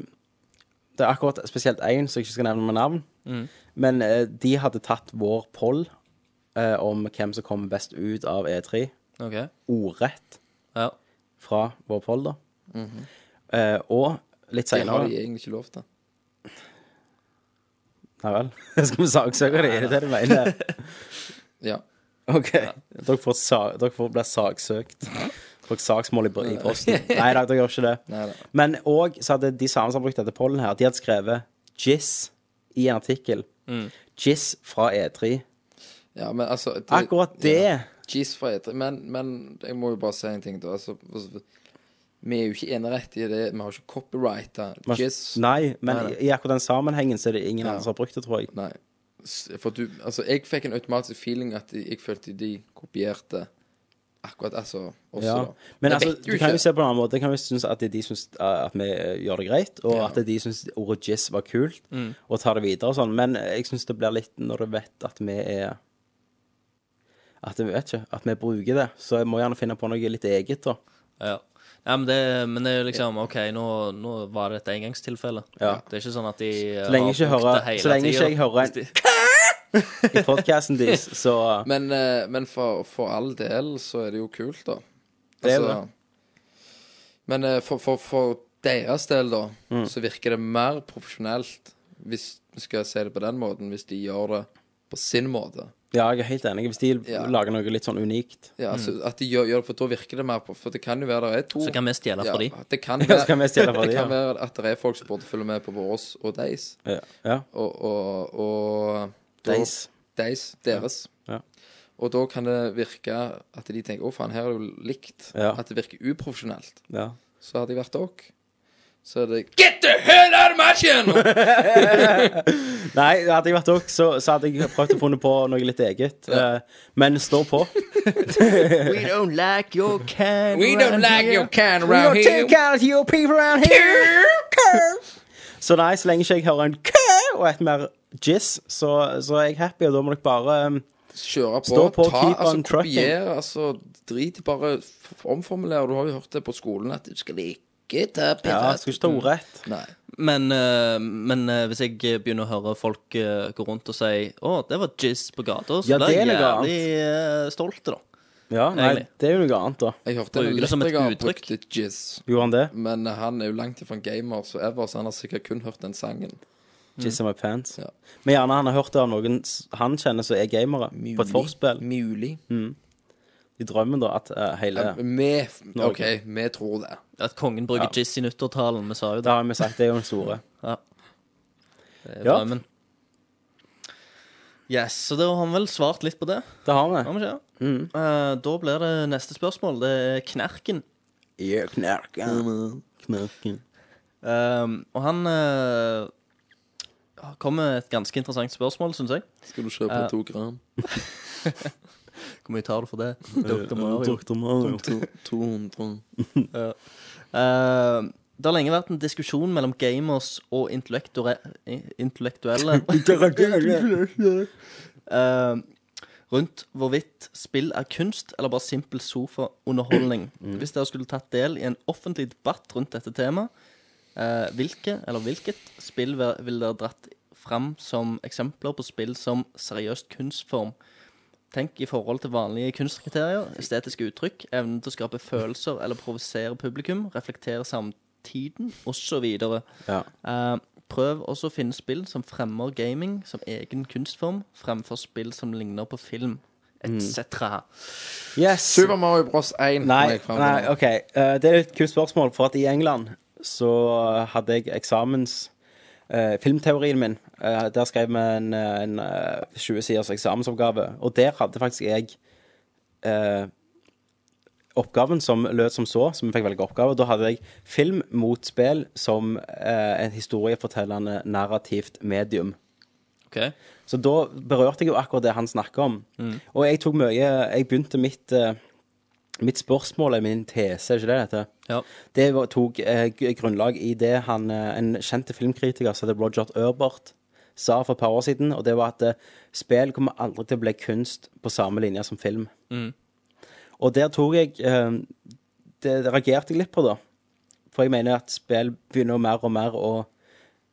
S9: Det er akkurat spesielt én som jeg ikke skal nevne med navn.
S8: Mm.
S9: Men eh, de hadde tatt vår poll eh, om hvem som kommer best ut av E3.
S10: Eh, OK.
S9: Ordrett
S10: Ja.
S9: fra vår poll, da. Eh, og litt
S8: Mhm. Det har
S9: seinere
S8: de egentlig ikke lov til.
S9: Nei vel. skal vi saksøke dem? Er det det du mener?
S8: Ja.
S9: OK. Dere, får sa dere får blir saksøkt. Får saksmål i, i posten. Nei da, dere gjør ikke det.
S8: Neida.
S9: Men òg så hadde de samme som har brukt dette pollen her, de hadde skrevet Jizz i en artikkel.
S8: Mm.
S9: Jizz fra E3.
S8: Ja, men altså det,
S9: Akkurat det!
S8: Ja. Jeez for etter. Men, men jeg må jo bare si en ting, da. Altså, altså, vi er jo ikke enerett i det. Vi har ikke copyrighta
S9: Man-
S8: jizz.
S9: altså, Nei, men
S8: Nei, nei.
S9: i akkurat den sammenhengen så er det ingen andre som har brukt det, tror jeg.
S8: Nei. S- For du Altså, jeg fikk en automatisk feeling at jeg følte de kopierte akkurat altså også,
S9: Ja.
S8: da.
S9: Men
S8: Jeg
S9: altså,
S8: vet jo
S9: du kan jo
S8: ikke.
S9: se på en annen måte. Jeg kan jo synes at de syns at vi eh, gjør det greit, og
S8: Ja. Mm.
S9: at de syns ordet jizz var kult, og tar det videre og sånn. Men jeg syns det blir litt når du vet at vi er At vi vet ikke, at vi bruker det. Så jeg må gjerne finne på noe litt eget, da.
S10: Ja. ja men, det, men det er jo liksom OK, nå, nå var det et engangstilfelle.
S9: Ja.
S10: Det er ikke sånn at de
S9: Så lenge, ikke, hører, så lenge ikke jeg hører en i podcasten deres, så
S8: Men, eh, men for, for all del så er det jo kult, da. Altså,
S9: Det er det.
S8: Men eh, for, for, for deres del, da,
S9: Mm.
S8: så virker det mer profesjonelt, hvis vi skal si det på den måten, hvis de gjør det på sin måte.
S9: Ja, jeg er helt enig. Hvis de
S8: Ja.
S9: lager noe litt sånn unikt
S8: Ja, altså, At de gjør, gjør det, for da virker det mer på For det kan jo være det er to
S10: Så kan vi stjele fra de.
S8: Det kan
S9: Ja,
S8: være,
S9: så kan vi stjele fra de,
S8: det kan
S9: ja.
S8: være at det er folk som burde følge med på både oss og deres.
S9: Ja. ja.
S8: Og, og, og da-
S9: Deres.
S8: Deres. Deres.
S9: Ja.
S8: Og da kan det virke at de tenker 'Å, faen, her er det jo likt'.
S9: Ja.
S8: At det virker uprofesjonelt.
S9: ja.
S8: Så hadde jeg vært dere, så er det 'Get the hell out of my channel!'
S9: Nei, hadde jeg vært dere, så, så hadde jeg prøvd å finne på noe litt eget. Eh, Men stå på.
S10: We don't like your can.
S8: We don't like your can around here.
S9: Så nei, så lenge ikke jeg hører en kø og et mer jizz, så, så er jeg happy, og da må dere bare um,
S8: Kjøre på,
S9: Stå på,
S8: ta,
S9: keep
S8: altså,
S9: on trucking.
S8: kopiere, altså drit i bare f- omformulere. Du har jo hørt det på skolen at du skal ikke ta
S9: Ja, skal ikke ta ordrett.
S8: Nei.
S10: Men, eh, men eh, hvis jeg eh, begynner å høre folk eh, gå rundt og si Å, det var jizz på gata, så
S9: Ja,
S10: blir jeg
S9: det er noe
S10: jævlig eh, stolt, da.
S9: Ja, nei,
S10: Egentlig.
S9: det er jo noe annet, da.
S8: Jeg hørte en
S10: Bruker det som et
S8: elektriker
S10: uttrykk.
S8: brukte jizz.
S9: Gjorde han det?
S8: Men han er jo langt ifra en gamer, så ever, så han har sikkert kun hørt den sangen.
S9: Jizz in my pants.
S8: Mm. Ja.
S9: Men gjerne han har hørt det av noen s- han kjenner som er gamere, på et forspill.
S8: Mulig.
S9: I drømmen, da, at eh, hele
S8: Ja, Vi
S9: Norge.
S8: OK, vi tror det.
S10: At kongen bruker jizz i nyttårtalen. Vi sa jo
S9: Det
S10: det.
S9: har vi sagt, det er jo den store.
S10: det er
S9: Ja.
S10: drømmen. Yes, så da har han vel svart litt på det.
S9: Det
S10: Har
S9: har vi.
S10: vi ikke? det? Eh, da blir det neste spørsmål. Det er Knerken.
S9: Ja, Knerken. Knerken.
S10: Um, og han eh, kom med et ganske interessant spørsmål, syns jeg.
S8: Skal du kjøpe
S10: Ja.
S8: to gram?
S10: Hvor mye tar du for det? Dr. Mario.
S9: Dr. Mario.
S8: To, 200.
S10: Eh, det har lenge vært en diskusjon mellom gamers og intellektuelle, intellektuelle eh, rundt hvorvidt spill er kunst eller bare simpel sofaunderholdning. Hvis dere skulle tatt del i en offentlig debatt rundt dette temaet, eh, hvilke eller hvilket spill vil- ville dere dratt fram som eksempler på spill som seriøst kunstform? Tenk i forhold til vanlige kunstkriterier, estetiske uttrykk, evnen til å skape følelser eller provosere publikum, reflektere samtiden, osv.
S9: Ja.
S10: Eh, Prøv også å finne spill som fremmer gaming som egen kunstform, fremfor spill som ligner på film,
S9: Mm.
S10: etc.
S9: Yes.
S8: Super Mario Bros. 1. kom
S9: Nei,
S8: jeg frem til
S9: nei
S8: nå.
S9: ok. Eh, det er et kult spørsmål, for at i England så hadde jeg eksamens eh, Filmteorien min. Eh, der skrev vi en, eh, en eh, 20 siders eksamensoppgave, og der hadde faktisk jeg eh, oppgaven som lød som så, som jeg fikk velge oppgave. Da hadde jeg film mot spill som eh, en historiefortellende narrativt medium.
S10: Ok.
S9: Så da berørte jeg jo akkurat det han snakker om. Og jeg tok mye Jeg begynte mitt eh, Mitt spørsmål er min tese, er ikke det det heter?
S10: Ja.
S9: Det var- tok eh, gr- grunnlag i det han, eh, en kjente filmkritiker som heter Roger Urbert, sa for et par år siden, og det var at eh, spill kommer aldri til å bli kunst på samme linje som film.
S10: Mm.
S9: Og der tok jeg eh, det, det reagerte jeg litt på, da. For jeg mener at spill begynner mer og mer å,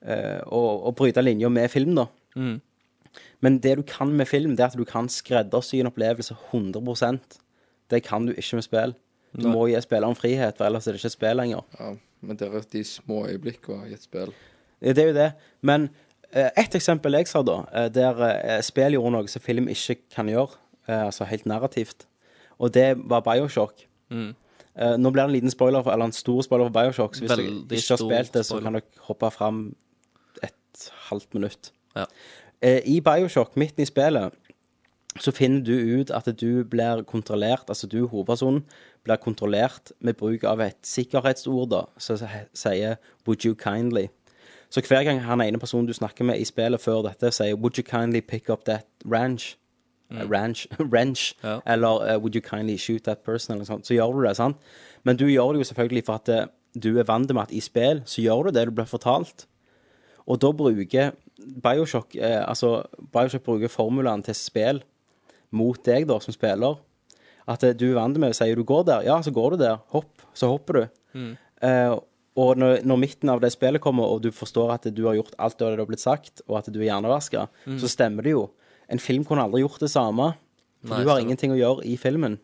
S9: eh, å, å bryte linja med film, da.
S10: Mm.
S9: Men det du kan med film, det er at du kan skreddersy en opplevelse 100 Det kan du ikke med spill. Du
S8: Nei.
S9: må gi spilleren frihet, for ellers er det ikke spill lenger.
S8: Ja, men det er de små øyeblikkene i et spill.
S9: Det er jo det. Men eh, ett eksempel jeg sa, da, eh, der eh, spill gjorde noe som film ikke kan gjøre, eh, altså helt narrativt, og det var Bioshock.
S10: Mm.
S9: Eh, nå blir det en liten spoiler, for, eller en stor spoiler for Bioshock, så hvis
S10: Veldig
S9: dere ikke har
S10: stor
S9: spilt det, så
S10: spoiler.
S9: kan dere hoppe fram et halvt minutt.
S10: Ja.
S9: Eh, I Bioshock, midten i spillet, så finner du ut at du blir kontrollert, altså du, hovedpersonen, blir kontrollert med bruk av et sikkerhetsord da, som he- sier 'would you kindly'. Så hver gang han ene personen du snakker med i spillet før dette, sier 'would you kindly pick up that ranch', eh, ranch, ranch eller eh, 'would you kindly shoot that person', eller noe sånt, så gjør du det, sant? Men du gjør det jo selvfølgelig for at eh, du er vant med at i spill så gjør du det du blir fortalt. Og da bruker Bioshock eh, Altså, Bioshock bruker formulaen til spill mot deg, da, som spiller. At eh, du er vant med Sier du går der, ja, så går du der. Hopp, så hopper du.
S12: Mm.
S9: Eh, og når, når midten av det spillet kommer, og du forstår at du har gjort alt det du har blitt sagt, og at du er hjernevaska,
S12: Mm.
S9: så stemmer det jo. En film kunne aldri gjort det samme. For
S10: Nei,
S9: du har
S10: stemmer.
S9: ingenting å gjøre i filmen.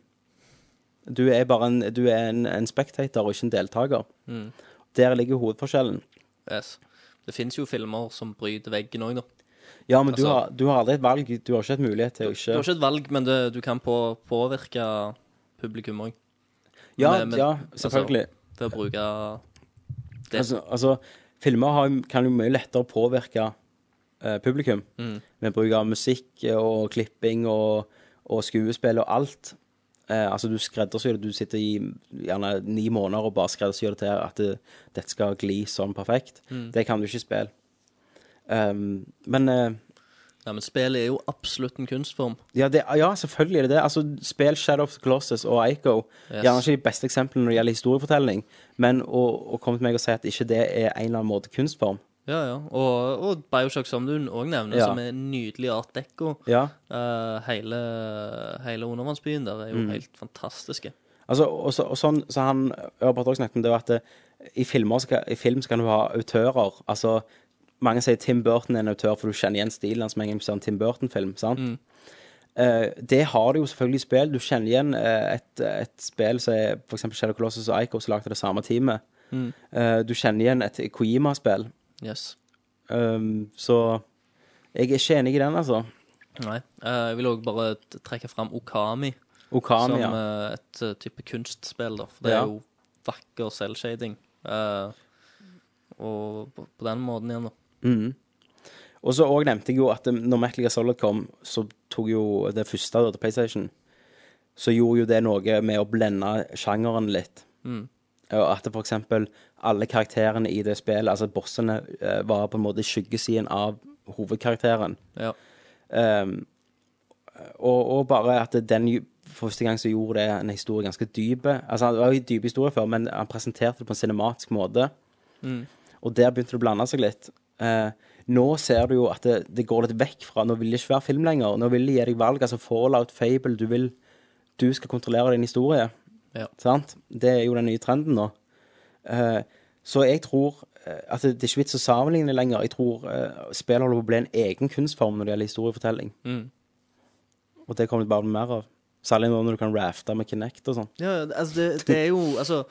S9: Du er bare en, du er en, en spectator og ikke en deltaker.
S10: Mm.
S9: Der ligger hovedforskjellen.
S10: Yes. Det fins jo filmer som bryter veggen òg, da.
S9: Ja, men du,
S10: Altså-
S9: har, du har aldri et valg. Du har ikke et mulighet til å
S10: Du
S9: ikke
S10: har ikke et valg, men det, du kan på, påvirke publikum òg.
S9: Ja, ja, selvfølgelig.
S10: Altså, ved å bruke det.
S9: Altså, altså, filmer har, kan jo mye lettere påvirke eh, publikum.
S10: Mm.
S9: Med bruk av musikk eh, og klipping og, og skuespill og alt. Eh, altså, du skreddersyr det. Du sitter i gjerne ni måneder og bare skreddersyr det til at det, dette skal gli sånn perfekt.
S10: Mm.
S9: Det kan du ikke spille. Um, men eh,
S10: Ja, men spillet er jo absolutt en kunstform.
S9: ja, det, ja, selvfølgelig er det det. Altså, spill Shadow of the Colossus og Ico.
S10: Yes.
S9: Gjerne ikke de beste eksemplene når det gjelder historiefortelling, men å, å komme til meg og si at ikke det er en eller annen måte kunstform
S10: Ja, ja. Og, og Bioshock, som du òg nevner,
S9: Ja.
S10: som er nydelig art deco.
S9: Ja.
S10: Eh, hele, hele undervannsbyen der er jo
S9: Mm.
S10: helt fantastiske.
S9: Altså, og, så, og sånn, så han Ørbert også snakket om det var at det, i, filmer skal, i film så kan du ha autører. Altså, mange sier Tim Burton er en autør, for du kjenner igjen stilen hans med en gang du ser en Tim Burton-film. sant?
S10: Mm.
S9: Eh, det har du jo selvfølgelig i spill. Du kjenner igjen eh, et, et spill som er for eksempel Shadow Colossus og Ico, som lagde det samme teamet.
S10: Mm.
S9: Eh, du kjenner igjen et Koima-spill.
S10: Yes.
S9: Um, så jeg er ikke enig i den, altså.
S10: Nei. Eh, jeg vil òg bare t- trekke fram Okami. som
S9: Okami, ja.
S10: eh, et eh, type kunstspill, da. For det
S9: Ja.
S10: er jo vakker selvshading. eh, og på, på den måten igjen, da.
S9: Mhm. Og så også nevnte jeg jo at um, når Metal Gear Solid kom, så tok jo det første da, til PlayStation, så gjorde jo det noe med å blende sjangeren litt.
S10: Mm.
S9: Og at det for eksempel alle karakterene i det spillet, altså bossene, eh, var på en måte skyggesiden av hovedkarakteren.
S10: Ja.
S9: Ehm, og, og bare at den ju- første gang så gjorde det en historie ganske dyp. Altså, det var jo en dyp historie før, men han presenterte det på en cinematisk måte.
S10: Mm.
S9: Og der begynte det å blande seg litt. Eh, nå ser du jo at det, det går litt vekk fra Nå vil det ikke være film lenger. Nå vil de gi deg valg. Altså Fallout, Fable Du vil Du skal kontrollere din historie.
S10: Ja.
S9: Sant? Det er jo den nye trenden nå. Eh, så jeg tror eh, at det, det er ikke vits å sammenligne lenger. Jeg tror eh, spill holder på å bli en egen kunstform når det gjelder historiefortelling.
S10: Mm.
S9: Og det kommer det bare mer av. Særlig nå når du kan rafte med Kinect og sånn.
S10: Ja, altså det, det er jo altså,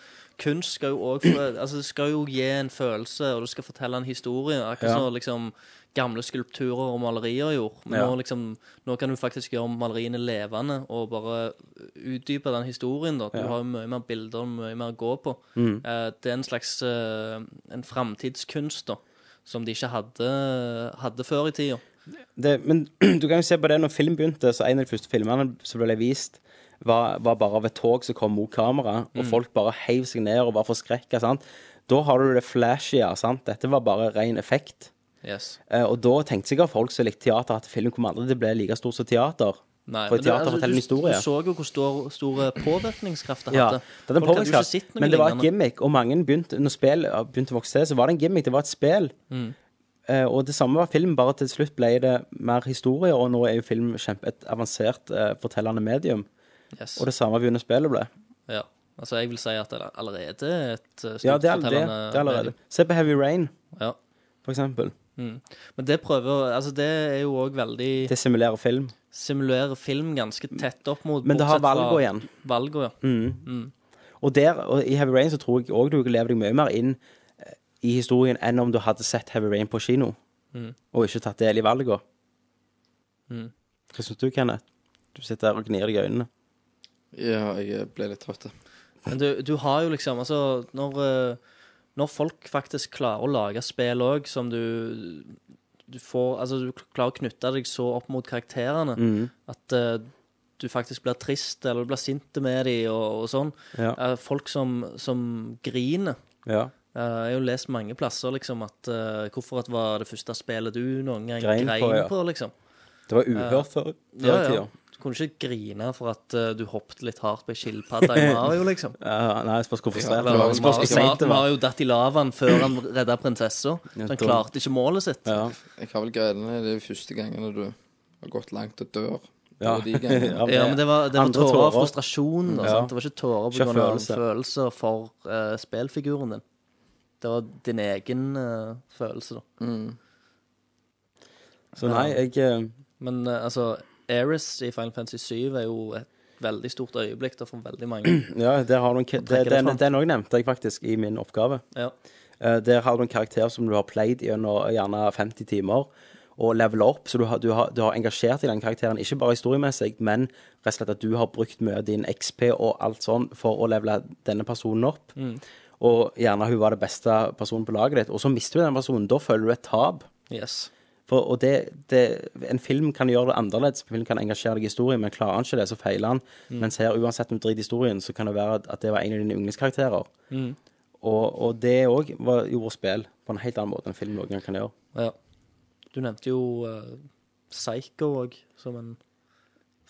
S10: Kunst skal jo òg altså, Det skal jo gi en følelse, og det skal fortelle en historie. Akkurat
S9: Ja.
S10: som liksom, gamle skulpturer og malerier gjorde. Men
S9: Ja.
S10: nå, liksom, nå kan du faktisk gjøre maleriene levende og bare utdype den historien. Da. Du
S9: Ja.
S10: har jo mye mer bilder og mye mer å gå på.
S9: Mm.
S10: Eh, det er en slags eh, en framtidskunst da, som de ikke hadde, hadde før i tida.
S9: Det, men du kan jo se på det når film begynte, så en av de første filmene som ble vist, var, var bare av et tog som kom mot kamera, og
S10: Mm.
S9: folk bare heiv seg ned og var forskrekka, sant. Da har du det flashy, sant. Dette var bare ren effekt.
S10: Yes.
S9: Eh, og da tenkte sikkert folk som likte teater, at film kommer aldri til å bli like stor som teater.
S10: Nei,
S9: For
S10: men det- altså,
S9: teater forteller en historie.
S10: Du så jo hvor stor, stor påvirkningskraft det
S9: Ja,
S10: hadde.
S9: det hadde en
S10: Folk hadde jo ikke
S9: påvirkning,
S10: sett noe
S9: men det var et
S10: lignende.
S9: gimmick, og mange begynte, når spill ja, begynte å vokse, så var det en gimmick, det var et spill.
S10: Mm.
S9: Eh, og det samme var film, bare til slutt ble det mer historie, og nå er jo film kjempe et avansert eh, fortellende medium.
S10: Yes.
S9: Og det samme begynte spillet ble.
S10: Ja. Altså, jeg vil si at det er allerede et eh, stort
S9: Ja, det er, det, det
S10: fortellende
S9: er allerede.
S10: medium.
S9: Se på Heavy Rain,
S10: Ja.
S9: for eksempel.
S10: Mm. Men det prøver Altså, det er jo òg veldig
S9: Det simulerer film.
S10: Simulerer film ganske tett opp mot
S9: Men det har
S10: bortsett fra
S9: valgå igjen.
S10: Valgå, ja.
S9: Mm.
S10: Mm.
S9: Og der, og i Heavy Rain så tror jeg òg du lever deg mye mer inn eh, i historien enn om du hadde sett Heavy Rain på kino,
S10: Mm.
S9: og ikke tatt del i valgene.
S10: Mm.
S9: Hva syns du, Kenneth? Du sitter der og gnir deg i øynene.
S8: Ja, jeg ble litt trøtt.
S10: Men du, du har jo liksom Altså, når, eh, når folk faktisk klarer å lage spill òg som du Du får Altså, du klarer å knytte deg så opp mot karakterene
S9: Mhm.
S10: at eh, du faktisk blir trist, eller du blir sint med dem, og, og sånn.
S9: Ja.
S10: Eh, folk som, som griner.
S9: Ja.
S10: Eh, jeg har jo lest mange plasser liksom at eh, hvorfor at var det første spillet du noen gang
S9: Grein
S10: grein,
S9: på,
S10: på,
S9: ja.
S10: liksom.
S9: Det var uhørt før- før i
S10: ja, ja.
S9: tida.
S10: Du kunne ikke grine for at eh, du hoppet litt hardt på ei skilpadde i Mario, liksom.
S9: Ja, nei, jeg spørs hvor
S10: Ja,
S9: frustrert
S10: eller
S9: det var.
S10: Mario-
S9: Jeg Spørs hvor seint det
S10: Mario
S9: var.
S10: har jo datt i lavaen før han redda prinsessa. Så han
S8: Nettopp.
S10: klarte ikke målet sitt.
S8: Jeg har vel greiene det er første gangene du har gått langt og dør.
S10: Ja.
S8: Det er de gangene.
S10: Ja, men det var, det var
S8: Andre
S10: tårer av
S8: tårer.
S10: frustrasjon. Da,
S8: Ja.
S10: sant? Det var ikke tårer
S8: Ikke
S10: pga. Følelse.
S8: følelse.
S10: følelser for eh, spillfiguren din. Det var din egen eh, følelse, da.
S9: Så nei, jeg eh,
S10: Men eh, altså, Eris i Final Fantasy 7 er jo et veldig stort øyeblikk da, for veldig mange.
S9: Ja, der har du en, ka-
S10: trekker
S9: det,
S10: det
S9: den,
S10: fram.
S9: den også nevnte jeg faktisk i min oppgave.
S10: Ja.
S9: Eh, Der har du en karakter som du har played gjennom eh, gjerne 50 timer, og leveler opp, så du har, du, har, du har engasjert i den karakteren, ikke bare historiemessig, men rett og slett at du har brukt mye av din XP og alt sånn for å levele denne personen opp.
S10: Mm.
S9: Og gjerne hun var den beste personen på laget ditt, og så mister du den personen. Da føler du et tap.
S10: Yes.
S9: For, og det, det, en film kan gjøre det annerledes. En film kan engasjere deg i historien, men klarer han ikke det, så feiler han.
S10: Mm.
S9: Mens her, uansett om du driter i historien, så kan det være at- at det var en av dine yndlingskarakterer.
S10: Mm.
S9: Og, og det òg gjorde spill på en helt annen måte enn film noen gang kan gjøre.
S10: Ja. Du nevnte jo eh, Psycho òg, som en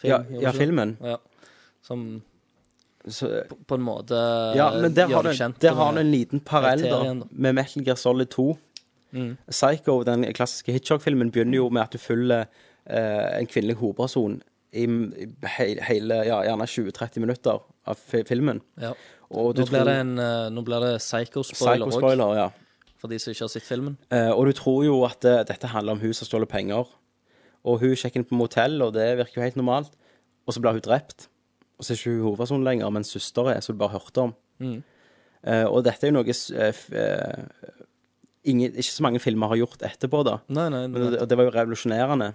S10: film.
S9: Ja,
S10: gjorde du
S9: ja,
S10: ikke det?
S9: filmen.
S10: Ja. Som
S9: Så-
S10: på, på en måte eh,
S9: Ja, men der
S10: gjør
S9: har
S10: deg
S9: du,
S10: kjent
S9: der har
S10: med
S9: du en liten parell
S10: karakteren,
S9: da,
S10: da.
S9: med Metal Gear Solid 2.
S10: Mm.
S9: Psycho, den klassiske Hitchcock-filmen, begynner jo med at du følger eh, en kvinnelig hovedperson i, i he- hele, ja, gjerne 20-30 minutter av fi- filmen.
S10: Ja.
S9: Og du
S10: nå, blir
S9: tror-
S10: det en, eh, nå blir det psycho-spoiler òg.
S9: Psycho-spoiler, ja.
S10: For de som ikke har sett filmen.
S9: Eh, og du tror jo at eh, dette handler om hun som stjåler penger. Og hun sjekker inn på motell, og det virker jo helt normalt. Og så blir hun drept. Og så er ikke hun hovedpersonen lenger, men søster er, som du bare hørte om.
S10: Mm.
S9: Eh, og dette er jo noe s- eh, f- eh, ingen, Ikke så mange filmer har gjort etterpå, da.
S10: Nei, nei,
S9: men, det, og det var jo revolusjonerende.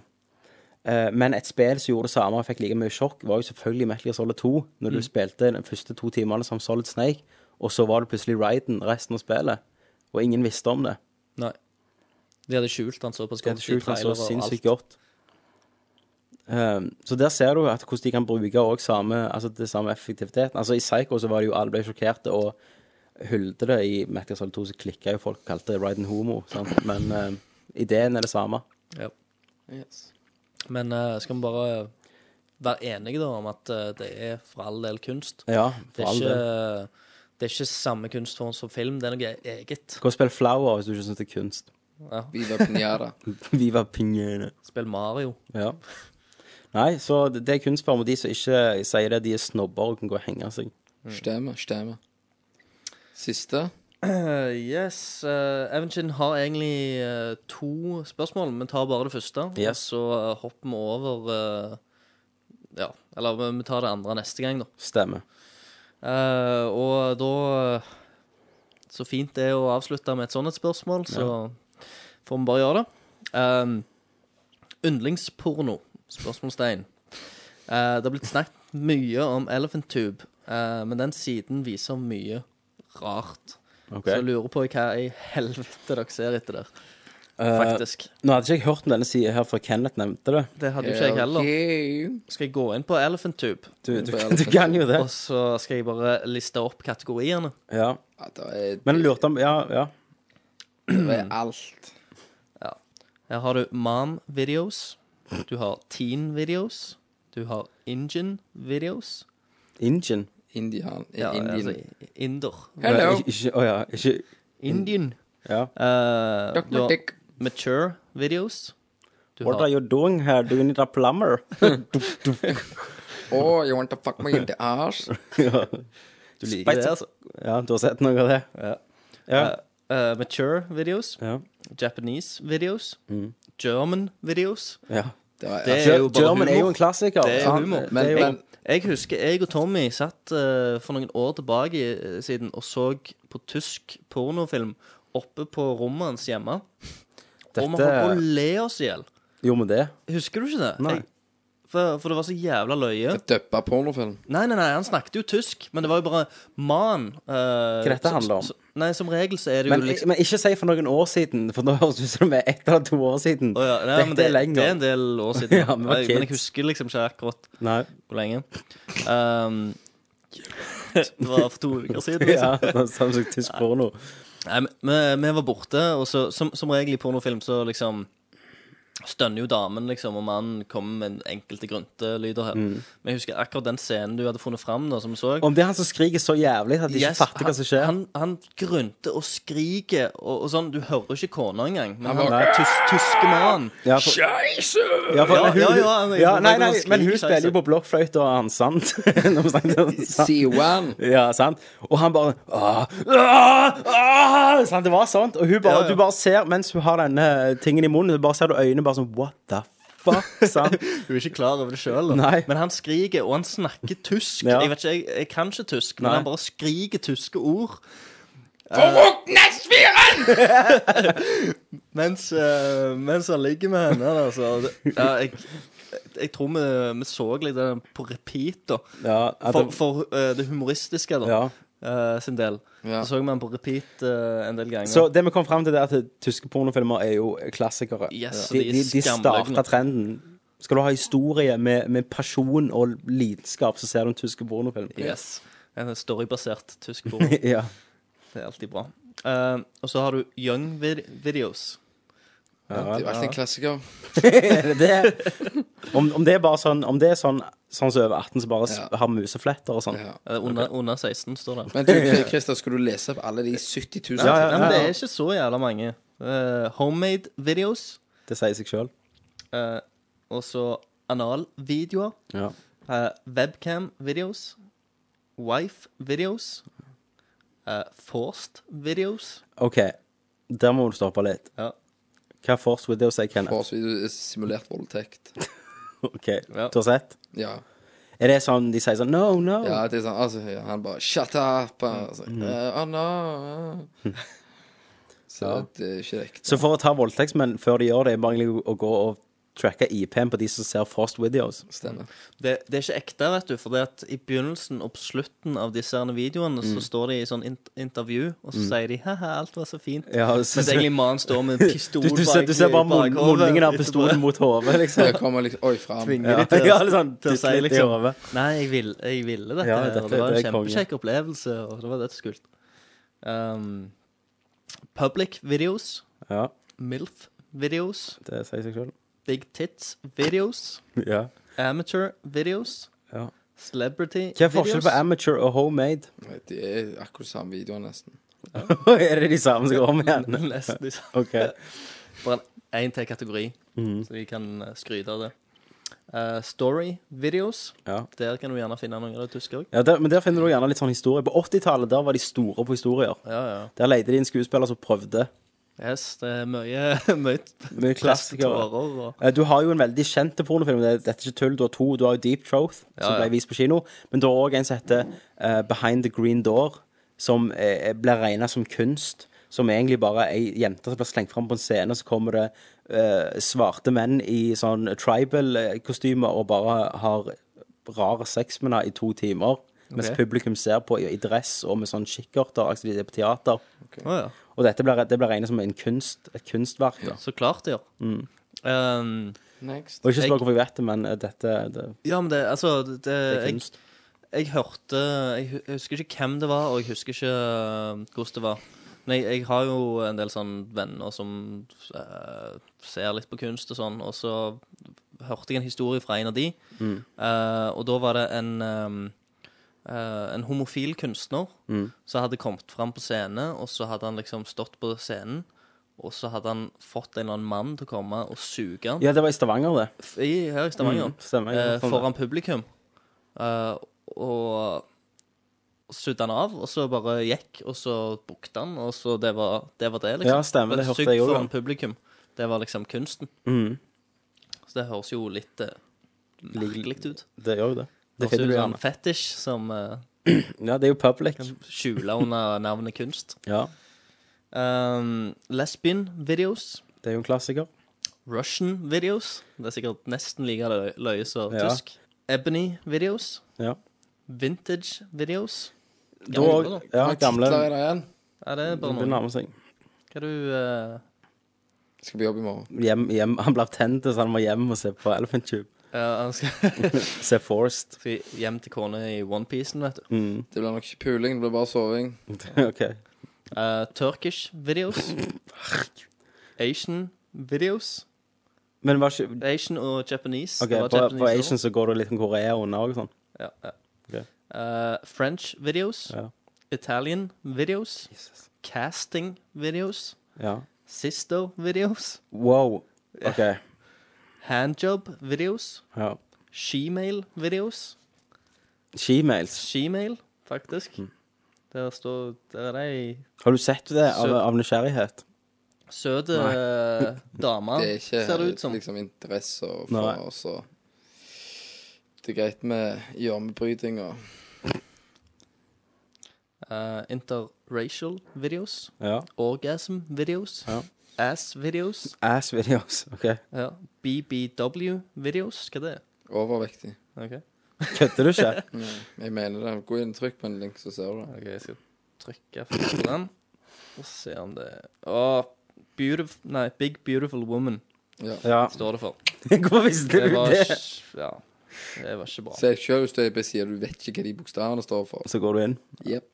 S9: Eh, men et spill som gjorde det samme og fikk like mye sjokk, var jo selvfølgelig Metal Gear Solid 2. Når du
S10: Mm.
S9: spilte de første to timene som Solid Snake, og så var det plutselig Ryden resten av spillet. Og ingen visste om det.
S10: Nei. De hadde skjult han såpass
S9: Det er
S10: godt. i
S9: skjult han
S10: trailer
S9: så
S10: og
S9: sinnssykt
S10: alt.
S9: godt. Ehm, så der ser du at hvordan de kan bruke også samme, altså det samme effektiviteten. Altså I Psycho så var det jo alle ble sjokkerte og hylte det. I Metal Gear Solid 2 så klikka jo folk og kalte det Ryden Homo. Sant? Men ehm, ideen er det samme.
S10: Ja. Men eh, skal vi bare være enige da om at eh, det er for all del kunst?
S9: Ja,
S10: det
S9: for
S10: er
S9: all
S10: ikke, eh,
S9: del.
S10: Det er ikke samme kunstform som film, det er noe e-, eget.
S9: Gå og spill Flower hvis du ikke syns det er kunst.
S10: Ja.
S8: Viva Pinata.
S9: Viva Pinjera.
S10: Spill Mario.
S9: Ja. Nei, så det det er kunstform, og de som ikke sier det, de er snobber og kan gå og henge seg.
S8: Stemmer, stemmer. Siste.
S10: Eh, yes. eh, Evenkin har egentlig eh, to spørsmål, men tar bare det første.
S9: Yes.
S10: Så eh, hopper vi over eh, ja, Eller vi- vi tar det andre neste gang, da.
S9: Stemmer.
S10: Eh, og da Så fint det er å avslutte med et sannhetsspørsmål, så får vi bare gjøre det. Um, yndlingsporno? Spørsmålstegn. Eh, det har blitt snakket mye om Elephant Tube, eh, men den siden viser mye rart.
S9: Ok.
S10: Så jeg lurer på hva i helvete dere ser etter der.
S9: Eh,
S10: Faktisk.
S9: Nå hadde ikke jeg hørt om denne sida her før Kenneth nevnte det.
S10: Det hadde jo ikke jeg heller. Skal jeg gå inn på Elephant Tube?
S9: Du, du, du kan jo det.
S10: Og så skal jeg bare liste opp kategoriene.
S9: Ja. Men jeg lurte om Ja, ja.
S8: Det er alt.
S10: Ja. Her Eh, har du mom-videos. Du har teen-videos. Du har Indian-videos.
S9: Ingen?
S8: Indian.
S10: Ja,
S8: Indian.
S10: altså inder.
S9: Ja, Ikke, å ja, ikke
S10: Indian.
S9: Ja.
S10: Eh,
S9: Dr.
S10: du har
S9: Dick.
S10: mature videos. Du
S9: What
S10: har
S9: are you doing here? Do you need a plumber?
S8: Oh, you want to fuck me in the ass?
S9: ja. Du
S10: liker det, altså.
S9: Ja, du har sett noe av det?
S10: Ja.
S9: Ja.
S10: Eh, eh, mature videos. Japanese videos. German videos.
S9: Ja.
S10: Det
S9: altså,
S10: er jo bare
S9: German er jo
S10: humor.
S9: en klassiker.
S10: Det er
S9: Han-
S10: humor.
S9: det er jo-
S10: jeg, jeg husker jeg og Tommy satt eh, for noen år tilbake i- siden og så på tysk pornofilm oppe på rommet hans hjemme. Og vi
S9: Dette-
S10: holdt på å le oss i hjel.
S9: Jo, men det.
S10: Husker du ikke det?
S9: Nei.
S10: Jeg, for, for det var så jævla løye.
S8: Døppa pornofilm.
S10: Nei, nei, nei, han snakket jo tysk, men det var jo bare man. eh,
S9: Hva dette
S10: så-
S9: handler om?
S10: så- Nei, som regel så er det jo
S9: Men,
S10: liksom
S9: men ikke si for noen år siden, for nå høres det ut som det er ett eller to år siden.
S10: Å ja, nei, men
S9: eh, Dette
S10: det,
S9: er lenger.
S10: Det er en del år siden.
S9: Ja, vi var
S10: jeg, men jeg
S9: kids.
S10: husker liksom ikke akkurat
S9: Nei.
S10: hvor lenge. Ehm, det var for to uker siden.
S9: ja,
S10: liksom.
S9: det er samme som tysk porno.
S10: Nei, men- vi, vi var borte, og så, som, som regel i pornofilm så liksom stønner jo damen, liksom, og mannen kommer med en enkelte gruntelyder her.
S9: Mm.
S10: Men jeg husker akkurat den scenen du hadde funnet fram, da, som vi så.
S9: Om det er han som skriker så jævlig at de ikke
S10: Yes,
S9: fatter hva som skjer?
S10: Han, han grynter og skriker og, og sånn. Du hører ikke kona engang, men
S9: Han
S10: han,
S9: bare-
S10: er tys, tyske mann.
S9: Ja, for- Ja, for,
S10: ja, ja,
S9: hun, hun-
S10: han-
S9: ja,
S10: han
S9: nei, nei,
S10: skriker, altså.
S9: men hun
S10: sa
S9: spiller
S10: jeg.
S9: jo på blokkfløyte og han, sant? Når vi snakker om- sant?
S8: Siwan.
S9: Ja, sant? Og han bare ah, ah, ah, sant? Det var sånt. Og hun bare,
S10: Ja, ja.
S9: du bare ser, mens hun har denne tingen i munnen, du bare ser du øynene bare sånn What the fuck? sant?
S10: Du er ikke klar over det sjøl,
S9: Nei.
S10: men han skriker, og han snakker tysk.
S9: Ja.
S10: Jeg vet ikke, jeg, jeg kan ikke tysk, men
S9: Nei.
S10: han bare skriker tyske ord. Eh, Mens, eh, mens han ligger med henne, da, så det- ja, jeg, jeg tror vi, vi så litt av den på repeat, da.
S9: Ja, at
S10: for
S9: det-
S10: for eh, det humoristiske, da.
S9: Ja.
S10: eh, sin del. Så så vi han på repeat eh, en del ganger.
S9: Så det vi kom fram til, det er at tyske pornofilmer er jo klassikere.
S10: Yes, og
S9: de
S10: de er
S9: de, de
S10: skamløgne.
S9: starta trenden. Skal du ha historie med, med pasjon og lidenskap, så ser du en tysk pornofilm.
S10: yes. En storybasert tysk porno.
S9: Ja.
S10: Det er alltid bra. Eh, og så har du young vid videos.
S9: Ja, det er alltid en
S8: klassiker.
S9: Er det det? Om, om det er bare sånn Om det er sånn sånn som over 18 som bare s- har musefletter og sånn.
S10: Eh, Under, under 16 står det.
S8: Men du, Christer, skulle du lese opp alle de 70 000?
S10: Ja, Men det er ikke så jævla mange. Eh, homemade videos.
S9: Det sier seg sjøl.
S10: Eh, og så analvideoer.
S9: Ja.
S10: Eh, Webcam-videos. Wife-videos. eh, forced-videos.
S9: OK, der må du stoppe litt.
S10: Ja.
S9: Hva er Force Videos jeg kjenner?
S8: Forholdsvis simulert voldtekt.
S9: OK, du har sett?
S8: Ja.
S9: Er det sånn de sier sånn No, no.
S8: ja, det er sånn, altså, ja, han bare Shut up! Altså, eh, oh, no. eh. Så det er ikke riktig.
S9: Så for å ta voldtektsmenn før de gjør det, er bare egentlig å gå og tracke IP-en på de som ser Forced Videos.
S8: Stemmer.
S10: Det, det er ikke ekte, vet du. For det at i begynnelsen og på slutten av disse herne videoene så
S9: Mm.
S10: står de i sånn int intervju, og så
S9: Mm.
S10: sier de ha-ha, alt var så fint.
S9: Ja,
S10: Mens
S9: så-
S10: egentlig mannen står med en pistol
S9: Du- du ser- du ser bare mun-
S10: bakhovet
S9: munningen av
S10: etterpå.
S9: pistolen mot hodet, liksom.
S8: Det kommer liksom Oi, fram.
S10: Tvinger
S9: Ja.
S10: de til,
S9: Ja, litt sånn
S10: til å si
S9: dytt litt i
S10: liksom
S9: hodet.
S10: Nei, jeg, vil, jeg ville dette.
S9: Ja,
S10: her,
S9: dette-
S10: og det var en
S9: det er konge.
S10: kjempekjekk opplevelse, og det var dødskult. Um, public videos.
S9: Ja.
S10: MILF videos.
S9: Det sier seg sjøl.
S10: Big tits videos.
S9: Ja.
S10: Amateur videos.
S9: Ja.
S10: Celebrity
S9: Hva er forskjellen på
S10: videos.
S9: amateur og homemade?
S8: Det er akkurat samme video, nesten.
S9: er det de samme som går om igjen?
S10: Nesten de samme.
S9: Ok.
S10: Bare én til kategori,
S9: Mhm.
S10: så vi kan eh, skryte av det. Eh, story videos.
S9: Ja.
S10: Der kan du gjerne finne noen av det tyske òg.
S9: Ja, der, men der finner du gjerne litt sånn historie. På 80-tallet der var de store på historier.
S10: Ja, ja.
S9: Der leide de inn skuespiller som prøvde.
S10: Yes, det er mye, mye,
S9: Mye klassikere.
S10: tårer og-
S9: Eh, Du har jo en veldig kjent pornofilm. det- Dette er ikke tull. Du har to. Du har jo Deep Troth, som
S10: Ja, ja.
S9: ble vist på kino. Men du har òg en som heter eh, Behind the Green Door, som eh, blir regna som kunst. Som egentlig bare er ei jente som blir slengt fram på en scene, så kommer det eh, svarte menn i sånn tribal-kostymer og bare har rar sex med henne i to timer. Mens
S10: Ok.
S9: publikum ser på i, i dress og med sånn kikkerter, altså de er på teater.
S10: Å, ja.
S9: Og dette blir, det blir regnet som en kunst, et kunstverk. Da.
S10: Så klart, ja.
S9: Mm.
S10: Um, Next.
S9: Og ikke spør hvorfor jeg vet det, men eh, dette det,
S10: Ja, men det, altså det,
S9: er
S10: jeg,
S9: kunst.
S10: jeg hørte jeg, hu- jeg husker ikke hvem det var, og jeg husker ikke øh, hvordan det var. Men jeg, jeg har jo en del sånn venner som øh, ser litt på kunst og sånn, og så hørte jeg en historie fra en av de.
S12: Mm.
S10: Eh, og da var det en ehm, eh, en homofil kunstner
S12: Mm.
S10: som hadde kommet fram på scene, og så hadde han liksom stått på scenen, og så hadde han fått en eller annen mann til å komme og suge han
S9: Ja, det var i Stavanger, det.
S10: f- i, her i Stavanger.
S9: Mm, stemmer, jeg
S10: eh,
S9: har fått
S10: foran publikum. Eh, og sudde han av, og så bare gikk, og så bukte han, og så det var det, var det liksom.
S9: Ja, stemmer, det
S10: Bare
S9: hørte
S10: sugd
S9: jeg også,
S10: foran
S9: ja.
S10: publikum. Det var liksom kunsten.
S9: Mhm.
S10: Så det høres jo litt eh, merkelig ut.
S9: Det gjør jo det. Det
S10: høres
S9: sånn. finner
S10: ut som
S9: du gjerne.
S10: en fetisj som eh,
S9: Ja, det er jo public.
S10: kan skjule under navnet kunst.
S9: Ja.
S10: Um, lesbian videos.
S9: Det er jo en klassiker.
S10: Russian videos. Det er sikkert nesten like lø- løye som
S9: Ja.
S10: tysk. Ebony videos.
S9: Ja.
S10: Vintage videos.
S9: Da- ja, Hvor mange gamle- titler er det
S10: igjen? Er det bare
S9: Det nærmer
S10: noen?
S9: seg.
S10: Hva du eh,
S9: Skal på jobb i morgen. Hjem, hjem. Han blir tent, så han må hjem og se på Elephant Tube.
S10: ja, han skal
S9: se Forced.
S10: Skal hjem til kona i onepiecen, vet du.
S9: Mm.
S8: Det blir nok ikke puling, det blir bare soving.
S9: OK.
S10: Eh, Turkish videos. Asian videos.
S9: Men var ikke
S10: Asian og Japanese.
S9: Ok,
S10: Det var
S9: på,
S10: Japanese
S9: på
S10: også.
S9: Asian så går det litt om Korea under og sånn.
S10: Ja, ja.
S9: Ok.
S10: Eh, French videos.
S9: Ja.
S10: Italian videos. Casting videos.
S9: Ja.
S10: Sisto videos.
S9: Wow. OK.
S10: Handjob videos.
S9: Ja.
S10: Shemale videos.
S9: Shemales.
S10: Shemale, faktisk.
S9: Mm.
S10: Der står Der er ei
S9: Har du sett det av,
S10: Sø-
S9: av nysgjerrighet?
S10: søt
S8: Nei.
S10: eh, dame,
S8: Det er ikke
S10: ser det ut som.
S8: liksom interesse og
S9: Nei.
S8: for oss og Det er greit med hjørnebryting og
S10: Eh, interracial videos.
S9: Ja.
S10: Orgasm videos.
S9: Ja.
S10: Ass videos.
S9: Ass videos. OK.
S10: Ja. BBW videos. Hva det er
S8: overvektig.
S10: Ok.
S9: Kødder du ikke?
S8: Nei, jeg mener det. Gå inn, trykk på en link, så ser du det.
S10: Ok, jeg skal trykke først på den. Og se om det Åh, beautiful, Nei, Big Beautiful Woman
S8: Ja.
S9: Ja.
S10: står det for.
S9: Hvorfor visste du
S10: var
S9: det?
S10: ikke- Ja, det var ikke bra.
S8: Se selv hvis du er på sida, du vet ikke hva de bokstavene står for.
S9: Så går du inn.
S8: Jepp.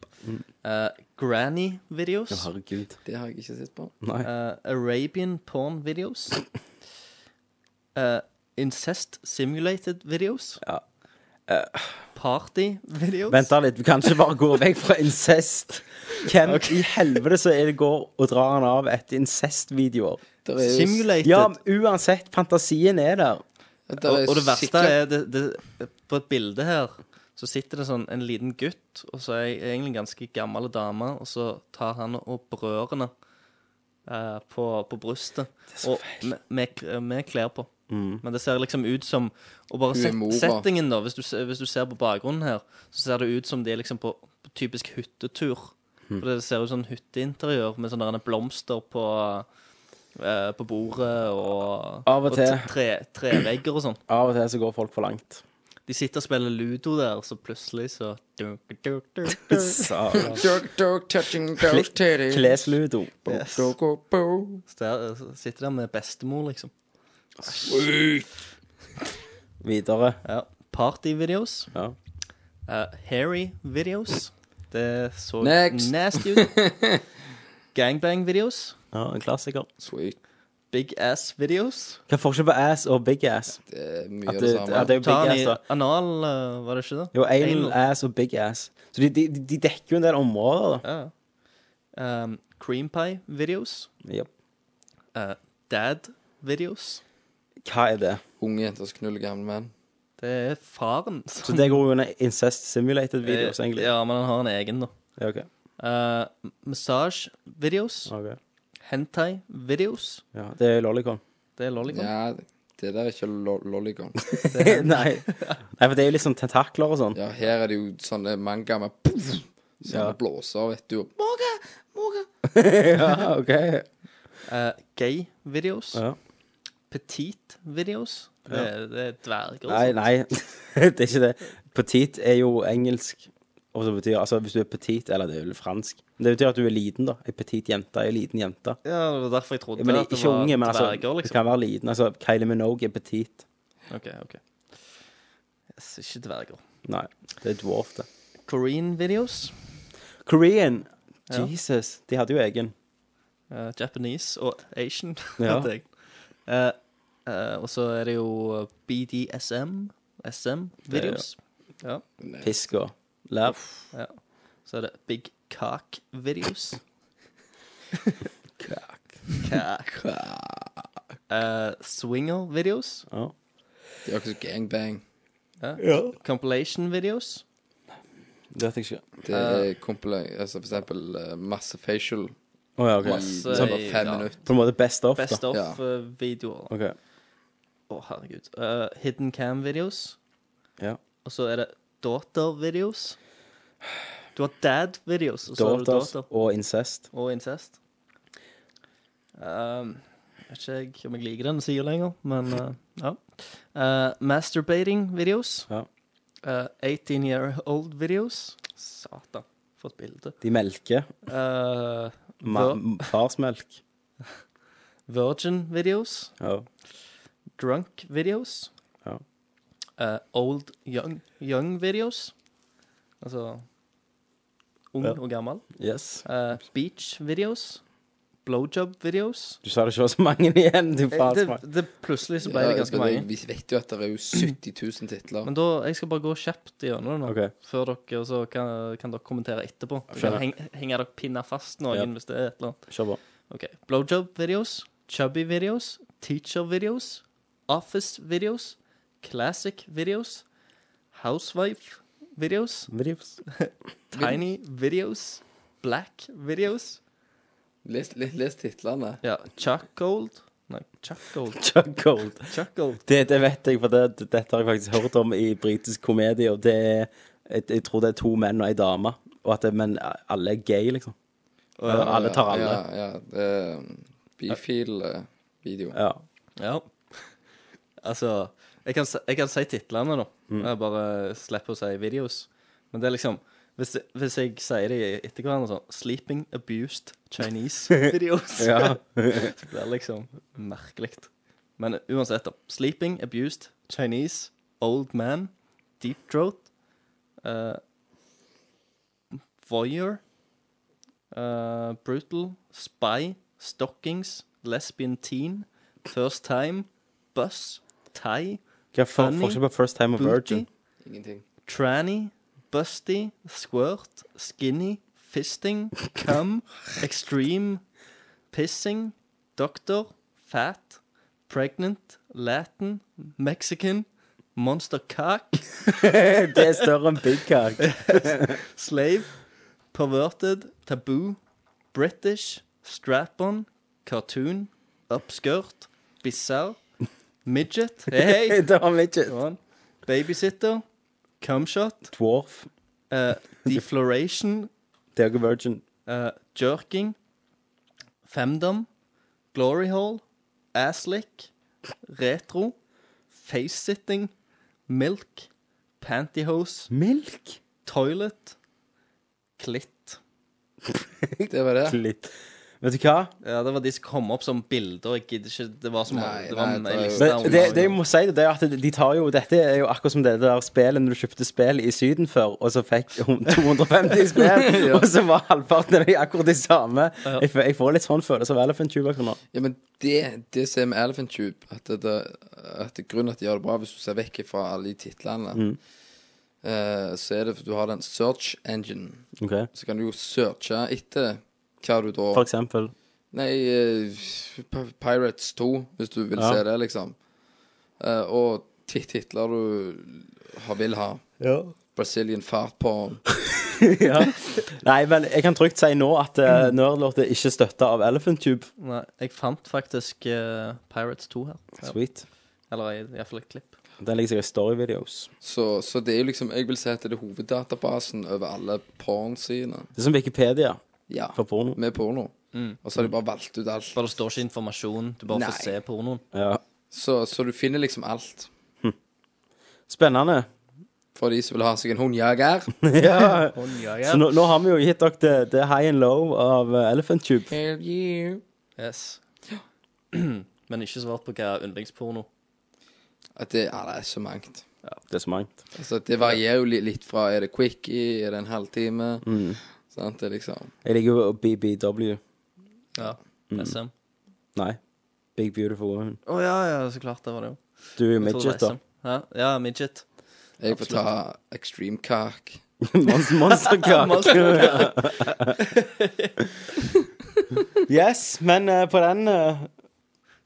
S10: Eh, granny videos.
S9: Å, herregud.
S8: Det har jeg ikke sett på.
S9: Nei.
S10: eh, Arabian porn videos. eh, incest simulated videos.
S9: Ja. Uh,
S10: Party videos.
S9: Vent da litt, vi kan ikke bare gå vekk fra incest. Hvem i helvete så er det går og drar han av etter incest-videoer?
S8: Der er jo-
S10: Simulated.
S9: Ja, men uansett, fantasien er der.
S8: Der
S10: og,
S8: er
S10: og det verste
S8: sikkert-
S10: er det, det, På et bilde her så sitter det sånn en liten gutt, og så er jeg egentlig en ganske gammel dame, og så tar han og berører henne eh, på, på brystet. Og med, med, kl- med klær på.
S9: Mm.
S10: Men det ser liksom ut som Og bare
S8: Hun er
S10: set,
S8: mora.
S10: settingen, da. Hvis du, se- hvis du ser på bakgrunnen her, så ser det ut som de er liksom på, på typisk hyttetur.
S9: Mm.
S10: For det ser ut som hytteinteriør med sånne der blomster på eh, på bordet og,
S9: Av og til.
S10: tre, trevegger og sånn.
S9: Av og til så går folk for langt.
S10: De sitter og spiller ludo der, så plutselig så dunk, dunk, dunk, dunk.
S9: Sa-
S8: Dog, dog, touching
S9: Kle-
S8: dog, titties.
S9: Klesludo.
S10: Yes.
S8: Go, go, bo.
S10: Så der, eh, så sitter der med bestemor, liksom.
S9: Videre.
S10: Ja. Partyvideos.
S9: Ja.
S10: Eh, hairy videos. Det så
S8: Next.
S10: nasty ut. Gangbang-videos.
S9: ja, en klassiker.
S8: Sweet.
S10: Big ass-videos.
S9: Hva er forskjellen på ass og big ass?
S8: Det er mye
S9: At
S8: av
S9: det-
S8: det samme.
S9: at det- er jo
S10: Ta
S9: big
S10: den i
S9: ass, da.
S10: Anal, eh, var det ikke det?
S9: Jo, anal
S10: Anal.
S9: ass og big ass. Så de, de, de dekker jo en del områder, da.
S10: Ja. Um, cream pie-videos.
S9: Jep.
S10: Eh, Dad-videos.
S9: Hva er det?
S8: Unge jenter som knuller gamle menn.
S10: Det er faren som
S9: Så det går jo under incest simulated videos,
S10: Eh,
S9: egentlig.
S10: Ja, men han har en egen, da.
S9: Ja, ok.
S10: Uh, Massasjevideos.
S9: Ok.
S10: Hentai-videos.
S9: Ja, det er Lollicon.
S10: Det er Lollicon.
S8: Ja, det der er ikke lo lollicon.
S9: Nei. Nei, for det er jo litt sånn tentakler og sånn.
S8: Ja, her er det jo sånne manga med puff,
S9: Ja.
S8: sånne blåser, vet du. og-
S10: Måke! Måke!
S9: ja, OK.
S10: Eh, Gay-videos.
S9: Ja.
S10: Petit-videos. Det, det er dverger. liksom.
S9: Nei, nei, det er ikke det. Petit er jo engelsk. Og så betyr, altså Hvis du er petit, eller det er vel fransk Det betyr at du er liten, da. Ei petit jente er ei liten jente.
S10: Ja, det var derfor jeg trodde
S9: Ja, men
S10: at det
S9: ikke
S10: var
S9: unge, men altså,
S10: dverger,
S9: du
S10: liksom.
S9: kan være liten. Altså, Kylie Minogue er petit.
S10: OK, OK. Yes, ikke dverger.
S9: Nei, det er dwarf, det.
S10: Korean-videos.
S9: Korean!
S10: Ja.
S9: Jesus, de hadde jo egen.
S10: eh, Japanese og Asian.
S9: Ja.
S10: hadde jeg. Eh, eh, og så er det jo BDSM. SM-videos. Ja.
S9: Fisk og lær.
S10: ja. Så er det Big Cock-videos. Cock. Eh, Swinger-videos.
S9: Ja.
S8: Det er akkurat som gangbang.
S10: Compilation-videos.
S9: Det vet jeg ikke.
S8: Det er kompla- altså for eksempel eh, masse facial.
S9: Å ja, OK.
S8: Masse
S10: Så-
S8: i fem
S10: ja.
S8: minutter.
S9: På en måte best of,
S10: Best
S9: da.
S8: Ja.
S10: of-videoer. Å,
S9: OK.
S10: herregud. Eh, hidden cam-videos.
S9: Ja.
S10: Og så er det daughter-videos. Du har dad-videos, og så har du
S9: Daughters
S10: daughter.
S9: og incest.
S10: og incest. Um, vet ikke jeg om jeg liker den sida lenger, men uh, ja. Uh, Masturbating-videos.
S9: Ja.
S10: Uh, 18 year old-videos. Satan, for et bilde.
S9: De melker.
S10: Uh,
S9: Ma
S10: vir-
S9: farsmelk.
S10: Virgin-videos.
S9: Ja.
S10: Drunk-videos.
S9: Ja.
S10: Uh, old young- young-videos. altså ung
S9: Ja.
S10: og gammel.
S9: Yes.
S10: Uh, Beach-videos. Blowjob-videos.
S9: Du sa det ikke var så mange igjen, du
S10: Eh, det,
S9: farsmelk.
S10: det, plutselig så ble det
S8: Ja,
S10: ganske
S8: men
S10: mange.
S8: Vi vet jo at det er jo 70 000 titler.
S10: Men da, jeg skal bare gå kjapt gjennom det nå,
S9: Ok.
S10: før dere, og så kan, kan dere kommentere etterpå. Så
S9: Skjønner.
S10: Heng, henger dere pinna fast noen
S9: Ja.
S10: hvis det er et eller annet.
S9: Kjør på.
S10: Ok, Blowjob-videos, chubby-videos, teacher-videos, office-videos, classic-videos, housewife-videos,
S9: Vrips.
S10: tiny-videos, black-videos,
S8: Les, les, les titlene.
S10: ja, chuck-gold, nei, chuck-gold,
S9: Chuckold.
S10: chuck-gold,
S9: Det, det vet jeg, for det, det- dette har jeg faktisk hørt om i britisk komedie, og det er jeg, jeg tror det er to menn og ei dame, og at det, men alle er gay, liksom. Eller alle tar alle.
S8: Ja, ja. Det er eh, bifil-video.
S9: Ja.
S10: Ja. Altså Jeg kan, si- jeg kan si titlene, da. Jeg bare slipper å si videos. Men det er liksom Hvis, hvis jeg sier det etter hverandre sånn Sleeping abused Chinese videos.
S9: Ja.
S10: det er liksom merkelig. Men uansett, da. Sleeping abused Chinese old man deep throat eh, voyeur eh, brutal spy stockings lesbian teen First time, bus, tie,
S9: Hva er for,
S10: Funny,
S9: forskjell på first time og virgin?
S10: booty,
S8: Ingenting.
S10: tranny, busty, squirt, skinny, fisting, cum, extreme, pissing, doctor, fat, pregnant, Latin, Mexican, monster cock,
S9: Det er større enn Big Cock.
S10: slave, perverted, taboo, British, strap-on, cartoon, upskirt, bizarre, midget, hey, hey.
S9: Det var midget.
S10: Go on. Babysitter. Cumshot.
S9: Dwarf.
S10: Uh, defloration.
S9: Det er ikke virgin.
S10: Uh, jerking. Femdom. Glory hole. Asslick. Retro. Face-sitting. Milk. Pantyhose.
S9: Milk?
S10: Toilet. Klitt.
S8: Det var det.
S9: Litt. Vet du hva?
S10: Ja, det var de som kom opp som bilder. Jeg gidder ikke Det var så mange.
S8: Nei,
S10: Det var
S8: nei,
S10: en
S8: det er jo-
S10: liste
S9: Men
S10: over
S9: det,
S10: mange.
S9: det jeg må si, det er at de tar jo Dette er jo akkurat som det der spillet når du kjøpte spill i Syden før, og så fikk hun 250 spill, og så var halvparten av de akkurat de samme. Jeg, f- jeg får litt sånn følelse av Elephant Tube akkurat nå.
S8: Ja, men det, det som er med Elephant Tube, at det, det, at det grunnen at de gjør det bra, hvis du ser vekk fra alle de titlene, eh, så er det for du har den search engine. Så kan du jo searche etter hva du da
S9: For eksempel.
S8: Nei, eh, P- Pirates 2, hvis du vil
S9: Ja.
S8: se det, liksom. Eh, og ti- titler du har, vil ha. Brazilian fart porn.
S9: ja. Nei, men jeg kan trygt si nå at uh, Nerdlord er ikke støtta av Elephant Tube.
S10: Nei, jeg fant faktisk eh, Pirates 2 her. Ja.
S9: Sweet.
S10: Eller iallfall et klipp.
S9: Den ligger sikkert i storyvideos.
S8: Så, så det er jo liksom Jeg vil si at det er hoveddatabasen over alle pornsidene.
S9: Det er som Wikipedia
S8: Ja.
S9: for porno.
S8: Med porno.
S10: Mm.
S8: Og så har de bare valgt ut alt.
S10: For det står ikke informasjon. Du bare
S8: Nei.
S10: får se pornoen.
S9: Ja.
S8: Så, så du finner liksom alt.
S9: Spennende.
S8: For de som vil ha seg en hundjeger.
S9: ja.
S10: Håndjager.
S9: Så nå, nå har vi jo gitt dere det, det high and low av eh, Elephant Tube.
S8: Hell yeah.
S10: Yes. Men ikke svart på hva er yndlingsporno.
S8: At det, ja, det er så mangt.
S9: Det er så mangt.
S8: Altså, det varierer jo li- litt fra er det quickie, er det en halvtime
S9: Mm.
S8: Sant, det er liksom
S9: Jeg liker jo BBW.
S10: Ja.
S9: Mm.
S10: SM.
S9: Nei. Big Beautiful Woman.
S10: Å ja, ja, så klart. Det var det jo.
S9: Du er jo
S10: Jeg trodde det
S9: midget,
S10: var
S9: da.
S10: SM. Ja, ja midget.
S8: Jeg får ta extreme cock.
S9: Monst- Monsterkake. yes, men eh, på den eh,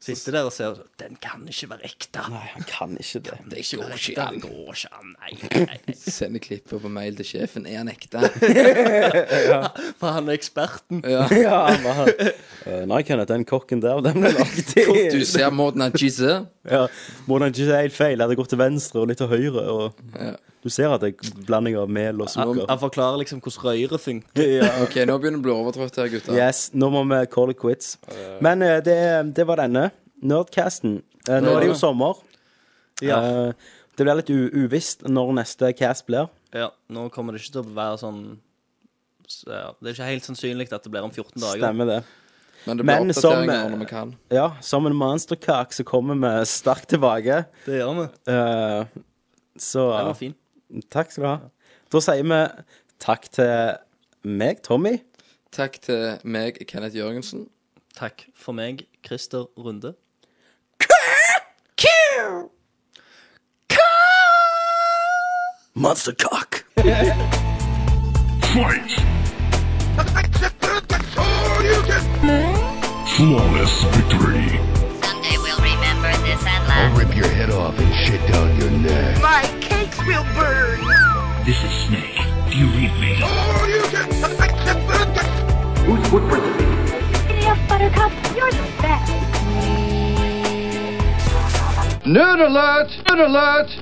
S10: Sitter der og ser Den kan ikke være ekte.
S9: Nei, han kan ikke det.
S10: Det er ikke går ikke an. Det går ikke an. Nei, nei, nei.
S8: Sender klipper på mail til sjefen. Er han ekte?
S10: For han er eksperten.
S8: Ja.
S9: Ja, han var Eh, Nei, Kenneth, den kokken der, den ble lagt i
S8: Du ser Morten Adjizze.
S9: Ja, Hvordan ikke det er helt feil. Jeg hadde gått til venstre og litt til høyre. Og
S8: Ja.
S9: du ser at det er blanding av mel og
S10: Han,
S9: sukker.
S10: han forklarer liksom hvordan røret funker.
S9: Ja.
S8: OK, nå begynner det å bli overtrøtt her, gutter.
S9: Yes, nå må vi call it quits. Men eh, det, det var denne. Nerdcasten. Eh, nå er det jo sommer.
S10: Ja.
S9: Eh, det blir litt u uvisst når neste cast blir.
S10: Ja, Nå kommer det ikke til å være sånn så, ja, Det er ikke helt sannsynlig at det blir om 14 dager.
S9: Stemmer det.
S8: Men det blir
S9: Men som,
S8: oppdateringer
S9: eh,
S8: når vi kan.
S9: Ja, som en monsterkak så kommer vi sterkt tilbake.
S10: Det gjør vi.
S9: Eh, så
S10: Den var fin.
S9: takk skal du ha. Da sier vi takk til meg, Tommy.
S8: Takk til meg, Kenneth Jørgensen.
S10: Takk for meg, Christer Runde.
S9: Monsterkak.
S3: Fight!
S2: Flawless victory.
S4: Someday we'll remember this and laugh.
S5: I'll rip your head off and shit down your neck.
S6: My cakes will burn.
S2: This is Snake. Do you read me?
S7: City of Buttercup, you're the best.
S5: Nerd alert! Nerd alert!